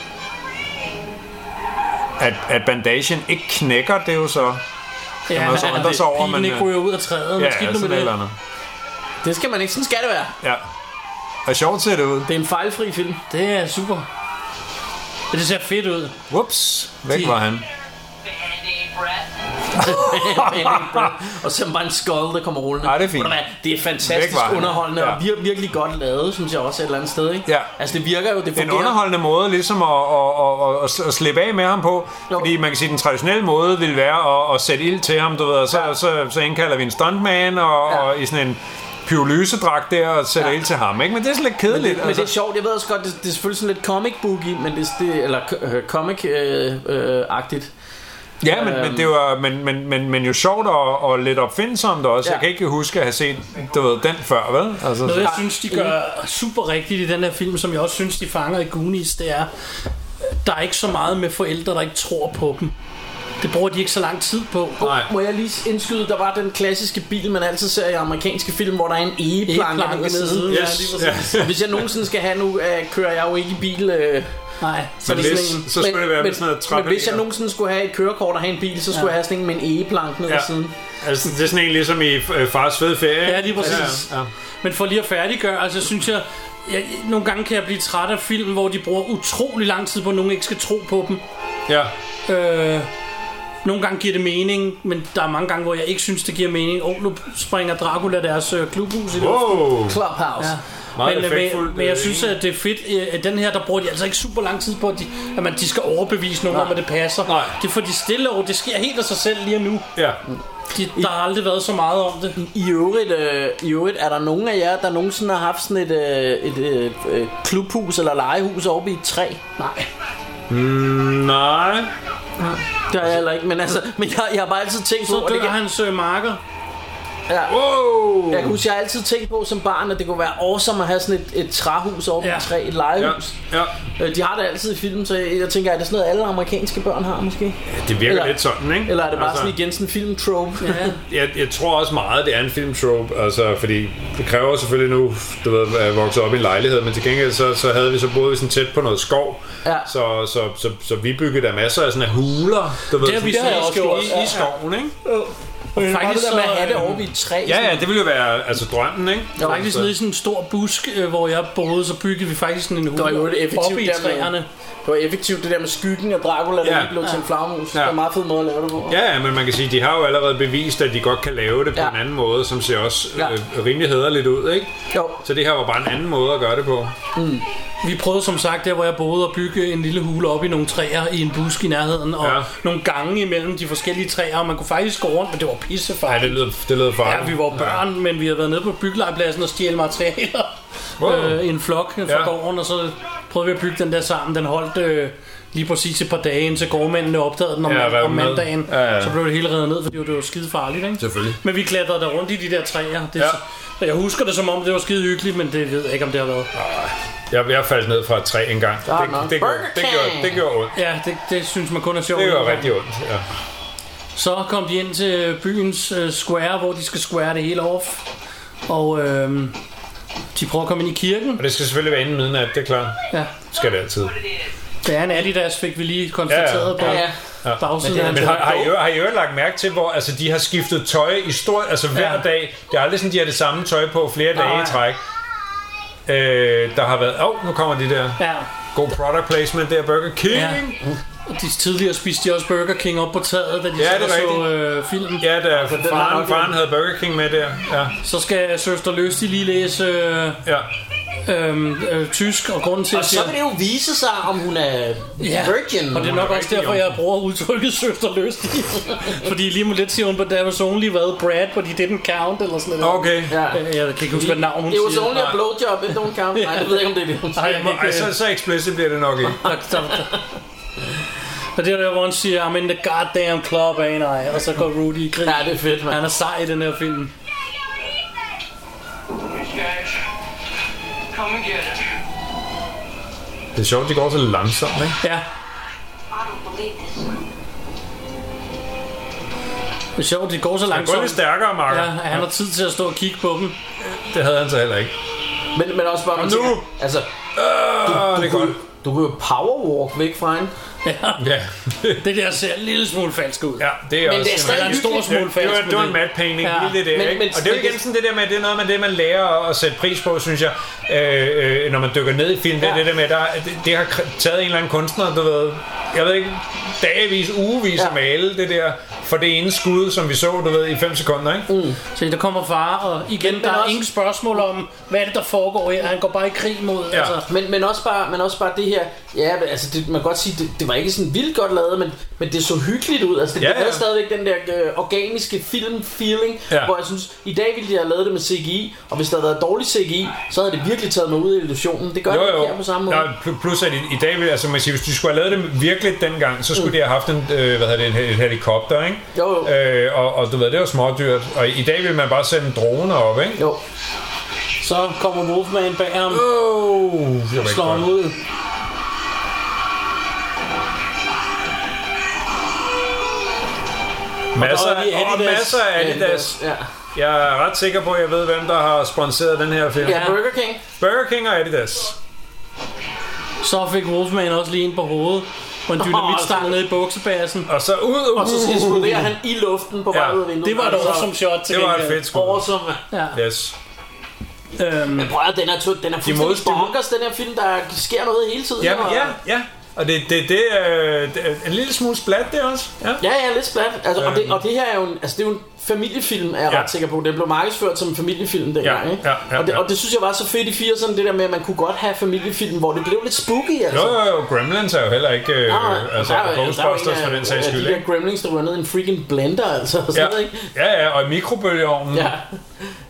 Speaker 5: At, at bandagen ikke knækker, det er jo så...
Speaker 3: Ja,
Speaker 5: man så undre
Speaker 4: Altså,
Speaker 5: sig over,
Speaker 3: pilen
Speaker 5: men,
Speaker 3: ikke
Speaker 5: øh,
Speaker 3: ryger ud af træet.
Speaker 5: Ja,
Speaker 3: Ja, skidt nu
Speaker 5: sådan
Speaker 3: med
Speaker 5: et eller
Speaker 3: det.
Speaker 5: andet.
Speaker 4: Det skal man ikke. Sådan skal det være.
Speaker 5: Ja. Og sjovt ser det ud.
Speaker 4: Det er en fejlfri film.
Speaker 3: Det er super. Men Det ser fedt ud.
Speaker 5: Whoops, væk
Speaker 3: De-
Speaker 5: var han.
Speaker 7: Band-Aid, Brett.
Speaker 4: og så er det bare en skål, der kommer rullende.
Speaker 5: Ej, det er fint.
Speaker 4: Ved du hvad, Det er fantastisk
Speaker 5: Væk var han.
Speaker 4: underholdende
Speaker 5: Ja.
Speaker 4: og vir- virkelig godt lavet, synes jeg også et eller andet sted. Ikke?
Speaker 5: Ja.
Speaker 4: Altså det virker jo, det
Speaker 5: En
Speaker 4: fungerer.
Speaker 5: underholdende måde ligesom at, at, at, at, at slippe af med ham på.
Speaker 4: Jo.
Speaker 5: Fordi man kan sige, at den traditionelle måde ville være at, at sætte ild til ham, du ved. Og så,
Speaker 4: Ja.
Speaker 5: ja. så, så indkalder vi en stuntman og,
Speaker 4: Ja.
Speaker 5: ja. og i sådan en pyrolysedragt der og sætter
Speaker 4: Ja.
Speaker 5: ja. ild til ham. Ikke? Men det er sådan lidt kedeligt. altså.
Speaker 4: Men det er sjovt, jeg ved også godt, det, det er selvfølgelig sådan lidt comic book i, men det, er- det eller øh, comic-agtigt. Øh, øh, agtigt.
Speaker 5: Ja, men, men det var men, men, men, men jo sjovt og, og lidt opfindsomt også.
Speaker 4: Ja.
Speaker 5: Ja. Jeg kan ikke huske at have set du ved, den før, vel? Altså,
Speaker 3: Noget, jeg
Speaker 5: så-
Speaker 3: synes, de gør super rigtigt i den her film, som jeg også synes, de fanger i Goonies, det er, der er ikke så meget med forældre, der ikke tror på dem. Det bruger de ikke så lang tid på.
Speaker 5: Nej.
Speaker 4: Må jeg lige indskyde, der var den klassiske bil, man altid ser i amerikanske film, hvor der er en egeplanke
Speaker 3: Egeplanke
Speaker 4: nede ved
Speaker 3: nede
Speaker 4: siden.
Speaker 3: ved siden,
Speaker 5: ja, lige
Speaker 4: Ja. Hvis jeg nogensinde skal have nu, øh, kører jeg jo ikke i bil. Øh,
Speaker 3: Nej, så
Speaker 5: Men
Speaker 3: det er
Speaker 5: hvis-
Speaker 3: sådan en...
Speaker 5: så skulle det være med sådan noget
Speaker 4: men
Speaker 5: trappe.
Speaker 4: hvis jeg nogensinde skulle have et kørekort og have en bil, så skulle
Speaker 3: Ja.
Speaker 4: jeg have sådan en med en egeplanke nede ved
Speaker 5: Ja.
Speaker 4: siden.
Speaker 5: Altså, det er sådan en ligesom i øh, Fars fede ferie.
Speaker 3: Ja, lige præcis.
Speaker 5: Ja, ja.
Speaker 3: Men for lige at færdiggøre, altså synes jeg, jeg, nogle gange kan jeg blive træt af film, hvor de bruger utrolig lang tid på, at nogen ikke skal tro på dem.
Speaker 5: ja.
Speaker 3: Øh, nogle gange giver det mening, men der er mange gange, hvor jeg ikke synes, det giver mening. Og oh, nu springer Dracula deres øh, klubhus i det.
Speaker 5: Wow.
Speaker 4: Clubhouse.
Speaker 3: Ja.
Speaker 5: Meget
Speaker 3: men, øh,
Speaker 5: effektfuldt,
Speaker 3: men, men jeg
Speaker 5: øh,
Speaker 3: synes, at det er fedt. øh, At den her, der bruger de altså ikke super lang tid på, at de, at man, de skal overbevise nogen om, at det passer.
Speaker 5: Nej.
Speaker 3: Det får de stille over. Det sker helt af sig selv lige nu.
Speaker 5: Ja.
Speaker 3: De, der har aldrig været så meget om det.
Speaker 4: I øvrigt, øh, I øvrigt, er der nogen af jer, der nogensinde har haft sådan et, øh, et øh, øh, klubhus eller legehus oppe i et træ?
Speaker 3: Nej.
Speaker 5: Nej.
Speaker 4: Det har jeg heller ikke, men altså, men jeg, jeg har bare altid tænkt på,
Speaker 3: Så
Speaker 4: og det
Speaker 3: dør
Speaker 4: kan,
Speaker 3: hans øh, marker.
Speaker 4: ja,
Speaker 5: Wow.
Speaker 4: jeg kan huske, jeg har altid tænkt på som barn, at det kunne være awesome at have sådan et, et træhus over ja.
Speaker 3: Ja.
Speaker 4: et træ, et
Speaker 5: Ja,
Speaker 4: legehus.
Speaker 5: ja.
Speaker 4: Ja. De har det altid i film, så jeg, jeg tænker, er det sådan noget, alle amerikanske børn har måske?
Speaker 5: Det virker
Speaker 4: Eller-
Speaker 5: eller, lidt sådan, ikke? Altså-
Speaker 4: Eller er det bare sådan igen sådan en filmtrope?
Speaker 3: Ja.
Speaker 5: jeg, jeg tror også meget, det er en filmtrope, altså, fordi det kræver selvfølgelig nu, du ved, at vokse op i en lejlighed, men til gengæld så, så havde vi så boede vi sådan tæt på noget skov,
Speaker 4: Ja.
Speaker 5: så, så, så, så, vi byggede der masser af sådan af huler, du ved,
Speaker 3: Det har vi
Speaker 5: sådan
Speaker 3: så
Speaker 5: i-
Speaker 3: også
Speaker 5: i-
Speaker 3: gjort,
Speaker 5: i,
Speaker 3: ja.
Speaker 5: i skoven, ikke?
Speaker 4: Men Faktisk det
Speaker 3: Faktisk
Speaker 4: der med
Speaker 3: så,
Speaker 4: at have det
Speaker 3: øh,
Speaker 4: over i et træ.
Speaker 5: Ja, ja, det ville jo være altså drømmen, ikke?
Speaker 4: Jo,
Speaker 3: Faktisk nede i sådan en stor busk, øh, hvor jeg boede, så byggede vi faktisk sådan en hule
Speaker 4: var jo et effektivt
Speaker 3: oppe i
Speaker 4: dermed.
Speaker 3: træerne.
Speaker 4: Det var effektivt, det der med skyggen af Dracula, der
Speaker 5: Ja.
Speaker 4: ja. blev til en flagermus. Ja.
Speaker 5: Ja.
Speaker 4: Det var en meget fed måde at lave det på.
Speaker 5: Ja, ja, men man kan sige, de har jo allerede bevist, at de godt kan lave det på
Speaker 4: Ja.
Speaker 5: ja. en anden måde, som ser også
Speaker 4: Ja.
Speaker 5: ja. øh, rimelig hederligt ud, ikke?
Speaker 4: Jo.
Speaker 5: Så det her var bare en anden måde at gøre det på.
Speaker 3: Vi prøvede som sagt, der hvor jeg boede, at bygge en lille hule op i nogle træer i en busk i nærheden, og ja.
Speaker 5: Ja.
Speaker 3: nogle gange imellem de forskellige træer, og man kunne faktisk gå rundt, men det var
Speaker 5: Nej,
Speaker 3: pissefarligt.
Speaker 5: det lyder, det lyder
Speaker 3: Ja,
Speaker 5: farligt.
Speaker 3: vi var børn, ja. men vi havde været nede på byggelejpladsen og stjæle materialer
Speaker 5: Wow.
Speaker 3: øh, i en flok fra ja.
Speaker 5: Ja.
Speaker 3: gården, og så prøvede vi at bygge den der sammen. Den holdt øh, lige præcis et par dage, indtil gårdmændene opdagede den om,
Speaker 5: Ja,
Speaker 3: ja,
Speaker 5: rev
Speaker 3: om
Speaker 5: den ned.
Speaker 3: mandagen.
Speaker 5: Ja, ja.
Speaker 3: Så blev det hele revet ned, fordi det var skide farligt, ikke?
Speaker 5: Selvfølgelig.
Speaker 3: Men vi klatrede der rundt i de der træer. Det, ja.
Speaker 5: Ja.
Speaker 3: Jeg husker det som om, det var skide hyggeligt, men det ved jeg ikke, om det har været.
Speaker 5: Jeg, jeg faldt ned fra et træ engang. Det,
Speaker 4: Ah,
Speaker 5: det,
Speaker 4: nå.
Speaker 5: det, gjorde,
Speaker 4: Burger
Speaker 5: det, gjorde,
Speaker 4: King.
Speaker 5: det gjorde ondt.
Speaker 3: Ja, det, det synes man kun er sjovt.
Speaker 5: Det gjorde rigtig ondt, ja.
Speaker 3: Så kom de ind til byens øh, square, hvor de skal square det hele off. Og øh, de prøver at komme ind i kirken.
Speaker 5: Og det skal selvfølgelig være inden midnat, det er klart.
Speaker 3: Ja.
Speaker 5: Skal det altid.
Speaker 3: Det er en Adidas, fik vi lige konstateret
Speaker 5: Ja,
Speaker 3: på
Speaker 4: Ja, ja.
Speaker 5: Ja.
Speaker 3: bagsiden af hans
Speaker 5: Men har, har, I,
Speaker 3: hat.
Speaker 5: øvrigt- har I øvrigt lagt mærke til, hvor altså, de har skiftet tøj i stort, altså hver
Speaker 3: Ja.
Speaker 5: ja. dag. Det er aldrig sådan, de har det samme tøj på flere
Speaker 3: Nej.
Speaker 5: dage i træk. Øh, der har været, åh, oh, nu kommer de der.
Speaker 3: Ja,
Speaker 5: God product placement der, Burger King.
Speaker 3: ja.
Speaker 5: Ja,
Speaker 4: Mm.
Speaker 3: Og de tidligere spiste de også Burger King op på taget, da de
Speaker 5: Ja,
Speaker 3: sad
Speaker 5: det er
Speaker 3: og så øh, filmen.
Speaker 5: ja da
Speaker 4: har
Speaker 5: faren,
Speaker 4: nok-
Speaker 5: faren havde Burger King med der. Ja,
Speaker 3: Så skal Søster Løsti lige læse øh,
Speaker 5: ja.
Speaker 3: øh, øh, tysk, og grunden til,
Speaker 4: Og
Speaker 3: at
Speaker 4: så vil det jo vise sig, om hun er
Speaker 3: Ja,
Speaker 4: virgin.
Speaker 3: og det er nok også derfor, jeg bruger udtrykket søster løst. Fordi lige med lidt siger hun, but there was only hvad, Brad, but he didn't count, eller sådan noget.
Speaker 5: Okay.
Speaker 4: Ja.
Speaker 3: Øh, Jeg kan ikke huske, hvad navn hun
Speaker 4: Det var så
Speaker 3: siger.
Speaker 4: only a blowjob, it don't count. Nej, det ved jeg ikke, om det er det, hun
Speaker 3: Ej,
Speaker 4: siger.
Speaker 3: jeg må-
Speaker 5: Ej, så, så explicit bliver det nok ikke.
Speaker 3: Der- der- der- Og det er der, hvor han siger, I'm in the goddamn club, ain't I? Og så går Rudy i krig.
Speaker 4: Ja, det er fedt, mand.
Speaker 3: Han er sej i den her film.
Speaker 7: These guys, come and get it.
Speaker 5: Det er sjovt, de går så langsomt, ikke?
Speaker 3: Ja,
Speaker 7: I don't believe this.
Speaker 3: Det er sjovt, det går så
Speaker 5: Han går lidt
Speaker 3: langsomt.
Speaker 5: stærkere, Marker.
Speaker 3: Ja, at han har tid til at stå og kigge på dem.
Speaker 5: Det havde han så heller ikke.
Speaker 4: Men, men også bare, man
Speaker 5: nu!
Speaker 4: tænker, altså,
Speaker 5: Åh, Ah, det er godt.
Speaker 4: kunne, du kunne jo powerwalk væk fra hende.
Speaker 5: Ja,
Speaker 3: Det der ser en lille smule falsk ud.
Speaker 5: ja det er
Speaker 4: Men
Speaker 5: også...
Speaker 4: det er stadig
Speaker 5: en
Speaker 3: en stor smule
Speaker 5: det, var,
Speaker 3: falsk
Speaker 5: det var en
Speaker 3: med det.
Speaker 5: matpainting,
Speaker 3: Ja.
Speaker 5: ja. hele det der,
Speaker 4: Men-
Speaker 5: ikke?
Speaker 4: men
Speaker 5: og det er jo
Speaker 4: det-
Speaker 5: igen sådan det der med, det er noget med det, man lærer at sætte pris på, synes jeg, øh, øh, når man dykker ned i film. Det er
Speaker 4: Ja.
Speaker 5: det der med, der, er- det, det har kr- taget en eller anden kunstner, du ved, jeg ved ikke, dagevis, ugevis ja.
Speaker 4: Ja.
Speaker 5: at male det der, for det ene skud, som vi så, du ved, i 5 sekunder, ikke? Mm.
Speaker 3: Se, der kommer far, og igen, der er
Speaker 4: også-
Speaker 3: ingen spørgsmål om, hvad er det, der foregår her. Han går bare i krig mod,
Speaker 5: Ja.
Speaker 3: altså...
Speaker 4: Men, men, også bare, men også bare det her, ja, men altså det, man kan godt sige, det, det var ikke sådan vildt godt lavet, men, men det så hyggeligt ud. Altså det,
Speaker 5: Ja,
Speaker 4: ja,
Speaker 5: ja.
Speaker 4: ja. havde stadigvæk den der øh, organiske film-feeling,
Speaker 5: Ja.
Speaker 4: ja. hvor jeg synes, i dag ville de have lavet det med CGI, og hvis der havde været dårlig CGI, så havde det virkelig taget mig ud af illusionen. Det gør det ikke her på samme måde.
Speaker 5: Nej, pl- plus at i, i dag, vil- altså man siger, hvis de skulle have lavet det virkelig dengang, så skulle mm. de have haft en, øh, hvad hedder det, en, hel- en helikopter, ikke?
Speaker 4: Jo, jo.
Speaker 5: Øh, og, og du ved, det var smådyrt. Og i, i dag vil man bare sende droner op, ikke?
Speaker 4: Jo.
Speaker 3: Så kommer Wolfman bag ham,
Speaker 5: Oh, det var ikke
Speaker 3: slår ham
Speaker 5: godt.
Speaker 3: ud.
Speaker 5: Masser,
Speaker 3: Og der er lige
Speaker 5: og
Speaker 3: Adidas.
Speaker 5: masser af Adidas.
Speaker 4: Ja.
Speaker 5: Jeg er ret sikker på, at jeg ved, hvem der har sponsoreret den her film.
Speaker 4: ja, Burger King.
Speaker 5: Burger King og Adidas.
Speaker 3: Så fik Wolfman også lige en på hovedet, og en dynamitstang
Speaker 5: altså-
Speaker 3: ned i buksebassen.
Speaker 5: Og så ud. Uh,
Speaker 4: Og så
Speaker 5: uh, uh,
Speaker 4: eksploderer han i luften på vej
Speaker 5: Ja.
Speaker 4: ud af vinduet.
Speaker 3: Det var et
Speaker 4: Altså,
Speaker 3: awesome shot til
Speaker 5: det var et
Speaker 3: gengæld.
Speaker 5: fedt skud.
Speaker 4: Awesome.
Speaker 3: Ja.
Speaker 5: Yes.
Speaker 3: Øhm,
Speaker 4: Men prøv at den er, to- den er fuldstændig
Speaker 5: modstiller-
Speaker 4: bonkers, den her film, der sker noget hele tiden.
Speaker 5: Ja,
Speaker 4: og-
Speaker 5: ja, ja. Og det, det, det, øh, det er en lille smule splat, det også. Ja.
Speaker 4: Ja, ja, lidt splat. Altså, og, det,
Speaker 5: Øhm.
Speaker 4: og det her er jo en, altså, det er jo en familiefilm, er jeg
Speaker 5: Ja.
Speaker 4: ret sikker på. Den blev markedsført som en familiefilm dengang,
Speaker 5: Ja,
Speaker 4: ikke?
Speaker 5: ja, ja,
Speaker 4: og, det,
Speaker 5: ja.
Speaker 4: og det synes jeg var så fedt i 80'erne, det der med, at man kunne godt have familiefilm, hvor det blev lidt spooky, altså.
Speaker 5: Jo, jo, jo. Gremlins er jo heller ikke... Øh, altså,
Speaker 4: jo-
Speaker 5: der,
Speaker 4: jo
Speaker 5: Ghostbusters
Speaker 4: en af-
Speaker 5: for den sags
Speaker 4: ja,
Speaker 5: skyld,
Speaker 4: De der
Speaker 5: ikke?
Speaker 4: gremlings, der ryger ned i en freaking blender, altså. Og
Speaker 5: Ja,
Speaker 4: sådan noget, ikke?
Speaker 5: ja, ja, og i mikrobølgeovnen.
Speaker 4: Ja.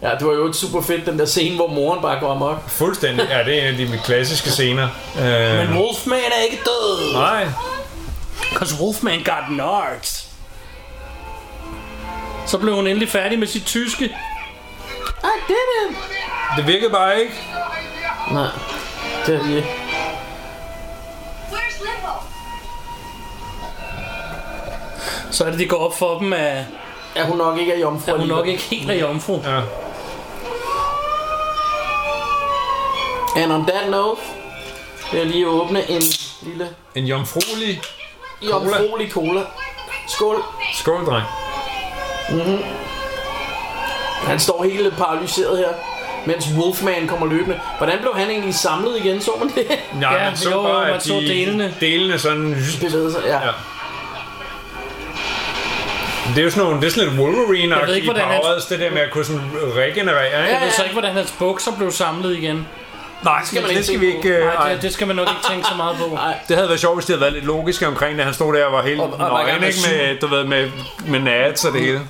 Speaker 4: ja, det var jo et super fedt, den der scene, hvor moren bare går amok.
Speaker 5: Fuldstændig. Ja, det er en af de klassiske scener. Øh,
Speaker 3: men Wolfman er ikke død.
Speaker 5: nej.
Speaker 3: Cause Wolfman got nards. Så blev hun endelig færdig med sit tyske.
Speaker 4: I did it!
Speaker 5: Det virkede bare ikke.
Speaker 4: Nej, det er lige...
Speaker 6: Where's Limbo?
Speaker 3: Så er det, de går op for dem, at
Speaker 4: Er hun nok ikke er jomfru?
Speaker 3: at hun nok
Speaker 4: alligevel.
Speaker 3: ikke helt er jomfru.
Speaker 5: Ja.
Speaker 4: And on that note, vil jeg lige åbne en lille
Speaker 5: En jomfruelig
Speaker 4: jomfruelig cola. Skål.
Speaker 5: skål, dreng.
Speaker 4: Han står helt paralyseret her, mens Wolfman kommer løbende. Hvordan blev han egentlig samlet igen, så man det?
Speaker 5: Nej,
Speaker 3: Ja,
Speaker 5: man så
Speaker 3: jo,
Speaker 5: bare,
Speaker 3: man
Speaker 5: at
Speaker 3: så
Speaker 5: de
Speaker 3: delene.
Speaker 5: delene sådan...
Speaker 4: Bevægede sig, ja.
Speaker 5: Ja. Det er jo sådan, nogle, det er sådan lidt wolverine
Speaker 3: Jeg ved
Speaker 5: i
Speaker 3: ikke, hvordan han-
Speaker 5: powers, det der med at kunne sådan regenerere, ikke?
Speaker 3: Jeg ved så ikke, hvordan hans bukser blev samlet igen.
Speaker 5: Nej,
Speaker 4: skal man
Speaker 5: det
Speaker 4: ikke
Speaker 5: skal vi
Speaker 4: tænke på.
Speaker 5: ikke... Øh,
Speaker 3: Nej,
Speaker 5: ej.
Speaker 3: det, det skal man nok ikke tænke så meget på.
Speaker 5: det havde været sjovt, hvis det havde været lidt logisk omkring det. Han stod der og var helt
Speaker 4: Og- og var i gang
Speaker 5: nøgen,
Speaker 4: med
Speaker 5: ikke? Med, du ved, med, med nats og det hele.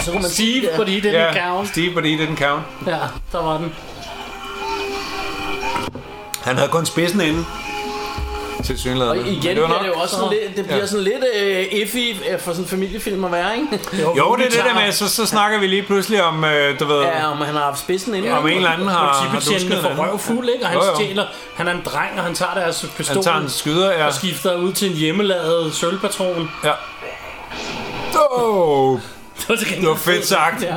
Speaker 4: Så kunne man sige,
Speaker 3: Steve, fordi det er den
Speaker 5: Ja, Ah,
Speaker 3: gavn.
Speaker 5: Steve, but he didn't count.
Speaker 3: Ja, der var den.
Speaker 5: Han havde kun spidsen inde. Til
Speaker 4: Og
Speaker 5: synligheden.
Speaker 4: igen
Speaker 5: det var
Speaker 4: bliver
Speaker 5: nok.
Speaker 4: det jo også sådan lidt, det bliver
Speaker 5: Ja.
Speaker 4: sådan lidt øh, iffy øh, for sådan en familiefilm at være, ikke?
Speaker 5: Jo, det er det der med, så, så snakker vi lige pludselig om, øh, du ved,
Speaker 4: Ja, om han har haft spidsen inden.
Speaker 5: om en eller anden har, har dusket
Speaker 3: Politibetjentene
Speaker 5: en
Speaker 3: får
Speaker 5: anden.
Speaker 3: røvfuld, ikke? Og han
Speaker 5: Jo, jo.
Speaker 3: stjæler. Han er en dreng, og han tager deres pistol.
Speaker 5: Han tager en skyder, ja.
Speaker 3: og skifter ud til en hjemmelavet sølvpatron.
Speaker 5: ja. Oh,
Speaker 3: Det var, til gengæld
Speaker 5: det var fedt sagt.
Speaker 4: Ja.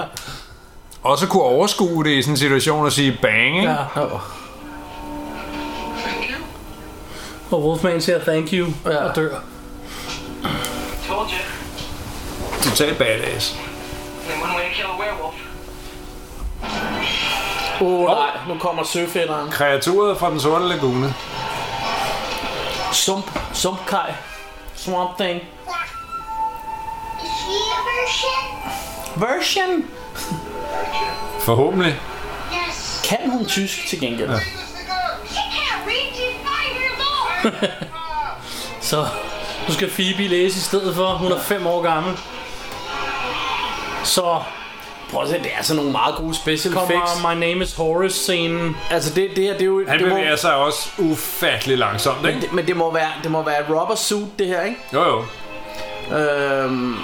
Speaker 5: Og så kunne overskue det i sådan en situation og sige bang, ikke?
Speaker 3: Ja. Og Wolfman siger thank you ja. og dør.
Speaker 7: Told you.
Speaker 5: Totalt badass.
Speaker 7: Only one way to kill a werewolf.
Speaker 4: Åh oh, nej, nu kommer søfætteren.
Speaker 5: Kreaturet fra den sorte lagune.
Speaker 4: Sump, sumpkaj. Swamp thing.
Speaker 6: Is she a version?
Speaker 4: Version.
Speaker 5: Forhåbentlig.
Speaker 6: Yes.
Speaker 4: Kan hun tysk til gengæld? Ja.
Speaker 6: She can't read. She's five years old.
Speaker 3: Så nu skal Phoebe læse i stedet for. Hun er fem år gammel. Så
Speaker 4: Prøv at se, det er sådan nogle meget gode special effects.
Speaker 3: kommer My Name is Horace scenen.
Speaker 4: Altså det, det her, det er jo...
Speaker 5: Han
Speaker 4: det må,
Speaker 5: bevæger sig også ufattelig langsomt, ikke?
Speaker 4: det, men det må være, det må være et rubber suit, det her, ikke?
Speaker 5: Jo, jo.
Speaker 4: Øhm,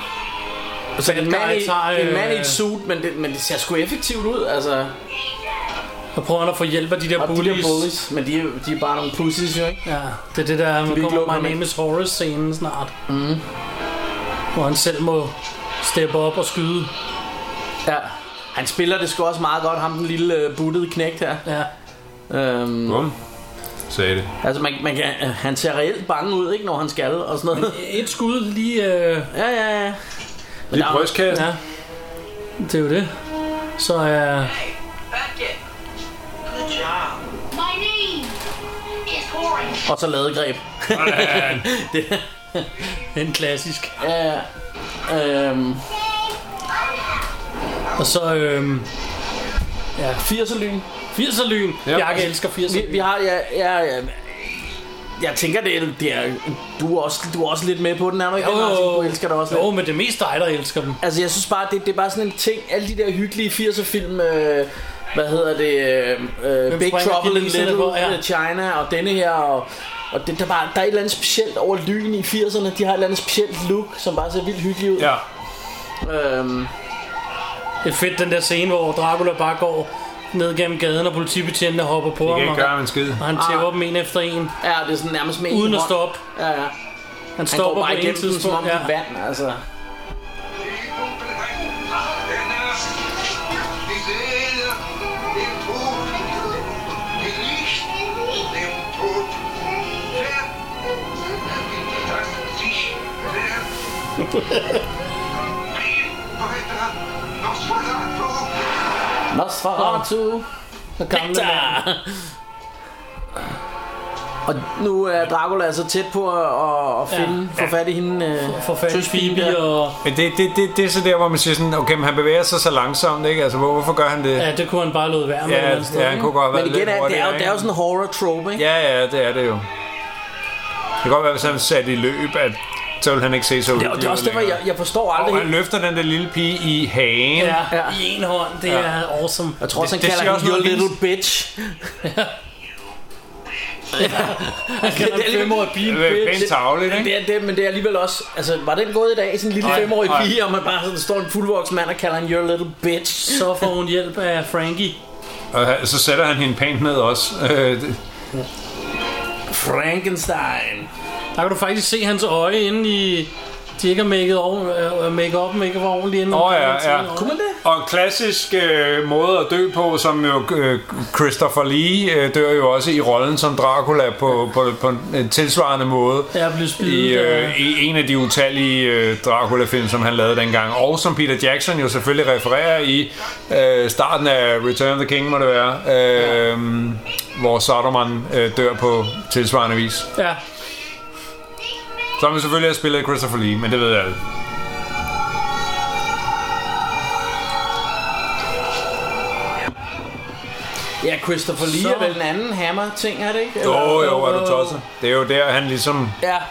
Speaker 4: så en mand, i,
Speaker 3: tager,
Speaker 4: en mand i
Speaker 3: øh,
Speaker 4: et suit, men det, men det ser sgu effektivt ud, altså.
Speaker 3: Og prøver han at få hjælp af de der
Speaker 4: Og de der
Speaker 3: bullies.
Speaker 4: bullies, men de, er- de er bare nogle pussies, jo ikke?
Speaker 3: Ja, det er det der, man
Speaker 4: ikke lukke
Speaker 3: kommer
Speaker 4: ham
Speaker 3: My
Speaker 4: ind.
Speaker 3: Name is Horror-scenen snart. Mm. Hvor han selv må steppe op og skyde.
Speaker 4: Ja. Han spiller det sgu også meget godt, ham den lille øh, buttede knægt her.
Speaker 3: Ja.
Speaker 4: Øhm,
Speaker 5: Bum, sagde det.
Speaker 4: altså, man, man kan, øh, han ser reelt bange ud, ikke, når han skal og sådan noget.
Speaker 3: Et skud lige... Øh,
Speaker 4: ja, ja, ja.
Speaker 5: Lige
Speaker 4: der er-
Speaker 5: brystkassen.
Speaker 3: ja. Det er jo det. Så er... Øh,
Speaker 7: Hey, back it. Good job.
Speaker 6: My name is Orange.
Speaker 4: Og så ladegreb.
Speaker 3: en klassisk.
Speaker 4: Ja, ja. Øhm,
Speaker 3: Og så... Øh,
Speaker 4: 80'er lyn.
Speaker 3: 80'er lyn.
Speaker 5: Ja.
Speaker 3: Jeg elsker 80'er
Speaker 4: Vi, vi har, ja, ja, ja. Jeg tænker, det er, det er, du, er også, du er også lidt med på den, er du ikke? det, Martin? Du elsker det også lidt.
Speaker 3: Jo, men det er mest dig, der elsker dem.
Speaker 4: Altså, jeg synes bare, det, det er bare sådan en ting. Alle de der hyggelige 80'er film, øh, hvad hedder det, øh, øh, Big
Speaker 3: springer
Speaker 4: Trouble in
Speaker 3: kineserne
Speaker 4: Little
Speaker 3: på? Ja.
Speaker 4: ja. China og denne her, og, og det, der, er bare, der er et eller andet specielt over lyn i 80'erne. De har et eller andet specielt look, som bare ser vildt hyggeligt ud.
Speaker 5: Ja.
Speaker 4: Øhm,
Speaker 3: Det er fedt, den der scene, hvor Dracula bare går ned gennem gaden, og politibetjentene hopper på
Speaker 5: Jeg
Speaker 3: ham,
Speaker 5: kan
Speaker 3: og,
Speaker 5: ikke gøre en skid.
Speaker 3: og han tæver dem en efter en,
Speaker 4: ja, det er sådan nærmest med en
Speaker 3: uden at
Speaker 4: Ah. hånd.
Speaker 3: stoppe.
Speaker 4: Ja, ja.
Speaker 3: Han
Speaker 4: Han går
Speaker 3: stopper
Speaker 4: bare
Speaker 3: på en
Speaker 4: igennem den, som
Speaker 3: tidspunkt.
Speaker 4: om det
Speaker 3: Ja.
Speaker 4: er vand, altså. Nosferatu.
Speaker 3: Gamle mand.
Speaker 4: Og nu er Dracula så tæt på at, at finde, ja. få fat i hende. Øh,
Speaker 3: For fat i
Speaker 4: tøspige
Speaker 3: Phoebe,
Speaker 4: der.
Speaker 3: og
Speaker 5: Men det, det, det, det er så der, hvor man siger sådan, okay, men han bevæger sig så langsomt, ikke? Altså, hvor, hvorfor gør han det?
Speaker 3: ja, det kunne han bare lade være med.
Speaker 5: Ja,
Speaker 3: et eller andet sted,
Speaker 5: ja, han
Speaker 3: ikke?
Speaker 5: kunne godt have
Speaker 4: Men
Speaker 5: været
Speaker 4: igen,
Speaker 5: lidt
Speaker 4: er, det, er jo,
Speaker 5: hurtigere,
Speaker 4: det er jo
Speaker 5: ikke?
Speaker 4: sådan en horror trope, ikke?
Speaker 5: Ja, ja, det er det jo. Det kan godt være, hvis han satte i løb, at så ville han ikke se så ud.
Speaker 4: Det er, det er også derfor, jeg, jeg forstår aldrig
Speaker 5: Og han
Speaker 4: helt.
Speaker 5: løfter den der lille pige i hagen.
Speaker 3: Ja,
Speaker 4: Ja.
Speaker 3: i en hånd, det er awesome.
Speaker 4: Jeg tror også, han
Speaker 5: det siger
Speaker 4: kalder
Speaker 5: også
Speaker 4: hende your
Speaker 5: noget om
Speaker 4: little bitch.
Speaker 3: Han kalder
Speaker 4: det er
Speaker 3: en
Speaker 4: alligevel-
Speaker 3: femårig pige en
Speaker 5: Det er
Speaker 3: bitch.
Speaker 5: pænt tavligt, ikke?
Speaker 4: Det er, det, men det er alligevel også... Altså, var den gået i dag? Sådan en lille
Speaker 5: Nej,
Speaker 4: femårig
Speaker 5: nej.
Speaker 4: pige, og man bare sådan står en fuldvoksen mand og kalder hende your little bitch.
Speaker 3: Så får hun hjælp af Frankie.
Speaker 5: Og han- så sætter han hende pænt ned også. Øh, det-
Speaker 4: Frankenstein.
Speaker 3: Der kan du faktisk se hans øje inde i... De ikke har øh, make up, make up, make up ordentligt inden.
Speaker 5: Åh, ja, ja.
Speaker 4: Kunne man det?
Speaker 5: Og en klassisk øh, måde at dø på, som jo øh, Christopher Lee øh, dør jo også i rollen som Dracula på, på, på en tilsvarende måde.
Speaker 3: Jeg blev spidet.
Speaker 5: I,
Speaker 3: ja.
Speaker 5: øh, I en af de utallige øh, Dracula-film, som han lavede dengang, og som Peter Jackson jo selvfølgelig refererer i øh, starten af Return of the King, må det være, øh, hvor Soderman øh, dør på tilsvarende vis.
Speaker 3: Ja,
Speaker 5: Som jo selvfølgelig er spillet af Christopher Lee, men det ved jeg ikke.
Speaker 4: Ja, Christopher Lee
Speaker 3: Så-
Speaker 4: er vel den anden hammer-ting, er det ikke? Eller-
Speaker 5: Jo, jo, er du tosset. Det er jo der, han ligesom
Speaker 4: Ja. Ja, for-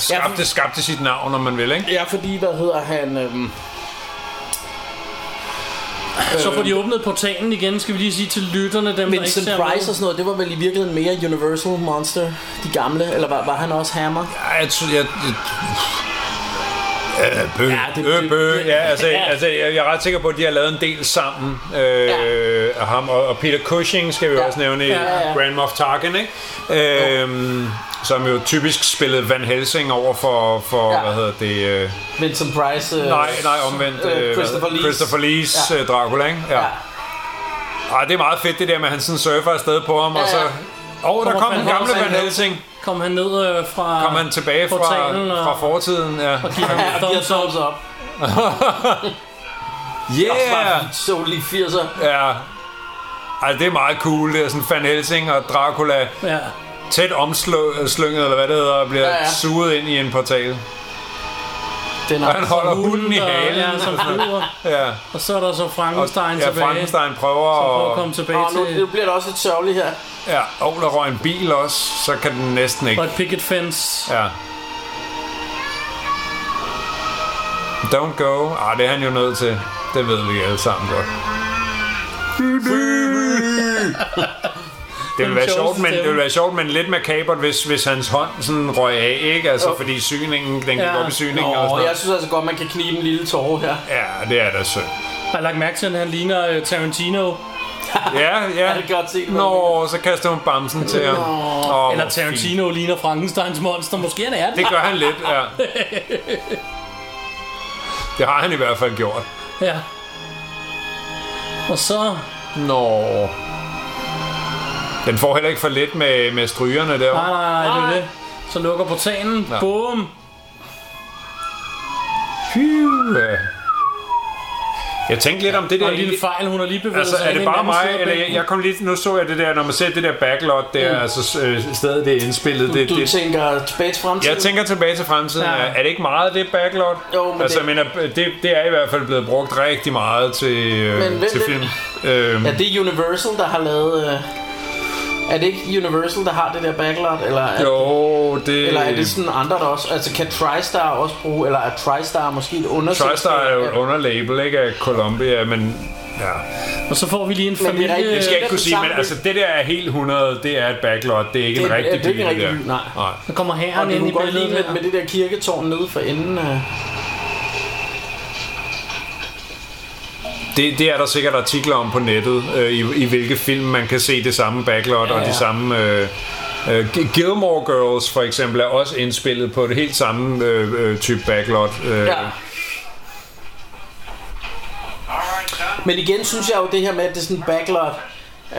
Speaker 5: skabte, skabte sit navn, om man vil, ikke?
Speaker 4: Ja, fordi, hvad hedder han... Øhm,
Speaker 3: så får de åbnet portalen igen, skal vi lige sige til lytterne, dem der ikke
Speaker 4: Vincent
Speaker 3: ser
Speaker 4: Price
Speaker 3: med.
Speaker 4: og sådan noget, det var vel i virkeligheden mere Universal Monster, de gamle, eller var, var han også Hammer?
Speaker 5: Ej, jeg tror, jeg... jeg Øh, bø, ja,
Speaker 4: det-
Speaker 5: det, øh,
Speaker 4: det-
Speaker 5: bø.
Speaker 4: det-
Speaker 5: Ja, altså, altså jeg, jeg er ret sikker på, at de har lavet en del sammen øh, ja. af ham. Og, og Peter Cushing skal vi ja. også nævne ja, ja, ja. Grand Moff Tarkin, ikke? Øhm, som jo typisk spillede Van Helsing over for, for
Speaker 4: Ja.
Speaker 5: ja. hvad hedder det... Øh,
Speaker 4: Vincent Price. Øh,
Speaker 5: nej, nej, omvendt.
Speaker 4: øh,
Speaker 5: Øh, hvad-
Speaker 4: Christopher Lees.
Speaker 5: Christopher Lees
Speaker 4: Ja.
Speaker 5: ja. Dracula, ikke? Ja.
Speaker 4: Ja.
Speaker 5: ja. Ej, det er meget fedt, det der med, at han sådan surfer afsted på ham, ja, ja. og så...
Speaker 4: ja.
Speaker 5: Åh, oh, der kom
Speaker 3: Van
Speaker 5: den gamle
Speaker 3: Helsing.
Speaker 5: Van Helsing.
Speaker 3: Kom han ned øh, fra...
Speaker 5: Kom han tilbage fra,
Speaker 3: portalen og-
Speaker 5: fra fortiden, ja.
Speaker 3: Giv ham
Speaker 4: Ja,
Speaker 3: en
Speaker 4: de har
Speaker 3: thumbs up.
Speaker 4: thumbs up.
Speaker 5: Yeah!
Speaker 4: Yeah. Så lige 80'er.
Speaker 5: Ja. Altså, det er meget cool. Det er sådan Van Helsing og Dracula
Speaker 3: Ja.
Speaker 5: tæt omslynget, eller hvad det hedder, og bliver
Speaker 4: Ja,
Speaker 5: ja,
Speaker 4: ja.
Speaker 5: ja. suget ind i en portal.
Speaker 4: Den
Speaker 5: Og han holder hunden i
Speaker 3: der-
Speaker 5: halen.
Speaker 3: Ja, som flyver.
Speaker 5: Ja.
Speaker 3: Og så er der så Frankenstein
Speaker 5: ja,
Speaker 3: tilbage.
Speaker 5: Frankenstein prøver
Speaker 3: For at
Speaker 5: at...
Speaker 3: komme tilbage
Speaker 4: Og
Speaker 5: øh,
Speaker 4: nu, nu
Speaker 3: til...
Speaker 4: bliver det også lidt sørgeligt her.
Speaker 5: Ja, og der røg en bil også, så kan den næsten ikke.
Speaker 3: Og et picket fence.
Speaker 5: Ja. Don't go. Ah, det er han jo nødt til. Det ved vi alle sammen godt. Det ville, være
Speaker 3: sjoveste
Speaker 5: sjovt, men, det
Speaker 3: stemme.
Speaker 5: ville være sjovt, men lidt makabert, hvis, hvis hans hånd sådan røg af, ikke? Altså,
Speaker 4: Jo.
Speaker 5: fordi syningen, den gik
Speaker 3: Ja.
Speaker 5: op i syningen og sådan
Speaker 4: Og jeg
Speaker 5: noget.
Speaker 4: synes altså godt, man kan knibe en lille tårer her.
Speaker 5: Ja, det er da sødt.
Speaker 3: Jeg har lagt mærke til, at han ligner øh, Tarantino.
Speaker 5: Ja, ja.
Speaker 4: Jeg kan godt se det, hvad
Speaker 5: Nå, så kaster hun bamsen til ham. Åh,
Speaker 3: Eller
Speaker 5: hvor fint.
Speaker 3: Tarantino ligner Frankensteins monster. Måske han er det.
Speaker 5: Det gør han lidt, ja. Det har han i hvert fald gjort.
Speaker 3: Ja. Og så...
Speaker 5: Nå. Den får heller ikke for lidt med, med strygerne der.
Speaker 3: Ah, Nej, nej, nej, det er det. Så lukker portanen. Ja.
Speaker 5: Ja.
Speaker 3: Bum.
Speaker 5: Ja. Jeg tænkte lidt om det der...
Speaker 3: Og en lille fejl, hun har lige bevæget
Speaker 5: Altså,
Speaker 3: sig
Speaker 5: er
Speaker 3: ind
Speaker 5: det
Speaker 3: i en
Speaker 5: bare
Speaker 3: anden
Speaker 5: mig,
Speaker 3: side af
Speaker 5: eller jeg,
Speaker 3: bænken.
Speaker 5: jeg kom lige, nu så jeg det der, når man ser det der backlot der, mm. altså øh, stedet det er indspillet, det,
Speaker 4: Du
Speaker 5: det,
Speaker 4: tænker tilbage til fremtiden?
Speaker 5: jeg tænker tilbage til fremtiden,
Speaker 3: Ja.
Speaker 5: ja. er det ikke meget det backlot?
Speaker 4: Jo, men
Speaker 5: altså,
Speaker 4: det-
Speaker 5: jeg mener, det, det er i hvert fald blevet brugt rigtig meget til, øh,
Speaker 4: Men vent
Speaker 5: til
Speaker 4: lidt.
Speaker 5: film. Øhm,
Speaker 4: Er det Universal, der har lavet... Øh... Er det ikke Universal, der har det der backlot? Eller er,
Speaker 5: jo, øh, det...
Speaker 4: eller er det sådan andre, der også... Altså, kan TriStar også bruge... Eller er TriStar måske et underselskab?
Speaker 5: TriStar er jo et
Speaker 4: af-
Speaker 5: underlabel, ikke, af Columbia, men... Ja.
Speaker 3: Og så får vi lige en
Speaker 4: det er
Speaker 3: familie...
Speaker 4: rigtigt.
Speaker 5: Jeg skal
Speaker 4: det
Speaker 5: ikke
Speaker 4: er
Speaker 5: kunne
Speaker 4: Øh, den
Speaker 5: sige,
Speaker 4: samme
Speaker 5: men
Speaker 4: by.
Speaker 5: altså, det der er helt 100, det er et backlot, det er ikke
Speaker 4: Det
Speaker 5: en
Speaker 4: er-
Speaker 5: rigtig
Speaker 4: det er ikke
Speaker 5: by,
Speaker 4: en rigtig
Speaker 5: der.
Speaker 4: by, nej.
Speaker 5: nej.
Speaker 3: Så kommer
Speaker 4: Og
Speaker 3: herren
Speaker 4: det
Speaker 3: ind i
Speaker 4: kunne godt ligne
Speaker 3: billedet.
Speaker 4: med, med
Speaker 3: der.
Speaker 4: det der kirketårn nede for enden. Øh...
Speaker 5: Det, det er der sikkert artikler om på nettet, øh, i, i hvilke film man kan se det samme backlot ja,
Speaker 4: Ja,
Speaker 5: ja. og
Speaker 4: ja.
Speaker 5: de samme... Øh, øh, G- Gilmore Girls for eksempel er også indspillet på det helt samme øh, øh, type backlot. Øh.
Speaker 4: Ja. Men igen synes jeg jo det her med, at det er sådan en backlot,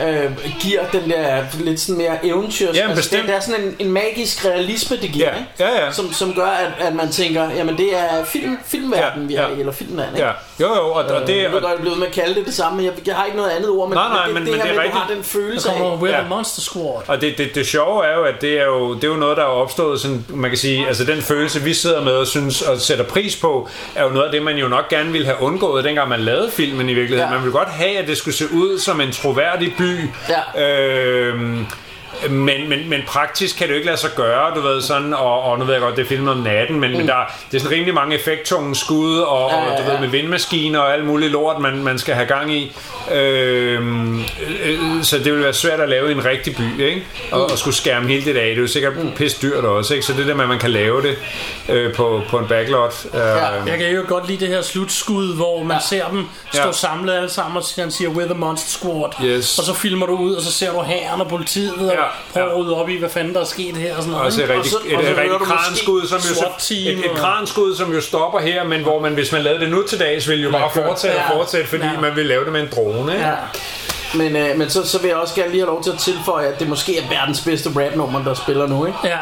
Speaker 4: øh, giver den der lidt sådan mere eventyr.
Speaker 5: Ja, bestemt.
Speaker 4: det, der er sådan en, en magisk realisme, det giver,
Speaker 5: Ja,
Speaker 4: ikke?
Speaker 5: ja, ja.
Speaker 4: Som, som gør, at, at man tænker, jamen det er film, filmverden, vi
Speaker 5: Ja,
Speaker 4: er
Speaker 5: ja.
Speaker 4: i, eller filmland, ikke?
Speaker 5: Ja. Jo, jo, og, og det...
Speaker 4: jeg Øh, ved
Speaker 5: Og,
Speaker 4: godt, jeg bliver ved med at kalde det det samme, men jeg, jeg har ikke noget andet ord, men,
Speaker 5: Nej, nej,
Speaker 4: det,
Speaker 5: men-
Speaker 4: det,
Speaker 5: men
Speaker 4: her
Speaker 5: det er
Speaker 4: med,
Speaker 5: rigtigt.
Speaker 4: du har den følelse
Speaker 3: Så
Speaker 4: af,
Speaker 3: kommer We're
Speaker 5: Ja.
Speaker 3: the Monster Squad.
Speaker 5: og det, det, det sjove er jo, at det er jo, det er jo noget, der er opstået, sådan, man kan sige, altså den følelse, vi sidder med og synes og sætter pris på, er jo noget af det, man jo nok gerne ville have undgået, dengang man lavede filmen i virkeligheden.
Speaker 4: Ja.
Speaker 5: Ja. Man ville godt have, at det skulle se ud som en troværdig by. øh,
Speaker 4: Ja.
Speaker 5: Øhm, men, men, men praktisk kan det jo ikke lade sig gøre, du ved sådan, og, og nu ved jeg godt, det er filmet om natten, men, mm. men der, er- det er sådan rimelig mange effekttunge skud, og, ja, ja, ja. og du ved, med vindmaskiner og alt muligt lort, man, man skal have gang i. Øhm, øh, øh, så det vil være svært at lave i en rigtig by, ikke? Og, og skulle skærme hele det af. Det er jo sikkert mm. pisse dyrt også, ikke? Så det der med, at man kan lave det øh, på, på en backlot. Øh, ja.
Speaker 3: Jeg kan jo godt lide det her slutskud, hvor man ja. ser dem stå ja.
Speaker 5: Ja.
Speaker 3: samlet alle sammen, og han siger, we're the monster squad.
Speaker 5: Yes.
Speaker 3: Og så filmer du ud, og så ser du herren og politiet, og
Speaker 5: Ja,
Speaker 3: prøver at
Speaker 5: ja.
Speaker 3: rydde op i, hvad fanden der er sket her. Og sådan noget.
Speaker 5: Og så et
Speaker 3: ikke?
Speaker 5: rigtig,
Speaker 4: så-
Speaker 5: et,
Speaker 4: og så
Speaker 5: et
Speaker 4: hører
Speaker 5: rigtig
Speaker 4: du måske
Speaker 5: kranskud, som jo,
Speaker 3: SWAT-team
Speaker 5: et, et
Speaker 3: og-
Speaker 5: kranskud, som jo stopper her, men hvor man, hvis man lavede det nu til dags, ville jo bare fortsætte
Speaker 3: Ja.
Speaker 5: og fortsætte, fordi
Speaker 3: Ja.
Speaker 5: man ville lave det med en drone. Ikke?
Speaker 4: Ja. Men, øh, men så, så vil jeg også gerne lige have lov til at tilføje, at det måske er verdens bedste rapnummer, der spiller nu, ikke?
Speaker 3: Ja,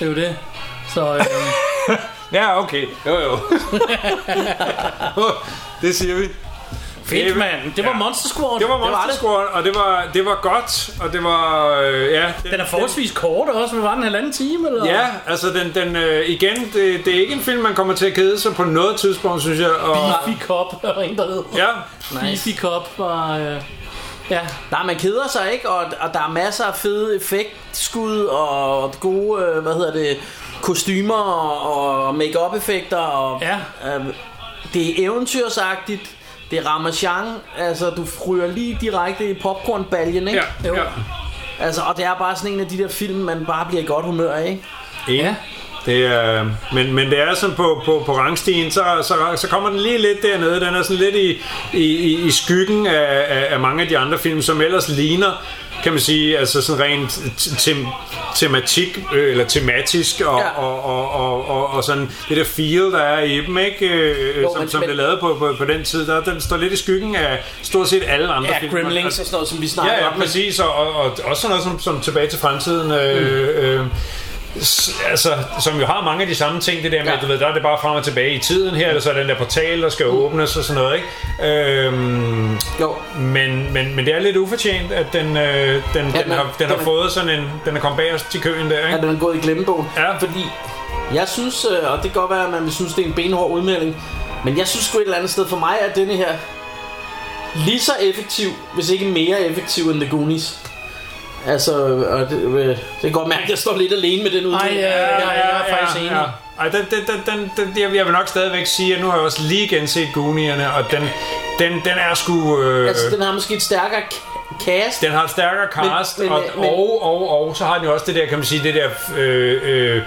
Speaker 3: det er jo det. Så øh,
Speaker 5: Ja, okay. Jo, jo. det siger vi.
Speaker 3: fedt, mand. Det var
Speaker 5: Ja.
Speaker 3: Monster Squad.
Speaker 5: Det var
Speaker 3: det.
Speaker 5: Monster Squad, og det var, det var godt, og det var... Øh, ja, det,
Speaker 3: Den er forholdsvis kort også, men var den en halvanden time? Eller?
Speaker 5: Ja, altså den, den øh, igen, det, det er ikke en film, man kommer til at kede sig på noget tidspunkt, synes jeg. Og,
Speaker 3: Beefy Cop, der var en, der hed.
Speaker 5: ja,
Speaker 3: Beefy Cop var... Øh, ja,
Speaker 4: Nej, man keder sig ikke, og, og der er masser af fede effektskud og gode, øh, hvad hedder det, kostymer og, og make-up effekter. Og,
Speaker 3: Ja.
Speaker 4: øh, det er eventyrsagtigt, det er ramachan, altså du ryger lige direkte i popcornbaljen, ikke?
Speaker 5: ja,
Speaker 3: Jo.
Speaker 5: ja.
Speaker 4: Altså, og det er bare sådan en af de der film, man bare bliver i godt humør af, ikke?
Speaker 5: Ja. Det er, men, men det er sådan på, på, på rangstien, så, så, så kommer den lige lidt dernede. Den er sådan lidt i, i, i- i skyggen af, af, af mange af de andre film, som ellers ligner, kan man sige, altså sådan rent t- tem, tematik, øh, eller tematisk, og,
Speaker 4: Ja.
Speaker 5: ja. og, og, og, og, og sådan det der feel, der er i dem, ikke? Øh,
Speaker 4: Jo,
Speaker 5: som,
Speaker 4: men-
Speaker 5: som
Speaker 4: men-
Speaker 5: blev lavet på, på, på den tid, der, den står lidt i skyggen af stort set alle andre
Speaker 4: Ja,
Speaker 5: film. Altså,
Speaker 4: Gremlings og sådan noget, som vi snakker
Speaker 5: Ja,
Speaker 4: om.
Speaker 5: ja, præcis, og, og, og også sådan noget som, som Tilbage til Fremtiden, øh, øh, s- altså, som jo har mange af de samme ting, det der med,
Speaker 4: Ja.
Speaker 5: ja. du ved, der er det bare frem og tilbage i tiden her, eller så er den der portal, der skal åbnes og sådan noget, ikke? Øhm,
Speaker 4: Jo,
Speaker 5: men, men, men det er lidt ufortjent, at den, øh, den,
Speaker 4: Ja,
Speaker 5: den,
Speaker 4: men-
Speaker 5: har, den har
Speaker 4: den-
Speaker 5: fået sådan en, den er kommet bagerst i køen der,
Speaker 4: at
Speaker 5: ikke?
Speaker 4: den er gået i glemmebogen.
Speaker 5: Ja.
Speaker 4: Fordi jeg synes, øh, og det kan godt være, at man vil synes, det er en benhård udmelding, men jeg synes sgu et eller andet sted for mig, at denne her lige så effektiv, hvis ikke mere effektiv end The Goonies. Altså, og det, øh, det kan godt mærke, at jeg står lidt alene med den udmelding.
Speaker 3: Ej, ja, ja, ja, jeg er faktisk enig.
Speaker 5: Ej, den, den, den, den, den, jeg, jeg vil nok stadigvæk sige, at nu har jeg også lige genset Goonierne, og den, den, den er sgu... Øh,
Speaker 4: Altså, den har måske et stærkere ka- cast.
Speaker 5: Den har et stærkere cast,
Speaker 4: men-
Speaker 5: men, men,
Speaker 4: men-
Speaker 5: og, og, og, og så har den jo også det der, kan man sige, det der øh, øh,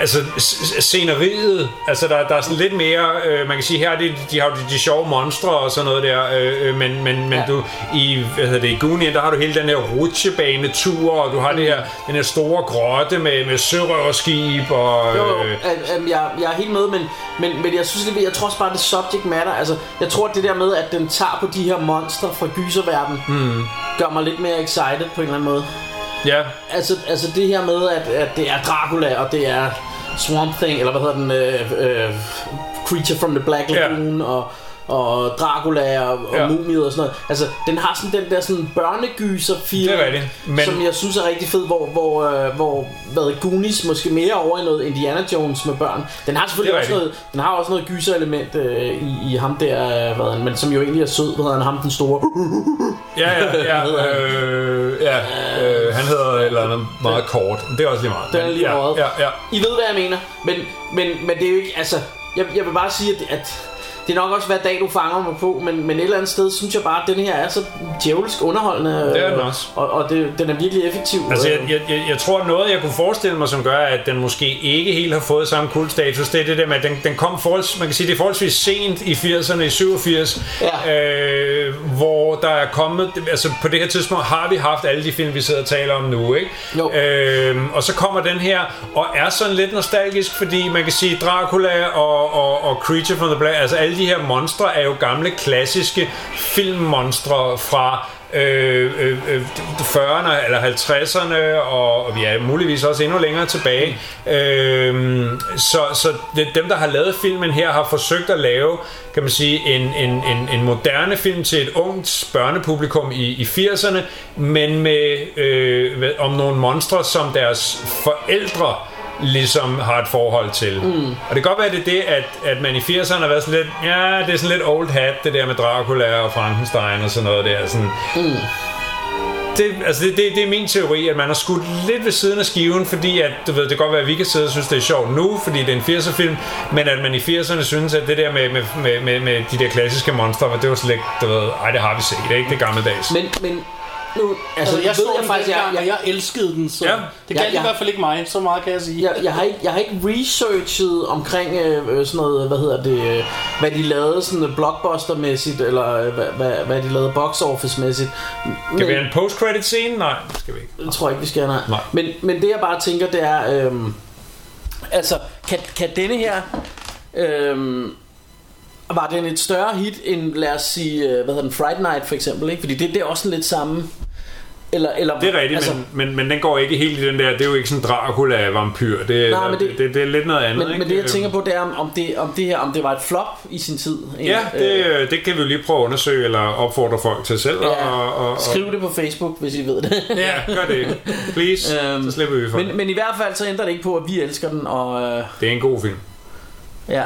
Speaker 5: altså s- s- sceneriet, altså der, der er sådan lidt mere, øh, man kan sige her, er det, de har jo de, de sjove monstre og sådan noget der, øh, øh, men, men, men
Speaker 4: Ja.
Speaker 5: ja. du, i, hvad hedder det, i Goonian, der har du hele den her rutsjebanetur, og du har det her, den her store grotte med, med sørøverskib og...
Speaker 4: Jo, jo,
Speaker 5: øh,
Speaker 4: øh, øh, jeg, jeg er helt med, men, men, men jeg synes lidt, jeg tror også bare, det subject matter. Altså, jeg tror, det der med, at den tager på de her monstre fra gyserverdenen, mm. gør mig lidt mere excited på en eller anden måde.
Speaker 5: ja,
Speaker 4: Altså, altså det her med, at, at det er Dracula, og det er Swamp Thing, eller hvad hedder den, øh, øh, Creature from the Black Lagoon, ja. og, og Dracula og, og ja.
Speaker 5: Ja.
Speaker 4: mumier og sådan noget. Altså, den har sådan den der sådan børnegyser film
Speaker 5: Det er rigtigt, men-
Speaker 4: som jeg synes er rigtig fed, hvor, hvor, øh, hvor hvad, Goonies måske mere over i noget Indiana Jones med børn. Den har selvfølgelig
Speaker 5: Det
Speaker 4: også
Speaker 5: er
Speaker 4: noget, den har også noget gyserelement øh, i, i ham der, øh, hvad, hedder han, men som jo egentlig er sød, hvad hedder han, ham den store.
Speaker 5: ja, ja, ja, øh, ja øh, han hedder et eller andet meget kort, men det er også lige meget.
Speaker 4: Den er
Speaker 5: men
Speaker 4: lige
Speaker 5: ja,
Speaker 4: meget.
Speaker 5: ja, ja,
Speaker 4: I ved, hvad jeg mener. Men, men, men det er jo ikke... Altså, jeg, jeg vil bare sige, at, at det er nok også hver dag, du fanger mig på, men, men et eller andet sted synes jeg bare, at den her er så djævelsk underholdende.
Speaker 5: Det er den
Speaker 4: øh,
Speaker 5: også.
Speaker 4: Og, og det, den er virkelig effektiv.
Speaker 5: Altså, jeg,
Speaker 4: øh.
Speaker 5: jeg, jeg, jeg tror, noget, jeg kunne forestille mig, som gør, at den måske ikke helt har fået samme kultstatus, det er det der med, at den, den kom forholds, man kan sige, det er forholdsvis sent i 80'erne, i 87,
Speaker 4: Ja.
Speaker 5: øh, hvor der er kommet, altså på det her tidspunkt har vi haft alle de film, vi sidder og taler om nu, ikke?
Speaker 4: Jo.
Speaker 5: Øh, og så kommer den her, og er sådan lidt nostalgisk, fordi man kan sige, Dracula og, og, og Creature from the Black, altså alle de her monstre er jo gamle, klassiske filmmonstre fra øh, øh, øh, 40'erne eller 50'erne, og, og vi er muligvis også endnu længere tilbage. Øh, så så det, dem, der har lavet filmen her, har forsøgt at lave, kan man sige, en, en, en, en moderne film til et ungt børnepublikum i, i 80'erne, men med, øh, med, om nogle monstre, som deres forældre ligesom har et forhold til. Mm. Og det kan godt være, at det er det, at, at man i 80'erne har været sådan lidt, ja, det er sådan lidt old hat, det der med Dracula og Frankenstein og sådan noget der. Sådan, det, altså det, det, det er min teori, at man har skudt lidt ved siden af skiven, fordi at, du ved, det kan godt være, at vi kan sidde og synes, det er sjovt nu, fordi det er en 80'er film, men at man i 80'erne synes, at det der med, med, med, med, med de der klassiske monstre, det var slet ikke, du ved, ej, det har vi set, det er ikke det gammeldags. Men,
Speaker 4: Men, men nu,
Speaker 3: Altså,
Speaker 4: altså,
Speaker 3: jeg
Speaker 4: ved
Speaker 3: så den faktisk, jeg, jeg,
Speaker 4: jeg,
Speaker 3: jeg elskede den, så
Speaker 5: Ja.
Speaker 3: ja. det galt
Speaker 4: Ja,
Speaker 3: ja,
Speaker 4: ja.
Speaker 3: ja. i hvert fald ikke mig, så meget kan jeg sige.
Speaker 4: jeg, jeg, har ikke, jeg har ikke researchet omkring øh, øh, sådan noget, hvad hedder det, øh, hvad de lavede sådan blockbuster-mæssigt, eller øh, hvad, hvad, hvad de lavede box office-mæssigt.
Speaker 5: kan
Speaker 4: Men-
Speaker 5: vi have en post-credit scene? Nej, det skal vi ikke.
Speaker 4: Det tror jeg ikke, vi skal, nej.
Speaker 5: Nej.
Speaker 4: Men, men det jeg bare tænker, det er... Øhm, altså, kan, kan denne her... Øhm, var den et større hit end, lad os sige, øh, hvad hedder den, Friday Night for eksempel, ikke? Fordi det, det er også sådan lidt samme... Eller, eller,
Speaker 5: Det er rigtigt, altså, men, men, men den går ikke helt i den der, det er jo ikke sådan Dracula-vampyr, det,
Speaker 4: Nej,
Speaker 5: nej,
Speaker 4: men
Speaker 5: det,
Speaker 4: det-
Speaker 5: det, det, det er lidt noget andet.
Speaker 4: men,
Speaker 5: ikke? øh,
Speaker 4: men det jeg tænker på, det er, om- om det, om det her om det var et flop i sin tid. ikke?
Speaker 5: Ja, det, øh, det kan vi jo lige prøve at undersøge, eller opfordre folk til selv,
Speaker 4: Ja.
Speaker 5: ja. og, og, og
Speaker 4: Skriv det på Facebook, hvis I ved det.
Speaker 5: ja, gør det. Please,
Speaker 4: Øhm,
Speaker 5: øhm, så slipper vi for men,
Speaker 4: men,
Speaker 5: det.
Speaker 4: men i hvert fald så ændrer det ikke på, at vi elsker den, og... Øh,
Speaker 5: Det er en god film.
Speaker 4: ja.
Speaker 3: Ja.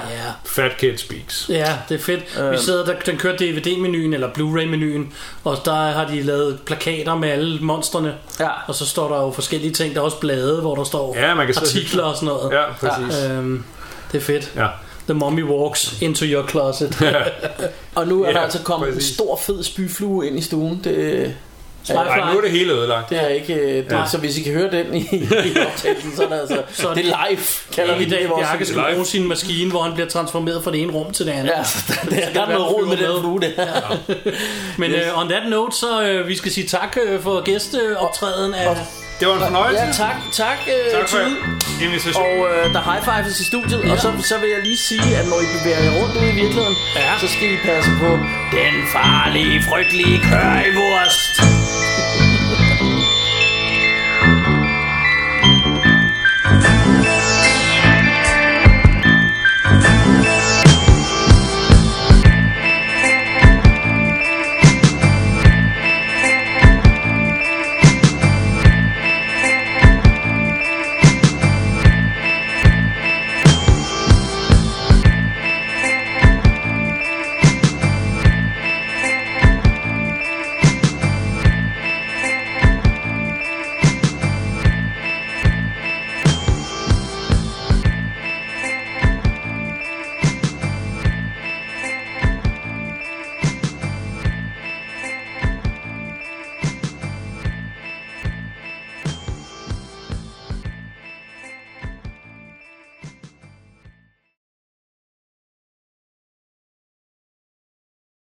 Speaker 5: Fat Kid Speaks.
Speaker 3: Ja, det er fedt.
Speaker 5: Øh.
Speaker 3: Vi sidder, der, den kører DVD-menuen, eller Blu-ray-menuen, og der har de lavet plakater med alle monsterne.
Speaker 4: Ja.
Speaker 3: Og så står der jo forskellige ting. Der er også blade, hvor der står
Speaker 5: Ja, man kan sidde og hygge
Speaker 3: artikler
Speaker 5: sig.
Speaker 3: og sådan noget.
Speaker 5: Ja, præcis.
Speaker 3: Øhm, det er fedt.
Speaker 5: Ja.
Speaker 3: The Mommy Walks Into Your Closet.
Speaker 4: Og nu er
Speaker 5: Ja,
Speaker 4: der altså kommet en
Speaker 5: præcis.
Speaker 4: stor fed spyflue ind i stuen. Det,
Speaker 5: Ej, nu er det hele ødelagt.
Speaker 4: Det er ikke... øh, Det, ja. Så hvis I kan høre den i, i optagelsen, så er det altså... så
Speaker 3: Så-
Speaker 4: det er live, kalder vi
Speaker 3: I
Speaker 4: det i
Speaker 3: dag,
Speaker 4: vores...
Speaker 3: Bjarke skal
Speaker 5: live.
Speaker 3: bruge sin maskine, hvor han bliver transformeret fra det ene rum til det andet.
Speaker 4: Ja, altså, der, der, der er noget rod med den flue der.
Speaker 3: Men øh, on that note, så øh, vi skal sige tak øh, for gæsteoptræden af...
Speaker 5: Det var en fornøjelse.
Speaker 4: Ja, tak, tak, øh,
Speaker 5: tak for
Speaker 4: Tude.
Speaker 5: invitationen.
Speaker 4: Og øh, der high fives i studiet, ja. og så, så vil jeg lige sige, at når I bevæger jer rundt ude i virkeligheden, ja. så skal I passe på den farlige, frygtelige currywurst.